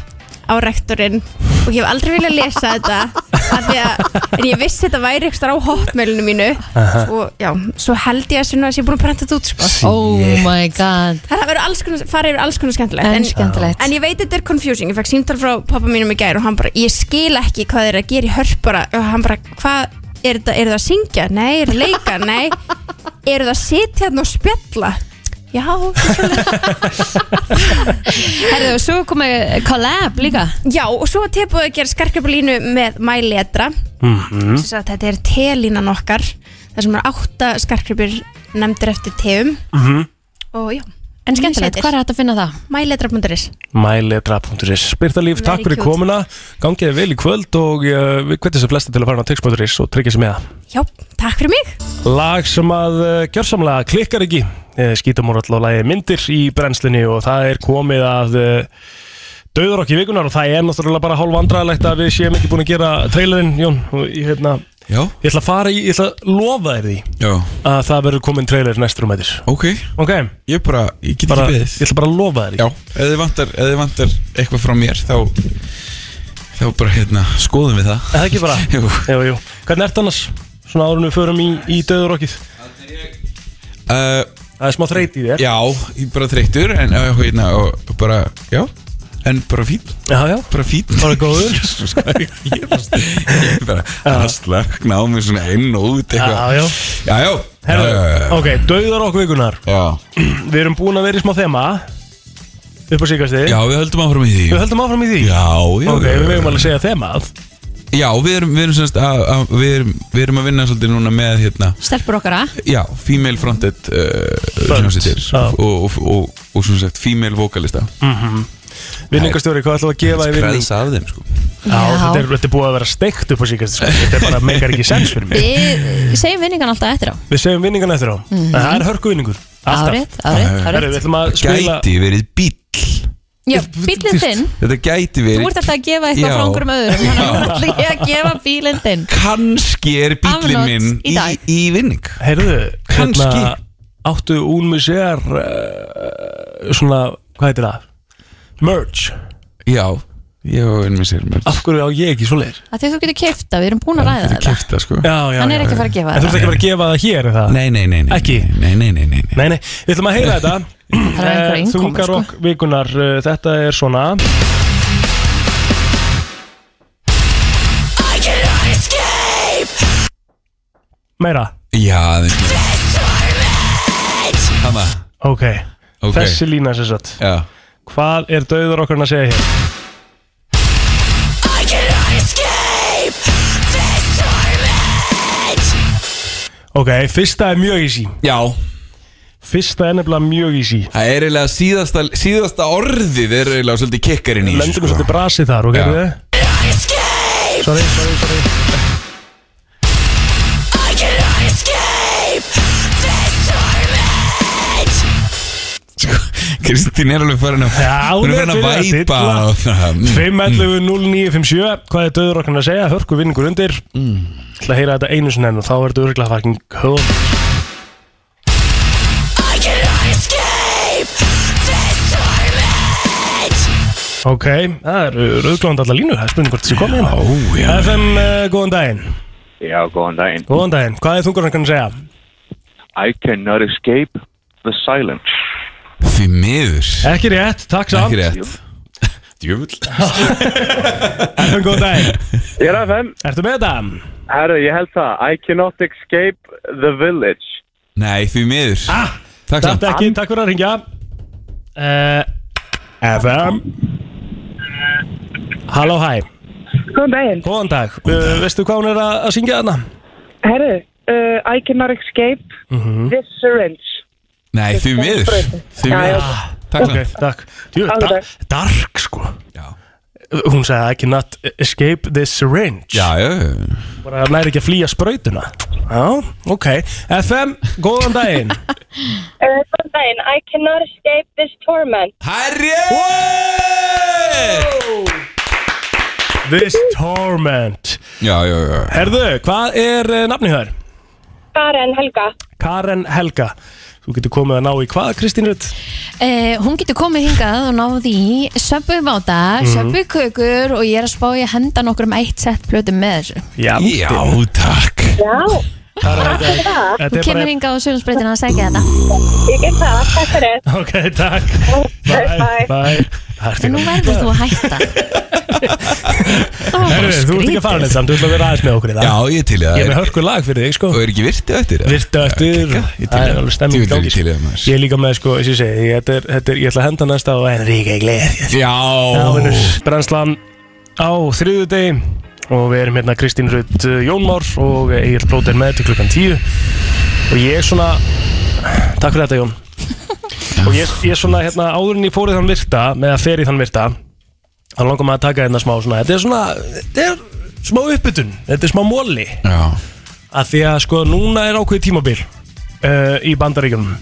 Speaker 9: á rektorinn og ég hef aldrei viljað lesa þetta af því að, en ég vissi þetta væri ekstra á hotmailinu mínu og já, svo held ég að sunna þess að ég er búin að prenta þetta út sko.
Speaker 3: Oh my god
Speaker 9: það verður alls konar, farið yfir alls konar skemmtilegt
Speaker 3: En
Speaker 9: en,
Speaker 3: skemmtilegt
Speaker 9: en ég veit þetta er confusing, ég fekk síntal frá pappa mínum í gær og hann bara, ég skil ekki hvað þeir eru að gera í hörp bara, og hann bara, hvað er þetta, er það að syngja? Nei, er það að leika? Nei eru það að sitja hérna og spjalla? Já,
Speaker 3: Herðu, og svo komið collab líka
Speaker 9: já og svo var tilbúið að gera skarkjöpulínu með mæletra mm -hmm. þetta er telínan
Speaker 1: Mhm.
Speaker 9: okkar þar sem er átta skarkjöpur nefndir eftir tegum -hmm. og já,
Speaker 3: En skemmtilegt,
Speaker 9: Sætir.
Speaker 3: hvað er hægt að finna það?
Speaker 9: Mæletra.is
Speaker 1: Mæletra.is Spyrtalíf,
Speaker 9: Very
Speaker 1: takk fyrir
Speaker 9: cute.
Speaker 1: komuna Gangið vel í kvöld og uh, við hvetjum sem flesta til að fara á text.is og tryggja sér með það
Speaker 9: Já, takk fyrir mig
Speaker 1: Lag sem að uh, gjörsamlega klikkar ekki uh, Skítamór alltaf lagi myndir í brennslunni og það er komið að uh, döður okki vikunar og það er náttúrulega bara hálf vandræðilegt að við séum ekki búin að gera trailerinn, Jón og ég, hérna,
Speaker 10: Já.
Speaker 1: ég ætla að fara í, ég ætla að lofa þér því
Speaker 10: Já,
Speaker 1: að það verður komin trailer næstur um eittir
Speaker 10: ok
Speaker 1: Ok,
Speaker 10: Ég bara, ég get
Speaker 1: bara,
Speaker 10: ekki
Speaker 1: ég
Speaker 10: beðið
Speaker 1: ætla bara að lofa þér því.
Speaker 10: Já, ef þið vantar, ef þið vantar eitthvað frá mér þá þá bara hérna, skoðum við það
Speaker 1: Er Það ekki bara
Speaker 10: Jú.
Speaker 1: Jú, jú Hvernig ert annars? Svona áður en við förum í, í döðurokkið
Speaker 10: uh,
Speaker 1: Það er smá þreyt í þér
Speaker 10: Já, ég er bara þreyttur en uh, hérna, og bara, já en bara fín,
Speaker 1: já, já.
Speaker 10: bara fín
Speaker 1: Bara góður.
Speaker 10: Jesus, hvað er- ég er bara- ég er bara að slökna á mig svona inn og út
Speaker 1: Já,
Speaker 10: eitthvað
Speaker 1: já
Speaker 10: Já, já, já,
Speaker 1: Herðu,
Speaker 10: já, já,
Speaker 1: ok, döðurokk vikunar
Speaker 10: já
Speaker 1: Við erum búin að vera í smá þema Upp á síkasti
Speaker 10: Já, við höldum áfram í því
Speaker 1: Við höldum áfram í því
Speaker 10: Já, já,
Speaker 1: Ok,
Speaker 10: já,
Speaker 1: við
Speaker 10: já.
Speaker 1: megum alveg segja þemað
Speaker 10: Já, við erum, við erum semst að, að við, erum, við erum að vinna svolítið núna með hérna
Speaker 3: Stelpur okkar að?
Speaker 10: Já, female fronted uh, hljómsveitir
Speaker 1: já.
Speaker 10: og, og, og, og, og svona sagt female vokalista
Speaker 1: Vinningastjóri, hvað ætlum við að gefa í vinning?
Speaker 10: Skræðs af þeim sko
Speaker 1: Já, þetta er, þetta er búið að vera steikt upp á síkasti sko. Þetta er bara meikar ekki sens fyrir mig
Speaker 3: Við segjum vinningan alltaf eftir á
Speaker 1: Við segjum vinningan eftir á En það er hörku vinningur
Speaker 3: Árið, árið,
Speaker 1: Herru,
Speaker 3: árið
Speaker 1: við ætlum að spila
Speaker 10: Gæti verið bíll
Speaker 3: Já, bílinn þinn
Speaker 10: Þetta gæti verið
Speaker 3: Þú ert alltaf að gefa eitthvað
Speaker 10: Já.
Speaker 3: frá einhverjum öðrum Þannig að
Speaker 10: Já.
Speaker 3: nú ætla ég að gefa bílinn þinn
Speaker 10: Kanski er bíllinn
Speaker 3: Afnot
Speaker 10: minn
Speaker 3: í
Speaker 10: í,
Speaker 3: dag.
Speaker 10: í vinning
Speaker 1: Heyrðu,
Speaker 10: Kannski.
Speaker 1: hérna, áttu únmusér uh, svona, hvað heitir það? Merge
Speaker 10: Já, ég og einn með sér mér
Speaker 1: Af hverju á ég ekki svo leir?
Speaker 3: Af því að þú getur kefta, við erum búin að ræða
Speaker 10: Þetta
Speaker 3: þetta
Speaker 10: kæfta sko
Speaker 1: Já, já,
Speaker 3: Hann
Speaker 1: já,
Speaker 3: er ekki að
Speaker 1: já.
Speaker 3: fara að gefa
Speaker 1: En þú ert
Speaker 3: þetta
Speaker 1: ekki að fara að gefa það hér, er það?
Speaker 10: Nei, nei, nei, nei
Speaker 1: Ekki?
Speaker 10: Nei, nei, nei, nei, nei.
Speaker 1: Nei, nei, við ætlum að heyra þetta
Speaker 3: Það er einhver
Speaker 1: Eh,
Speaker 3: einnkomin sko
Speaker 1: Þungarokk vikunar, uh, þetta er svona Meira,
Speaker 10: Já, það er Hanna,
Speaker 1: ok,
Speaker 10: ok
Speaker 1: þessi lína sér satt
Speaker 10: Já
Speaker 1: Hvað er döður okkur að segja hér? Ok, fyrsta er mjög easy
Speaker 10: Já,
Speaker 1: Fyrsta er nefnilega mjög easy
Speaker 10: Það er eiginlega síðasta, síðasta orðið er eiginlega svolítið kikkarinn í þessu,
Speaker 1: Lendum við svolítið brasið þar, ok?
Speaker 10: sko. Já.
Speaker 1: Ja. Sorry, sorry, sorry
Speaker 10: Kristín er alveg farin að
Speaker 1: Já,
Speaker 10: hún er
Speaker 1: hún
Speaker 10: farin
Speaker 1: er
Speaker 10: að
Speaker 1: fyrir að
Speaker 10: væpa
Speaker 1: dilla.
Speaker 10: og það. Mm.
Speaker 1: 5.11.09.57 Hvað er döður okkur að segja? Hörku vinningur undir Það mm. heyra þetta einu sinni enn og þá er þetta örgulega fucking höfum Ok, það eru rauðglóðandi allar línur, það er spurning hvort þessi komið hérna
Speaker 10: já.
Speaker 1: FM, uh, góðan daginn
Speaker 4: Já, góðan daginn.
Speaker 1: Góðan daginn, hvað er þungurinn kannu segja?
Speaker 4: I cannot escape the silence.
Speaker 10: Því miður
Speaker 1: Ekki rétt, takk samt
Speaker 10: Ekki rétt Djöfull
Speaker 1: FM, góðan daginn
Speaker 4: Ég er FM.
Speaker 1: Ertu með þetta?
Speaker 4: Herru, ég held það. I cannot escape the village.
Speaker 10: Nei, því miður
Speaker 1: Ah,
Speaker 10: Takk
Speaker 1: Takk
Speaker 10: samt
Speaker 1: ekki, takk fyrir að ringja uh, FM Eh, Halló, hæ
Speaker 5: Góðan daginn.
Speaker 1: Góðan dag, uh, veistu hvað hún er að, að syngja þarna?
Speaker 5: Herru, uh, I cannot escape this syringe.
Speaker 10: Nei, því miður Því
Speaker 5: Já, já.
Speaker 10: miður Takk
Speaker 1: Ok,
Speaker 10: samt
Speaker 1: takk Jú,
Speaker 5: Alveg
Speaker 1: da,
Speaker 5: takk.
Speaker 1: Dark, sko
Speaker 10: Já,
Speaker 1: Hún sagði, I cannot escape this syringe
Speaker 10: já, já
Speaker 1: Bara næri ekki að flýja sprautuna Já, ok FM, góðan daginn
Speaker 5: Uh, góðan daginn. I cannot escape this torment.
Speaker 10: Herri
Speaker 1: This torment
Speaker 10: Já, já, já
Speaker 1: Herðu, hvað er uh, nafnið þær?
Speaker 5: Karen Helga.
Speaker 1: Karen Helga Þú getur komið að ná í hvað, Kristín Rutt?
Speaker 3: Eh, hún getur komið hingað og náð í söpbu
Speaker 1: Mhm.
Speaker 3: máta, söpbu kökur og ég er að spá ég að henda nokkur um eitt sett plötu með þessu.
Speaker 1: Já,
Speaker 10: Já, takk
Speaker 5: Já,
Speaker 1: þetta
Speaker 3: Þú
Speaker 1: er bara
Speaker 3: kemur hingað á Sjölandsbreytina að segja þetta.
Speaker 5: ég get það. Takk fyrir.
Speaker 1: Ok, takk
Speaker 5: Bye.
Speaker 1: bye Það ertu
Speaker 3: En nú verður þú að hætta. Það var bara
Speaker 1: Herru, þú ert ekki að fara neitt samt, þú ert að vera aðeins með okkur í það
Speaker 10: Já, ég til í það
Speaker 1: Ég er
Speaker 10: Er-
Speaker 1: með hörku lag fyrir þig, sko
Speaker 10: Og er ekki virtið eftir eða?
Speaker 1: Virtu eftir,
Speaker 10: Já, ég til í
Speaker 1: það er alveg stemming í
Speaker 10: Djöfull er
Speaker 1: gangi,
Speaker 10: ég til í það,
Speaker 1: sko.
Speaker 10: maður.
Speaker 1: Ég er líka með, sko, eins og ég segi ég- Þetta er, þetta er, ég ætla að henda næsta á Enrique Iglesias Já, vinnur,
Speaker 10: Já
Speaker 1: brennslan á þriðu degi Og við erum hérna Kristín Rutt uh, Jónmár Og Egil Blóter með til klukkan tíu Og ég er svona Takk fyrir þetta, Jón og ég, ég svona hérna áður en ég fór í þann virta með að fer í þann virta þá langar maður að taka hérna smá svona þetta er svona, þetta er smá uppbytun þetta er smá móli
Speaker 10: Já.
Speaker 1: að því að sko núna er ákveðið tímabil uh, í bandaríkjunum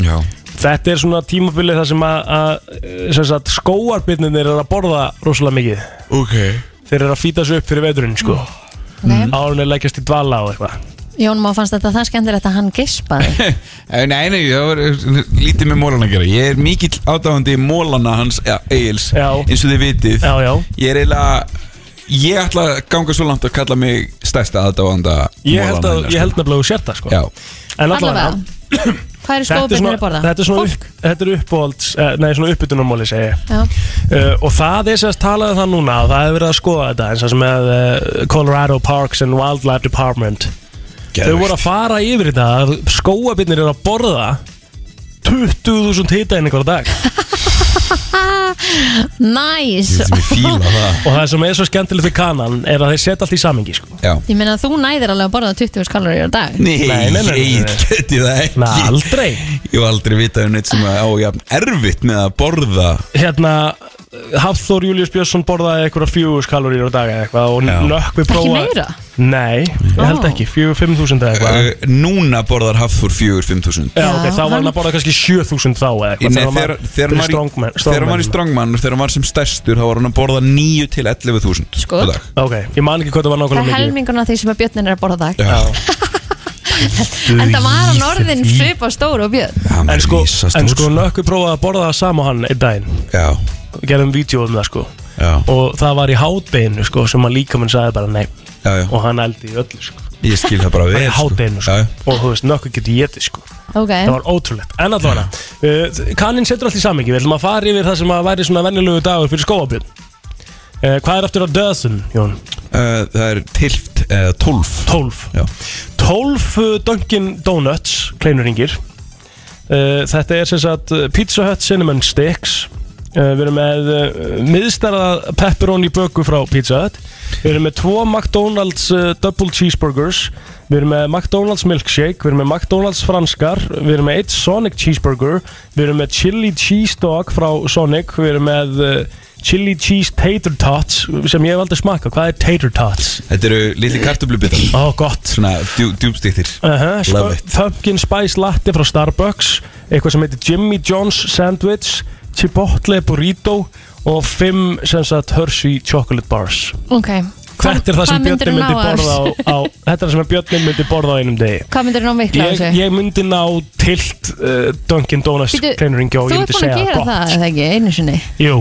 Speaker 10: Já.
Speaker 1: þetta er svona tímabilið þar sem að, að sem sagt, skóarbyrnir eru að borða rosalega mikið
Speaker 10: okay.
Speaker 1: þeir eru að fýta sig upp fyrir veturinn sko
Speaker 10: Mm.
Speaker 1: okay. árunni leggjast í dvala og eitthvað
Speaker 3: Jón Má fannst þetta það skemmtilegt að hann gispaði
Speaker 10: Eh, Nei, nei, það var eh, lítið með mólan að gera Ég er mikill ádáðandi mólana hans ja, Egils, já. eins og þið vitið já,
Speaker 1: já.
Speaker 10: Ég er eiginlega Ég ætla að ganga svo langt að kalla mig stærsta aðdáðanda
Speaker 1: ég held, að, ég held nefnilega að þú sér það sko
Speaker 10: Já.
Speaker 1: en allavega
Speaker 3: Allavega, hvað eru
Speaker 1: Þetta er
Speaker 3: skóðbyrnir
Speaker 1: svona,
Speaker 3: að borða?
Speaker 1: þetta er svona, upp, þetta er uppbólds, nei svona uppbytunumóli segi ég
Speaker 3: Já.
Speaker 1: uh, og það er sérst talaði um það núna og það hefur verið að skoða þetta eins og sem með uh, Colorado Parks and Wildlife Department þau voru að fara yfir þetta að skóabinnir eru að borða 20.000 hitaeiningar á dag
Speaker 3: Næs
Speaker 1: það og það sem er svo skemmtilegt við kanan er að þeir setja allt í samingi sko.
Speaker 10: Já.
Speaker 3: Ég meina að þú næðir alveg að borða 20 kaloríur á dag
Speaker 10: Nei, nei, nei,
Speaker 1: nei,
Speaker 10: ég geti það ekki
Speaker 1: Nei, aldrei
Speaker 10: Ég hef aldrei vitað um neitt sem að á jafn erfitt með að borða
Speaker 1: hérna Hafþór Július Björnsson borðaði eitthvað fjögur kaloríur á dag eða eitthvað og nökkvi
Speaker 3: Ekki
Speaker 1: prófa
Speaker 3: meira?
Speaker 1: Nei, ég held ekki, fjögur, fimm þúsund eða eitthvað
Speaker 10: uh, Núna borðar Hafþór 4-5.000
Speaker 1: Já, ok, þá var hann að borða kannski 7000 þá eða
Speaker 10: Nei,
Speaker 1: eitthvað
Speaker 10: Sko, þegar þegar
Speaker 1: fyrir
Speaker 10: hann var
Speaker 1: strongman-
Speaker 10: í- þegar hann var í
Speaker 1: strongman.
Speaker 10: strongman þegar hann var sem stærstur þá var hann að borða 9 til 11.000
Speaker 3: Sko.
Speaker 10: á dag.
Speaker 1: Ok, ég man ekki hvað það var
Speaker 3: Það er
Speaker 1: nákvæmlega mikið
Speaker 3: helmingun af því sem að björnin er að borða á dag
Speaker 10: Já.
Speaker 3: En það var hann orðin svipa stór og björn
Speaker 1: En sko, en sko nökkvi prófaði að borða það sama og hann einn daginn
Speaker 10: Já
Speaker 1: Gerðum vídeo um það sko
Speaker 10: Já.
Speaker 1: Og það var í hátbeinu sko sem að líka minn sagði bara nei
Speaker 10: Já, já.
Speaker 1: Og hann eldi í öllu sko
Speaker 10: Ég skil það bara
Speaker 1: Það
Speaker 10: vel
Speaker 1: er hátbeinu sko
Speaker 10: Já, já.
Speaker 1: Og þú veist, nökkvi getur getið sko
Speaker 3: Ok,
Speaker 1: Það var ótrúlegt, en allavega uh, Kanin setur allt í samengi, við ætlum að fara yfir það sem að væri svona venjulegu dagur fyrir skóabjörn uh, Hvað er aftur á döðsum, Jón?
Speaker 10: Uh, það er tilft uh, 12
Speaker 1: 12
Speaker 10: Já.
Speaker 1: 12 uh, Dunkin Donuts kleinuringir uh, Þetta er sem sagt uh, Pizza Hut Cinnamon Sticks uh, Við erum með uh, miðstærða pepperoni böku frá Pizza Hut Við erum með tvo McDonalds uh, Double Cheeseburgers Við erum með McDonalds Milkshake Við erum með McDonalds Franskar Við erum með eitt Sonic Cheeseburger Við erum með Chili Cheese Dog frá Sonic Við erum með uh, Chili Cheese Tater Tots sem ég hef aldrei smakað Hvað er Tater Tots?
Speaker 10: Þetta eru litli kartublubitar
Speaker 1: Ó, gott
Speaker 10: Svona djú, djúbstiktir
Speaker 1: Uh
Speaker 10: Love it
Speaker 1: Pumpkin Spice Latte frá Starbucks eitthvað sem heitir Jimmy John's Sandwich Chipotle Burrito og fimm sem sagt Hershey Chocolate Bars
Speaker 3: ok
Speaker 1: Þetta er það sem
Speaker 3: Hvað myndirðu
Speaker 1: Björnin myndi
Speaker 3: ná af?
Speaker 1: borða á, á Þetta er það sem Björnin myndi borða á einum degi
Speaker 3: Hvað myndir þú ná mikla á
Speaker 1: Ég,
Speaker 3: þessu?
Speaker 1: ég myndi ná tilt uh, Dunkin Donuts
Speaker 3: Bíddu,
Speaker 1: kleinuringi og
Speaker 3: Þú
Speaker 1: ég
Speaker 3: ert
Speaker 1: myndi
Speaker 3: búin
Speaker 1: segja
Speaker 3: að gera
Speaker 1: gott
Speaker 3: það, eða ekki, einu sinni
Speaker 1: Jú,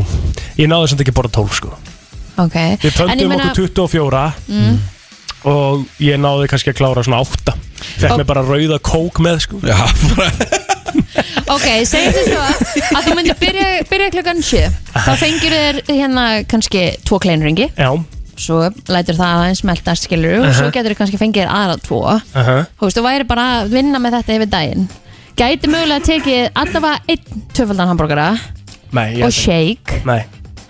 Speaker 1: ég náði samt ekki að borða 12 sko
Speaker 3: Ok
Speaker 1: Við
Speaker 3: En ég
Speaker 1: töndum
Speaker 3: meina-
Speaker 1: okkur 24
Speaker 3: Mm.
Speaker 1: og ég náði kannski að klára svona 8 Fekk mér bara rauða kók með sko
Speaker 10: Já, bara
Speaker 3: Ok, segjum þið svo að þú myndir byrja, byrja klukkan 7 þá fengir þér hérna kannski tvo kleinringi
Speaker 1: Já
Speaker 3: svo lætur það aðeins smeltast skilur og svo
Speaker 1: Uh-huh.
Speaker 3: getur þér kannski fengið þér aðra tvo
Speaker 1: Aha.
Speaker 3: þú veist, þú væri bara að vinna með þetta yfir daginn gæti mögulega tekið allavega einn tvöfaldan hambúrgara
Speaker 1: Nei, ég held
Speaker 3: Og
Speaker 1: ekki.
Speaker 3: shake.
Speaker 1: Nei,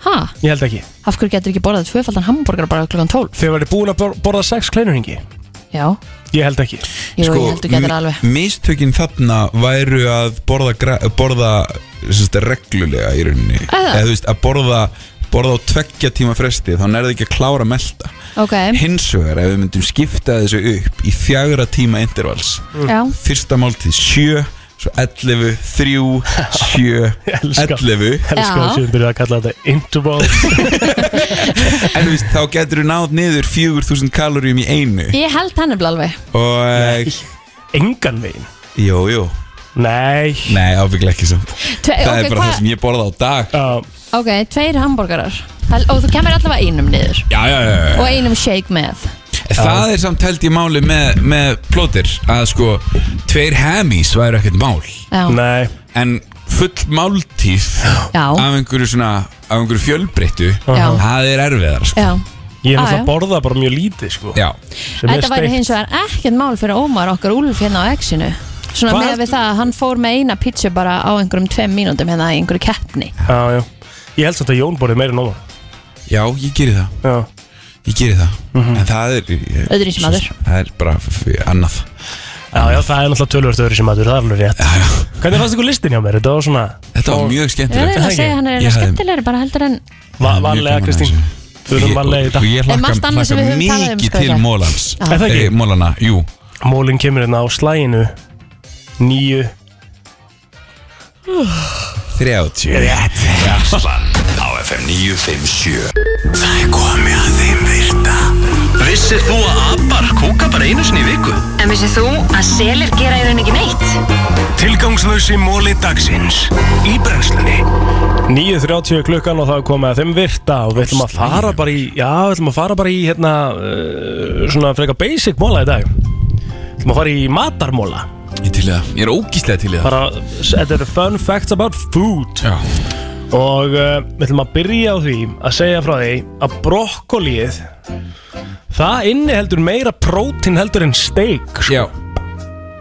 Speaker 3: ha,
Speaker 1: ég held ekki
Speaker 3: af hverju getur ekki borðað tvöfaldan hambúrgara bara klukkan 12
Speaker 1: Þau væri búin að bor borða sex kleinurhingi
Speaker 3: já,
Speaker 1: Ég held ekki
Speaker 3: jú,
Speaker 10: Sko,
Speaker 3: ég held þú getur alveg
Speaker 10: mi- Mistökin þarna væru að borða, gra- borða sérst, reglulega í rauninni
Speaker 3: Eða?
Speaker 10: Eða þú veist, að borða, borða á tveggja tíma fresti þá nærði ekki að klára að melta
Speaker 3: ok,
Speaker 10: Hins vegar ef við myndum skipta þessu upp í fjagra tíma intervals
Speaker 3: já,
Speaker 10: Fyrsta máltíð 7 Svo 11, 3, 7,
Speaker 1: elska-
Speaker 10: 11
Speaker 1: Elsku að
Speaker 3: Já.
Speaker 1: síðan byrjaði að kalla þetta interval
Speaker 10: En þú veist, þá getur þú náð niður 4000 kaloríum í einu
Speaker 3: ég held hann er alveg
Speaker 10: Og,
Speaker 1: Engan veginn
Speaker 10: jú, jú
Speaker 1: Nei
Speaker 10: Nei, ábygglega ekki samt
Speaker 3: Tve,
Speaker 10: Það
Speaker 3: Eh, ok,
Speaker 10: er bara
Speaker 3: hva-
Speaker 10: það sem ég borða á dag
Speaker 1: Já,
Speaker 3: ok, tveir hambúrgarar Hel- og þú kemur allavega einum niður
Speaker 10: Já, já, já, já.
Speaker 3: og einum shake með
Speaker 10: Það er samt held ég máli með, með plótir Að sko, tveir hemis væri ekkert mál
Speaker 3: já,
Speaker 1: nei
Speaker 10: En full máltíð
Speaker 3: já,
Speaker 10: Af einhverju svona, af einhverju fjölbreyttu
Speaker 3: Já.
Speaker 10: Það er erfiðar, sko
Speaker 3: já
Speaker 1: Ég er
Speaker 3: Ah,
Speaker 1: náttúrulega
Speaker 3: já.
Speaker 1: að borða bara mjög lítið sko
Speaker 10: Já,
Speaker 1: Sem er
Speaker 3: Þetta væri
Speaker 1: steikt.
Speaker 3: hins vegar ekkert mál fyrir Ómar okkar Úlf hérna á Exinu Svona
Speaker 1: Hvað?
Speaker 3: með við það að hann fór með eina pítsu bara á einhverjum tveim mínútum hérna í einhverju keppni
Speaker 1: Já, já Ég held samt að Jón borðið meira en Ómar
Speaker 10: já, ég geri það
Speaker 1: Já
Speaker 10: Ég geri það
Speaker 3: Mhm.
Speaker 10: En það er
Speaker 3: Öðru sem aður
Speaker 10: Það er bara f- annað
Speaker 1: Já, já, það er náttúrulega tölvört öðru sem aður, það er alveg rétt
Speaker 10: Já, já
Speaker 1: Hvernig fannst ykkur listin hjá mér? Þetta var svona
Speaker 10: Þetta var mjög
Speaker 3: Ég er að segja, hann er skemmtilegri bara heldur en
Speaker 1: Vanlega Kristín Þú erum vanlega í
Speaker 10: Og ég
Speaker 1: dag
Speaker 3: En margt
Speaker 10: hlakka
Speaker 3: annað sem
Speaker 10: hlakka
Speaker 3: við höfum talað um,
Speaker 10: mikið
Speaker 3: sko,
Speaker 10: til
Speaker 3: í dag.
Speaker 10: mólans
Speaker 3: Já. Er það ekki?
Speaker 10: Eh, Mólana, jú
Speaker 1: Mólin kemur hérna á slæginu Nýju
Speaker 10: 30
Speaker 1: Rétt
Speaker 2: Brennslan á FM 957 Það er komið að þeim virta Vissir þú að abar kúka bara einu sinni í viku?
Speaker 8: En vissið þú að selir gera í raun ekki neitt?
Speaker 2: Tilgangslösi móli dagsins Í brennslunni
Speaker 1: 9.30 klukkan og það er komið að þeim virta og við ætlum að fara bara í já, við ætlum að fara bara í hérna uh, svona frekar basic móla í dag við ætlum að fara í matarmóla
Speaker 10: Ég til í það, ég er ógíslega til í það
Speaker 1: bara, þetta eru fun facts about food
Speaker 10: já.
Speaker 1: og uh, við ætlum að byrja á því að segja frá því að brokkolið það inniheldur meira prótín heldur en steik
Speaker 10: Já
Speaker 1: sko.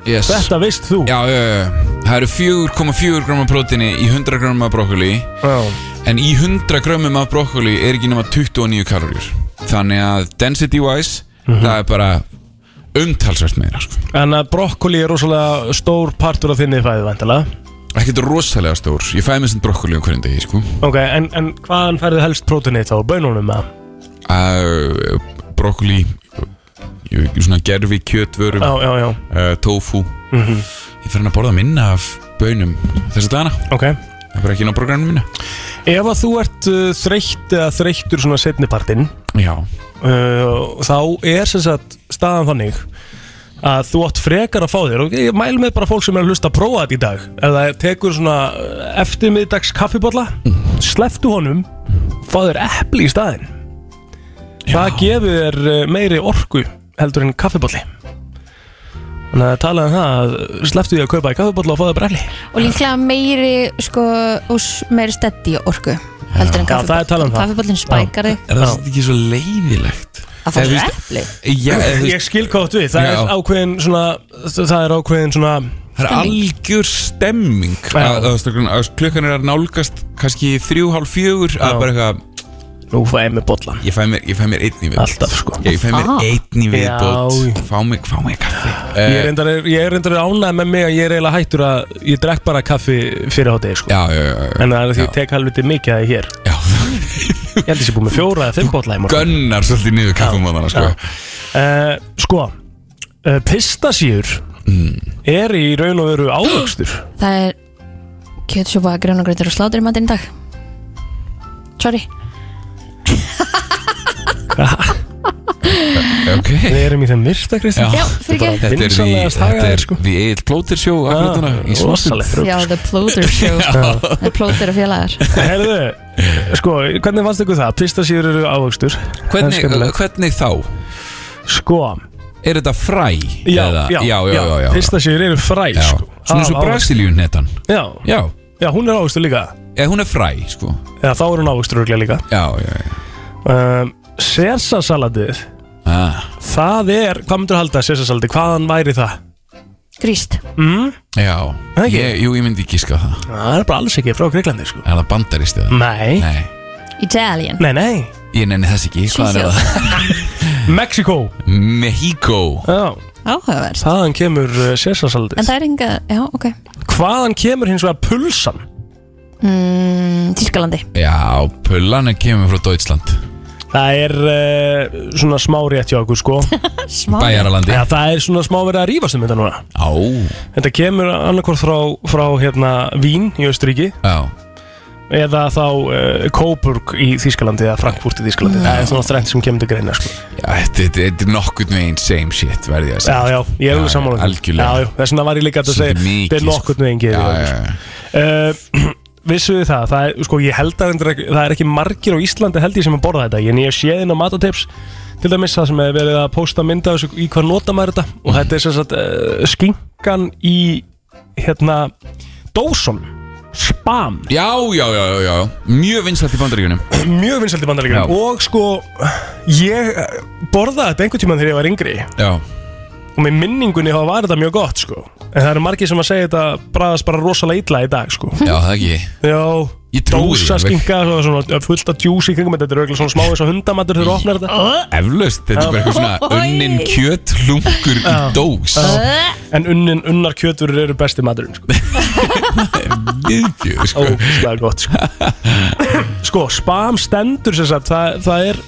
Speaker 10: yes.
Speaker 1: Þetta veist þú
Speaker 10: Já, já, já Það eru 4,4 gráma prótini í 100 gráma af brokkoli
Speaker 1: Já
Speaker 10: En í 100 grámum af brokkoli er ekki nema 29 kaloríur Þannig að density wise
Speaker 1: Mhm.
Speaker 10: Það er bara umtalsvært meira sko.
Speaker 1: en að brokkoli er rosalega stór partur af þinni fæðu vantilega
Speaker 10: Ekkert rosalega stór Ég fæði mér sem brokkoli á hverjum degi sko.
Speaker 1: ok, en, en hvaðan færðu helst prótínið þá, bönunum eða?
Speaker 10: uh, brokkoli jú, svona gerfi kjötvörum
Speaker 1: Já, já, já.
Speaker 10: Uh, tofu
Speaker 1: Mhm.
Speaker 10: ég fer hann að borða minna af bönum þessa dagana
Speaker 1: ok
Speaker 10: það er bara ekki inn á programinu mínu
Speaker 1: Ef að þú ert uh, þreytt eða þreyttur svona setnipartinn
Speaker 10: Já
Speaker 1: uh, Þá er sem sagt staðan þannig að þú átt frekar að fá þér og ég mæl með bara fólk sem er að hlusta að prófa þetta í dag ef það tekur svona uh, eftirmiðdags kaffibolla sleftu honum fá þér epli í staðin það gefur þér uh, meiri orku heldur en kaffibolli þannig að talaði um það að sleftu því að kaupa í kaffibolla og fá þér bara epli
Speaker 3: og líklega meiri sko, og s- meiri steddi og orku heldur en
Speaker 1: Já, það er talað um
Speaker 3: kaffibóllin
Speaker 1: það.
Speaker 3: kaffibóllin spækar þig
Speaker 10: er það svolítið ekki svo leiðilegt
Speaker 3: Að fá
Speaker 10: Eða,
Speaker 3: sér
Speaker 10: veist-
Speaker 3: epli?
Speaker 10: Já, eða,
Speaker 1: ég skil hvað þú átt við, það
Speaker 10: Eh, Já.
Speaker 1: er ákveðin svona, það er ákveðin svona
Speaker 10: það er algjör stemming
Speaker 1: Já.
Speaker 10: að, að, strákurinn- að klukkan er að nálgast kannski þrjú, hálf, fjögur að bara eitthvað
Speaker 1: Nú fæði mér bolla
Speaker 10: Ég fæði mér, ég fæ mér einn í viðbót
Speaker 1: Alltaf sko
Speaker 10: Ég fæði mér
Speaker 1: Ah.
Speaker 10: einn í
Speaker 1: Já.
Speaker 10: viðbót Fá mig, fá mig kaffi Eh,
Speaker 1: Ég er reyndar, ég er reyndar ánægð með mig að ég er eiginlega hættur að ég drekk bara kaffi fyrir hátegi sko.
Speaker 10: já, já, já,
Speaker 1: En það er því að ég tek helviti mikið að ég hér
Speaker 10: já.
Speaker 1: Ég held að ég sé búið með fjóra eða fimm botla í morgun
Speaker 10: Gunnar svolítið niður kaffumóðana sko.
Speaker 1: uh, Sko, uh, pistasíur
Speaker 10: Mm.
Speaker 1: er í raun og veru ávöxtur
Speaker 3: það er kjötsúpa, grjónagröður og slátur í matinn í dag sorry
Speaker 10: Ok
Speaker 1: Við erum í þeim virta, Kristján
Speaker 3: Já, fyrirgefðu.
Speaker 10: Þetta er því
Speaker 1: Vinsamlegast hagaðir, sko.
Speaker 10: Þetta er því Egil Plóter sjó Akkurátana í smástund
Speaker 1: Ah, rosalegt rugl,
Speaker 3: já, the plotter show the plotter og félagar
Speaker 1: Herðu, sko, hvernig fannst ykkur það? Pistasíur eru ávöxtur Það er
Speaker 10: Hvernig,
Speaker 1: skemmtilegt.
Speaker 10: hvernig þá?
Speaker 1: Sko
Speaker 10: Er þetta fræ?
Speaker 1: Já,
Speaker 10: Eða-
Speaker 1: já,
Speaker 10: já, já, já, já.
Speaker 1: Pistasíur eru fræ,
Speaker 10: Já.
Speaker 1: sko
Speaker 10: Svona eins og
Speaker 1: Aðal-
Speaker 10: Brasiljun héttan
Speaker 1: Já,
Speaker 10: Já,
Speaker 1: já, hún er ávöxtur líka
Speaker 10: eða hún er fræ sko
Speaker 1: Já, þá er hún ávöxtur örglega líka
Speaker 10: Já, já, já
Speaker 1: um, Sersasalatið
Speaker 10: ah,
Speaker 1: Það er, hvað myndur halda sersasalatið? Hvaðan væri það?
Speaker 3: gríst
Speaker 1: Mm?
Speaker 10: Já,
Speaker 1: Það ekki?
Speaker 10: ég, jú, ég myndi ekki sko það
Speaker 1: Það er bara alls ekki frá Greiklandi sko
Speaker 10: Er það bandarist eða?
Speaker 1: Nei,
Speaker 10: Nei,
Speaker 3: Italian
Speaker 1: nei, nei
Speaker 10: ég nenni þess ekki Hvað er það?
Speaker 1: Mexiko
Speaker 10: Mexico
Speaker 1: Já,
Speaker 3: áhugaverst
Speaker 1: þaðan kemur uh,
Speaker 3: en
Speaker 1: sersasalatið
Speaker 3: það er enga, já, ok
Speaker 1: Hvaðan kemur hins vegar pulsan?
Speaker 3: mm, Tískalandi
Speaker 10: Já, pullana kemur frá Deutschland
Speaker 1: Ah, Það er uh, svona smá rétt hjá okkur sko
Speaker 3: smá
Speaker 10: Bæjaralandi
Speaker 1: Já, það er svona smá verið að rífast um þetta núna
Speaker 10: Á,
Speaker 1: Þetta kemur annarkvort frá, frá hérna, Vín í Östuríki
Speaker 10: já
Speaker 1: eða þá uh, Coburg í Þýskalandi eða Frankfurt í
Speaker 10: Mm.
Speaker 1: Þýskalandi Það er svona þrennt sem kemur til greina sko.
Speaker 10: Já, þetta, þetta, þetta er nokkurn veginn same shit verði ég að
Speaker 1: Já,
Speaker 10: segja
Speaker 1: já, ég er alveg
Speaker 10: Já,
Speaker 1: sammála því.
Speaker 10: algjörlega.
Speaker 1: Já, já, þess vegna var ég líka að
Speaker 10: Svolítið
Speaker 1: segja
Speaker 10: mikið,
Speaker 1: Þetta er
Speaker 10: sko.
Speaker 1: nokkurn veginn
Speaker 10: já,
Speaker 1: gefið
Speaker 10: já, já.
Speaker 1: uh, Vissu þið það, það er, sko, ég held að reyndar ekki- það er ekki margir á Íslandi held ég sem að borða þetta En ég hef séð inn á matatips Til dæmis það sem er verið að posta mynda þessu, í hvað nota maður þetta Og
Speaker 10: Mm.
Speaker 1: þetta er sem sagt uh, skinkan í, hérna, dósun Spam
Speaker 10: já, já, já, já, já Mjög vinslætt í bandaríkunum
Speaker 1: Mjög vinsælt í bandaríkjum
Speaker 10: Já.
Speaker 1: eh, Og sko, ég borðaði þetta einhvern tímann þegar ég var yngri
Speaker 10: Já,
Speaker 1: og með minningunni þá var þetta mjög gott sko en það eru margir sem að segja þetta bræðast bara rosalega illa í dag sko
Speaker 10: Já, það ekki
Speaker 1: Já,
Speaker 10: Ég trúi því
Speaker 1: dósa
Speaker 10: alveg.
Speaker 1: skinka svo, svona, eh, fullt af djús í kringum þetta þetta er auðvitað svona smá eins og hundamatur þegar þú opnar þetta
Speaker 10: Eflaust, þetta er bara eitthvað svona unnin kjöt hlungur í dós
Speaker 1: Já. En unnin, unnar kjöturur eru besti maturinn sko.
Speaker 10: Viðbjöð sko
Speaker 1: Ógustlega gott sko. sko, spam stendur sem sagt Það, það er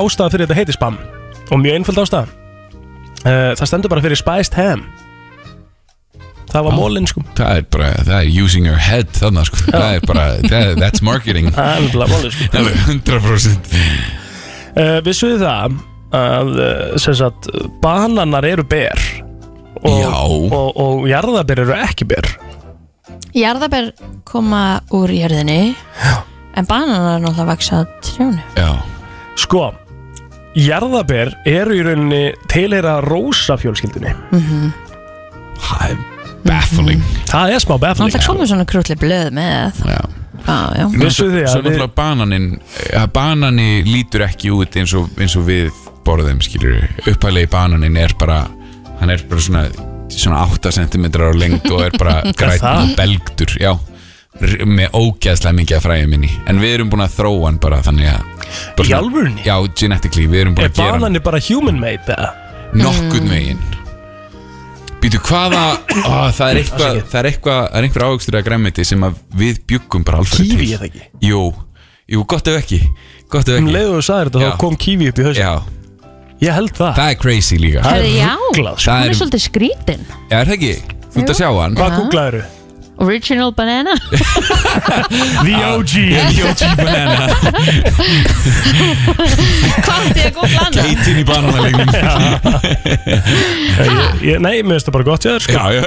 Speaker 1: ástæða fyrir þetta heiti spam Og mjög einföld ástæða Eh, Það stendur bara fyrir spiced ham Það var mólinn sko
Speaker 10: Það er bara, það er using your head þarna sko Það er bara, það, that's marketing
Speaker 1: Það er nefnilega málið, sko.
Speaker 10: Það er 100%
Speaker 1: uh, Vissuðu það að eh, sem sagt, bananar eru ber og,
Speaker 10: Já.
Speaker 1: og, og jarðaber eru ekki ber
Speaker 3: Jarðaber koma úr jörðinni En bananar er náttúrulega vaksa trjónu
Speaker 10: Já
Speaker 1: Sko, jarðaber eru í rauninni tilheyra rósa fjölskyldunni
Speaker 3: mm -hmm.
Speaker 10: Það er Mm-hmm. baffling
Speaker 1: Það er smá baffling
Speaker 3: Náttúrulega komið svona krulli blöð með
Speaker 10: Já,
Speaker 3: ah, já.
Speaker 10: Svo náttúrulega bananin að Banani lítur ekki út eins og, eins og við borðum skilur Upphælegi bananin er bara Hann er bara svona, svona 8 cm á lengd og er bara
Speaker 1: Er
Speaker 10: græn
Speaker 1: það?
Speaker 10: og belgdur Já r- með ógæðslega mikið af fræðum minni en við erum búin að þróa hann bara þannig að bara
Speaker 1: Í
Speaker 10: svona-
Speaker 1: alvörunni?
Speaker 10: Já, genetically, við erum búin
Speaker 1: Er
Speaker 10: að gera hann
Speaker 1: banani bara human made eða? Mm.
Speaker 10: nokkurn veginn Býtu hvaða á, það, er eitthvað,
Speaker 1: Afsakið.
Speaker 10: það er eitthvað Það er einhver ávegstur að græmiti sem að við bjuggum bara alveg
Speaker 1: Kíví er það ekki?
Speaker 10: Jú, jú, gott ef ekki Gott ef
Speaker 1: Um
Speaker 10: ekki
Speaker 1: leiðu þú sagðir þetta
Speaker 10: Já.
Speaker 1: þá kom kífi upp í hausinn
Speaker 10: Já,
Speaker 1: Ég held það
Speaker 10: það er crazy líka
Speaker 1: Það er
Speaker 3: Herri, Já,
Speaker 1: ruglað, sko.
Speaker 10: Það
Speaker 3: hún
Speaker 10: er-
Speaker 3: er svolítið skrítin
Speaker 10: Er það ekki? Þú ert að sjá hann
Speaker 1: Hvað googlaðiru?
Speaker 3: Original banana
Speaker 1: The OG
Speaker 10: Jóti
Speaker 1: eh,
Speaker 10: banana
Speaker 3: Hvað átti ég að góð blanda?
Speaker 10: Geitin í bananalegnum
Speaker 1: Ég- ég- Nei, mér finnst það bara gott ég þér sko
Speaker 10: Já, já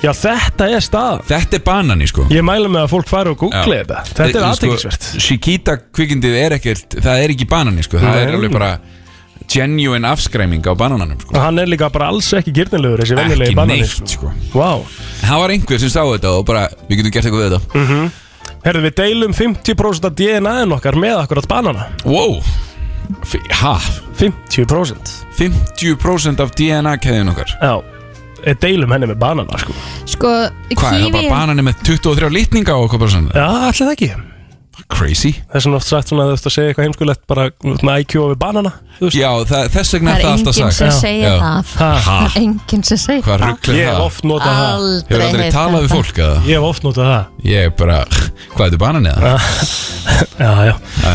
Speaker 1: Já, þetta er stað
Speaker 10: Þetta er banani sko
Speaker 1: Ég mæla með að fólk fari og googli
Speaker 10: Já.
Speaker 1: þetta Þetta er
Speaker 10: Sko,
Speaker 1: aðtekisvert
Speaker 10: Shikita kvikindið er ekkert Það er ekki banani sko Það er
Speaker 1: Nei.
Speaker 10: alveg bara Genuine afskræming á banananum sko
Speaker 1: Og hann er líka bara alls ekki gyrnilegur þessi
Speaker 10: Ekki
Speaker 1: venjulegi banani
Speaker 10: neitt sko
Speaker 1: Vá
Speaker 10: Það var einhver sem sá þetta og bara Við getum gert eitthvað við þetta
Speaker 1: Herðu, við deilum 50% af DNA-in okkar með akkurat banana
Speaker 10: Wow F- Ha?
Speaker 1: 50%
Speaker 10: 50% af DNA-keðin okkar
Speaker 1: Já Við deilum henni með banana sko
Speaker 3: Sko,
Speaker 10: Hvað er það bara
Speaker 3: kífi
Speaker 10: banani með 23 litninga og hvað bara svona
Speaker 1: Já, allir það ekki
Speaker 10: Crazy
Speaker 1: Það er svona oft sagt svona að þú ert að segja eitthvað heimskulegt bara þú ert með IQ við banana þú veist.
Speaker 10: Já, það, þess vegna
Speaker 3: Það
Speaker 10: er
Speaker 3: er
Speaker 10: það alltaf
Speaker 3: enginn
Speaker 10: sagt
Speaker 3: sem
Speaker 1: Já.
Speaker 3: segir
Speaker 10: Já.
Speaker 3: það
Speaker 1: Ha.
Speaker 3: Það er enginn sem segir
Speaker 10: Hvað
Speaker 3: það
Speaker 10: ruggla
Speaker 1: Ég hef
Speaker 10: það?
Speaker 1: oft notað það
Speaker 10: Hefur
Speaker 3: Aldrei
Speaker 10: aldrei
Speaker 3: heyrt
Speaker 10: talað við
Speaker 3: þetta.
Speaker 10: fólk að það?
Speaker 1: Ég hef oft notað það
Speaker 10: Ég er bara, hvað er þetta banani eða?
Speaker 1: Já, já
Speaker 10: Æ,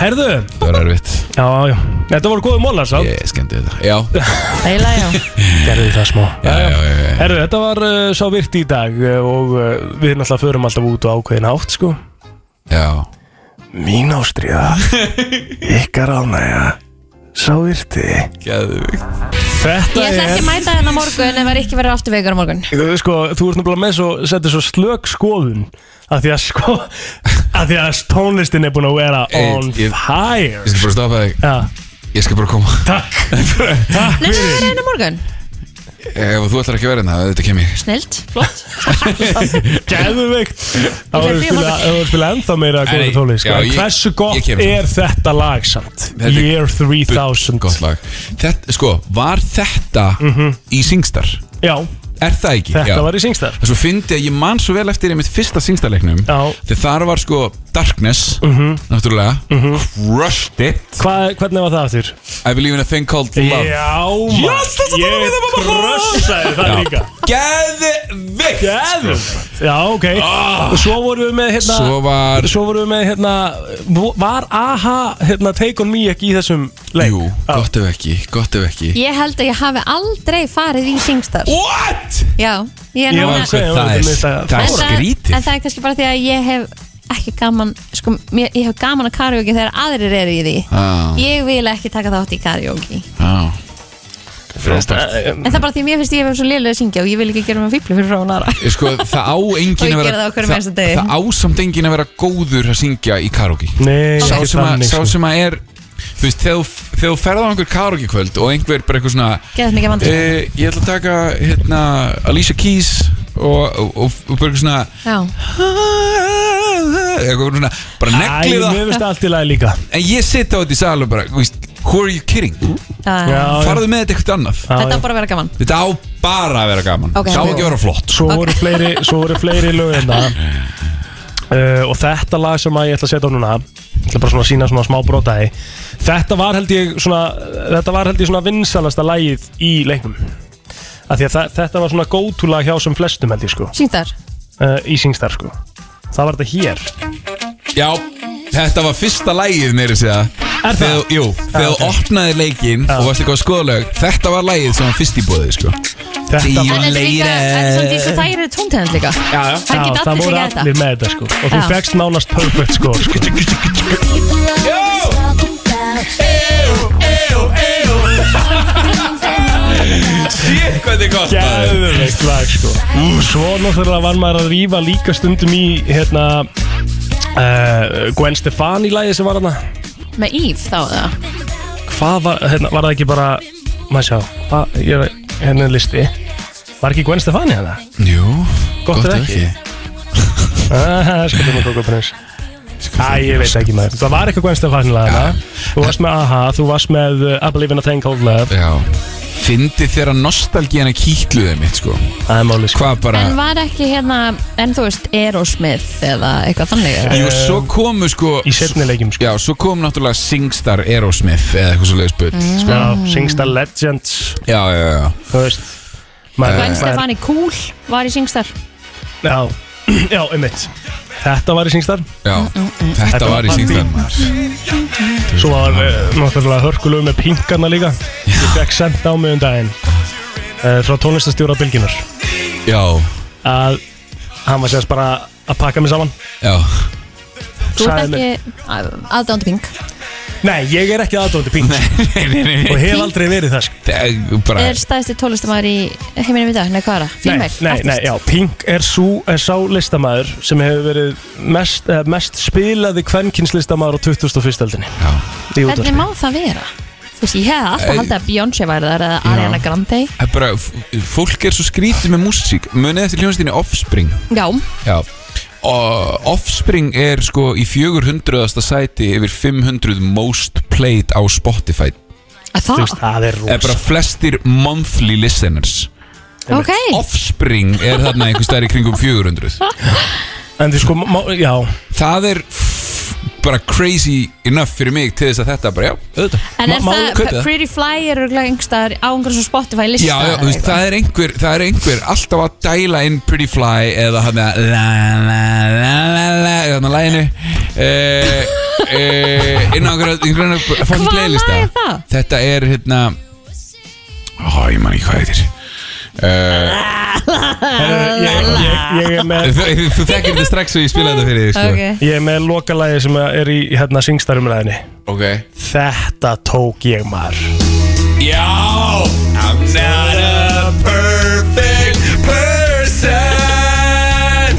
Speaker 1: Herðu
Speaker 10: Það var erfitt
Speaker 1: Já, já Þetta voru góði mólar sá
Speaker 10: Ég skemmti þetta Já,
Speaker 3: Eiginlega, já.
Speaker 1: Gerðu það smá
Speaker 10: já, já, já, já.
Speaker 1: Herðu, þetta var uh, sá virkt í dag uh, og uh, við náttúrulega förum alltaf út og ákveðin átt sko
Speaker 10: já.
Speaker 1: Mín ástriða Ykkar ánægja Sá virti
Speaker 10: Geðvikt
Speaker 1: Þetta
Speaker 3: Ég ætla ekki að mæta hennar morgun ef það er ekki verið aftur veikar á morgun
Speaker 1: Þú- sko, þú ert náttúrulega með svo, settir svo slök skoðun að því að sko að því að tónlistin er búin að vera
Speaker 10: Ey,
Speaker 1: on
Speaker 10: ég-
Speaker 1: fire
Speaker 10: Ég skal bara stoppa þig
Speaker 1: Já,
Speaker 10: Ég skal bara koma
Speaker 1: takk Takk
Speaker 3: Nei, það
Speaker 1: fyrir
Speaker 3: er hennar morgun
Speaker 10: Ef þú ætlar ekki að vera hérna, þetta kem ég
Speaker 3: Snilt, flott
Speaker 1: Gæðuveikt Þá
Speaker 3: Ég
Speaker 1: erum við
Speaker 3: ætla ekki að
Speaker 1: spila,
Speaker 3: horfa.
Speaker 1: ef við spila ennþá meira
Speaker 10: Nei,
Speaker 1: góða
Speaker 10: nei,
Speaker 1: tónlist sko.
Speaker 10: já,
Speaker 1: En
Speaker 10: ég-
Speaker 1: Hversu
Speaker 10: ég
Speaker 1: gott
Speaker 10: kem samt.
Speaker 1: er þetta lag samt?
Speaker 10: Þetta er
Speaker 1: Year 3000
Speaker 10: Gott lag Þetta, sko, var þetta í Singstar?
Speaker 1: Já,
Speaker 10: Er það ekki?
Speaker 1: þetta
Speaker 10: Já.
Speaker 1: var í Singstar
Speaker 10: Það svo fyndi að ég man svo vel eftir einmitt fyrsta Singstar-leiknum
Speaker 1: Já.
Speaker 10: Þegar þar var sko Darkness, náttúrulega Crushed it
Speaker 1: Hva, Hvernig var það aftur?
Speaker 10: I believe in a thing called love
Speaker 1: Já, maður
Speaker 10: Yes, þetta var
Speaker 1: Ég
Speaker 10: við það, mamma.
Speaker 1: krössaði það líka
Speaker 10: Geðvikt
Speaker 1: Geðveikt Já, ok Og svo vorum við með hérna
Speaker 10: Ah. Svo var
Speaker 1: Svo vorum við með hérna vo- Var AHA hérna, Take On Me ekki í þessum leik?
Speaker 10: Jú, gott ef ekki, gott ef ekki
Speaker 3: Ég held að ég hafi aldrei farið í Singstar
Speaker 10: What?
Speaker 3: Já, ég er
Speaker 1: Ég var að
Speaker 3: núna
Speaker 10: sko, Það
Speaker 1: segja
Speaker 10: er- það er
Speaker 3: En það-
Speaker 10: skrítið.
Speaker 3: En það er kannski bara því að ég hef ekki gaman sko, mér, ég hef gaman að karaoke þegar aðrir eru í því
Speaker 10: Já.
Speaker 3: Ég vil ekki taka þátt í karaoke
Speaker 10: Já Frábært
Speaker 3: En það er bara því að mér finnst ég hef svo lélega að syngja og ég vil ekki gera mig fíblu fyrir frá ára
Speaker 10: Sko, það á
Speaker 3: Og
Speaker 10: engin
Speaker 3: ég
Speaker 10: að vera
Speaker 3: geri það á hverjum einasta degi.
Speaker 10: það á samt engin að vera góður að syngja í karaoke
Speaker 1: Nei,
Speaker 10: Sá
Speaker 1: ekki
Speaker 10: sem að,
Speaker 1: þannig,
Speaker 10: sá
Speaker 1: sko.
Speaker 10: sem að er Þú veist, þegar þú- þegar þú ferð á einhver karaoke kvöld og einhver bara eitthvað svona
Speaker 3: Geðað mikið vandræði.
Speaker 10: eh, Ég ætla að taka hérna Alicia Keys og, og, og, og bara eitthvað svona
Speaker 3: Já,
Speaker 10: eitthvað svona, bara neglið
Speaker 1: Æ,
Speaker 10: það
Speaker 1: mér finnst það allt í lagi líka
Speaker 10: En ég sitt á þetta í sal og bara, þú veist, Who are you kidding?
Speaker 3: Já, já.
Speaker 10: Farðu með þetta eitthvað annað
Speaker 3: Þetta á bara að vera gaman
Speaker 10: Þetta á bara að vera gaman
Speaker 3: Ok.
Speaker 10: okay. Sá ekki að vera flott
Speaker 1: Svo voru fleiri, svo voru fleiri lög hérna uh, Og þetta lag sem að ég ætla að setja á núna Ég ætla bara svona að sína svona smá brotaði Þetta var held ég svona Þetta var held ég svona vinsalasta lagið í leiknum Af því að þa- þetta var svona go-to lag hjá sem flestum held ég sko
Speaker 3: Syngt þar
Speaker 1: uh, Í Singstar sko Það var þetta hér
Speaker 10: Já, þetta var fyrsta lægið meiri segja Er það? Ah, Jú, þegar þú opnaði leikinn og varst eitthvað að skoða lög Þetta var lægið sem var fyrst í bóðið sko Þetta
Speaker 3: En þetta er líka, en samt í svo þægir er tóntegnd líka Já, já Það
Speaker 1: Já,
Speaker 3: geta
Speaker 1: það
Speaker 3: allir
Speaker 1: voru
Speaker 3: tekið þetta
Speaker 1: allir með þetta sko Og þú
Speaker 3: Já.
Speaker 1: fegst nánast perfect sko, sko.
Speaker 10: Sér hvað þetta er gott
Speaker 1: Geðveikt lag sko Svo náttúrulega var maður að rífa líka stundum í hérna uh, Gwen Stefani lagi sem var hérna
Speaker 3: Með Íf þá það
Speaker 1: Hvað var, hérna, var það ekki bara Maður sjá, hvað, ég er að- hérna er listi Var ekki Gwen Stefani hérna?
Speaker 10: Jú,
Speaker 1: Gott er ekki Skoðum að kóka prins Æ, ég veit ekki maður Það var eitthvað Gwen Stefani lag hérna Þú varst með Aha, þú varst með uh, I Believe in a Thing Called Love
Speaker 10: Já Fyndi þeirra nostalgíana kýtluðið mitt sko
Speaker 1: Það er máli
Speaker 10: sko Hvað bara
Speaker 3: En var ekki hérna, en þú veist, Erosmith eða eitthvað þannig eða?
Speaker 10: Jú, svo komu sko Í setni
Speaker 1: leikjum
Speaker 10: sko Já, svo kom náttúrulega Singstar Aerosmith eða eitthvað svo leiðisbull
Speaker 3: Mm.
Speaker 10: sko.
Speaker 1: Já, Singstar Legends
Speaker 10: Já, já, já
Speaker 1: Þú veist
Speaker 10: Eh,
Speaker 3: Gwen Stefani Cool var í Singstar
Speaker 1: Já, já, einmitt Þetta var í Singstar
Speaker 10: Já,
Speaker 3: Mm,
Speaker 10: þetta var í Singstar
Speaker 1: Svo var eh, náttúrulega hörkulög með pinkarna líka Ég fekk senda á mig um daginn uh, Frá tónlistastjóra Bilginar
Speaker 10: Já
Speaker 1: Að hann var sérst bara að pakka mig saman
Speaker 10: Já
Speaker 3: Þú
Speaker 1: Sagði
Speaker 3: ert
Speaker 1: mér-
Speaker 3: ekki aðdándi pink
Speaker 1: Nei, ég er ekki aðdóndi pink Og hef aldrei verið það sko.
Speaker 10: Bara
Speaker 3: Er stæðsti tónlistamæður í heiminum í dag? Nei, hvað er það?
Speaker 1: Nei,
Speaker 3: Female?
Speaker 1: nei, nei, já, Pink er, sú, er sá listamaður sem hefur verið mest, eh, mest spilaði kvenkinslistamæður á 2001. öldinni Í útvarpi.
Speaker 3: Hvernig má það vera? Þú veist, ég hef alltaf
Speaker 10: Ei.
Speaker 3: haldið að Beyoncé væri þar eða
Speaker 10: Eh, Já.
Speaker 3: Ariana Grande
Speaker 10: Það er bara, f- fólk er svo skrítið með músík Munið eftir hljónstinni Offspring
Speaker 3: Já,
Speaker 10: Já Og Offspring er sko í 400. sæti yfir 500 most played á Spotify
Speaker 3: að það
Speaker 1: það er
Speaker 10: Er bara flestir monthly listeners
Speaker 3: Ok,
Speaker 10: Offspring er þarna einhvers staðar í kringum 400
Speaker 1: En því sko, má, já
Speaker 10: Það er f- bara crazy enough fyrir mig til þess að þetta bara, já, auðvitað
Speaker 3: en er
Speaker 10: Má- má-
Speaker 3: það
Speaker 10: kaupi
Speaker 3: Pretty Fly eru einhverstaðar á einhverjum svo Spotify lista
Speaker 10: Já, já, þú veist, það er einhver, það er einhver alltaf að dæla inn Pretty Fly eða hann að la la la la la þannig að læginu uh, uh, inn á einhverja einhverja fucking playlista
Speaker 2: lag er það?
Speaker 10: Þetta er hérna Ó, ég man ekki hvað þetta er uh,
Speaker 1: Ég er með
Speaker 10: Þú, þú þekkir þetta strax og ég spila þetta fyrir því sko.
Speaker 1: Ég er með lokalæði sem er í hérna syngstarumilæðinni
Speaker 10: okay.
Speaker 1: Þetta tók ég maður
Speaker 10: Já I'm not a perfect person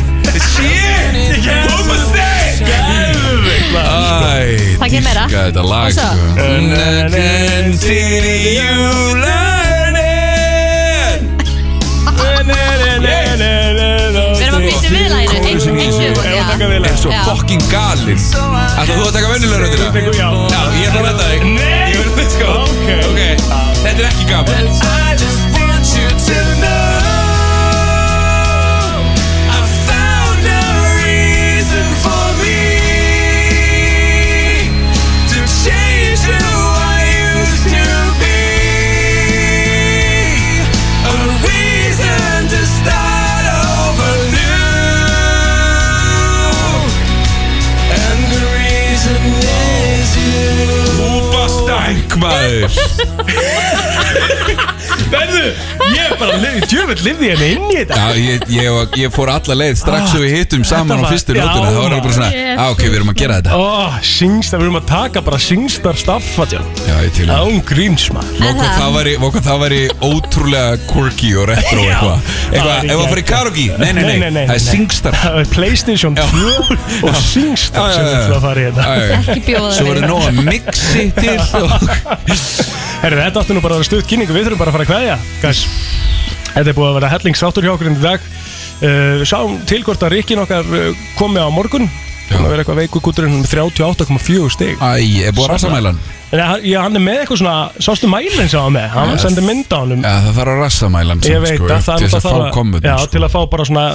Speaker 10: Shit What was that? Æ,
Speaker 2: Takk ég meira.
Speaker 10: dýrka þetta lag
Speaker 2: Og svo?
Speaker 10: sko.
Speaker 2: Continue learning
Speaker 3: Við erum að býta við laginu, einn- einn viðbót, já.
Speaker 10: Er svo
Speaker 3: Já.
Speaker 10: fucking galinn Ætla þú að taka vennilega röndina? Já, ég er bara að redda þig Ég verður með sko Ok, þetta er ekki gaman
Speaker 2: I just want you to know I found a reason for me to change who I used to be. A reason to start over new. And the reason is you.
Speaker 10: Búba stæk maður
Speaker 1: Verðu, ég er bara Djöfell lifði henni inn í þetta
Speaker 10: Já, ég, ég, var- ég fór alla leið strax og við hittum saman á
Speaker 1: Ah, var-
Speaker 10: fyrstu
Speaker 1: já, Oh.
Speaker 10: nótuna Það var alveg bara svona,
Speaker 1: maður.
Speaker 10: á ok, við erum að gera þetta
Speaker 1: Ó, syngstar, við erum að taka bara syngstar staffa tjá
Speaker 10: Já, ég til
Speaker 1: Án gríns maður
Speaker 10: Vokka
Speaker 1: það?
Speaker 10: það væri, vokka það væri ótrúlega quirky og retro
Speaker 1: Já.
Speaker 10: eitthvað
Speaker 1: Það
Speaker 10: Eitthvað, ef að fara
Speaker 1: væri
Speaker 10: í
Speaker 1: geggjað.
Speaker 10: karaoke, nei, nei, nei, það er singstar
Speaker 1: Það er Playstation 2 og Singstar
Speaker 10: Já, já, já, já.
Speaker 1: sem við ætlum að fara í hérna.
Speaker 10: Já, já, já.
Speaker 1: þetta
Speaker 10: Ekki bjóða Svo verður meira. nóg að mixi til
Speaker 1: Herru, þetta áttu nú bara að vera stutt kynningu Við þurfum bara að fara að kveðja Guys, þetta er búið að vera Eh, hellingsáttur hjá okkur í dag uh, Sáum til hvort að Rikkin okkar uh, eh, komi á morgun Það verður eitthvað veiku gúturinn með 38,4 stig
Speaker 10: Æ, er búið að rasa mælan?
Speaker 1: Já, hann er með eitthvað svona, sástu mælinn sem hann var með Hann
Speaker 10: Já.
Speaker 1: sendi mynd á honum
Speaker 10: Já, það þarf að rassa mælan sko,
Speaker 1: Ég veit sko, að sko. það
Speaker 10: Til
Speaker 1: er
Speaker 10: þess að fá sko. komut
Speaker 1: Já, til að fá bara svona,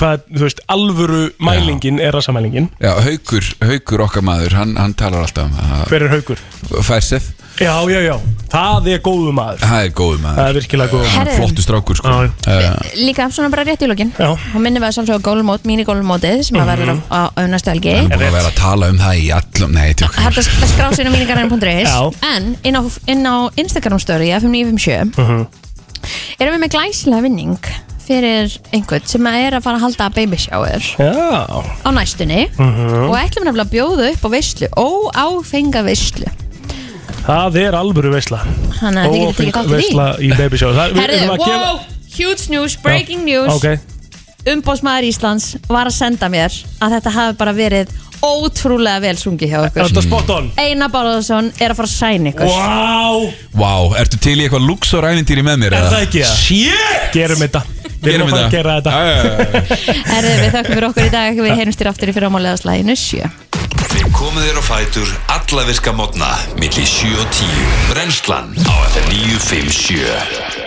Speaker 1: hvað, þú veist, alvöru mælingin er rassamælingin
Speaker 10: Já, haukur, haukur okkar maður, hann, hann talar alltaf um það
Speaker 1: Hver er haukur?
Speaker 10: Færsef,
Speaker 1: Já, já, já, það er góðu maður
Speaker 10: það er góð maður
Speaker 1: Það er virkilega góður
Speaker 10: Hann er
Speaker 3: maður.
Speaker 10: Flottu strákur sko Eh,
Speaker 3: Líka svona bara rétt í lokin
Speaker 1: Já.
Speaker 3: Hún minnum við að sjálfsögum gólmót, mínigólmótið sem að verður
Speaker 10: Mhm.
Speaker 3: á, á, á næstu helgi
Speaker 10: Hann er búin að vera að tala um það í allum Nei, tjók
Speaker 3: Hægt að sk- skrá sér á mínigarinn.is
Speaker 10: Já.
Speaker 3: En inn á, inn á Instagram story F957
Speaker 1: Mhm.
Speaker 3: erum við með glæsilega vinning fyrir einhvern sem að er að fara að halda baby shower
Speaker 1: Já
Speaker 3: á næstunni
Speaker 1: Mhm.
Speaker 3: og ætlum við nefnilega að bjóða upp á veislu óáfenga veislu
Speaker 1: Það er alvöru veisla
Speaker 3: Þannig að þið getið tekið þátt í því.
Speaker 1: Veisla í baby show Það við
Speaker 3: Herðu,
Speaker 1: erum að gefa
Speaker 3: wow, huge news, breaking news
Speaker 1: Ok,
Speaker 3: umbóðsmaður Íslands var að senda mér að þetta hafi bara verið ótrúlega vel sungi hjá
Speaker 1: Er
Speaker 3: okkur
Speaker 1: þetta spot on?
Speaker 3: Einar Bárðarsson er að fara að sæna ykkur
Speaker 1: wow
Speaker 10: Vá, ertu til í eitthvað Luxor ævintýri með mér?
Speaker 1: Er
Speaker 10: eða?
Speaker 1: það ekki það? Shit Gerum þetta Við
Speaker 10: Gerum
Speaker 1: erum að fara að
Speaker 10: þetta.
Speaker 1: gera þetta
Speaker 3: Herðu, við þökkum fyrir okkur í dag við heyrumst þér aftur í fyrramálið á slæðinu 7
Speaker 2: Við komum þér á fætur alla virka modna milli 7 og 10 Brennslan á FM 957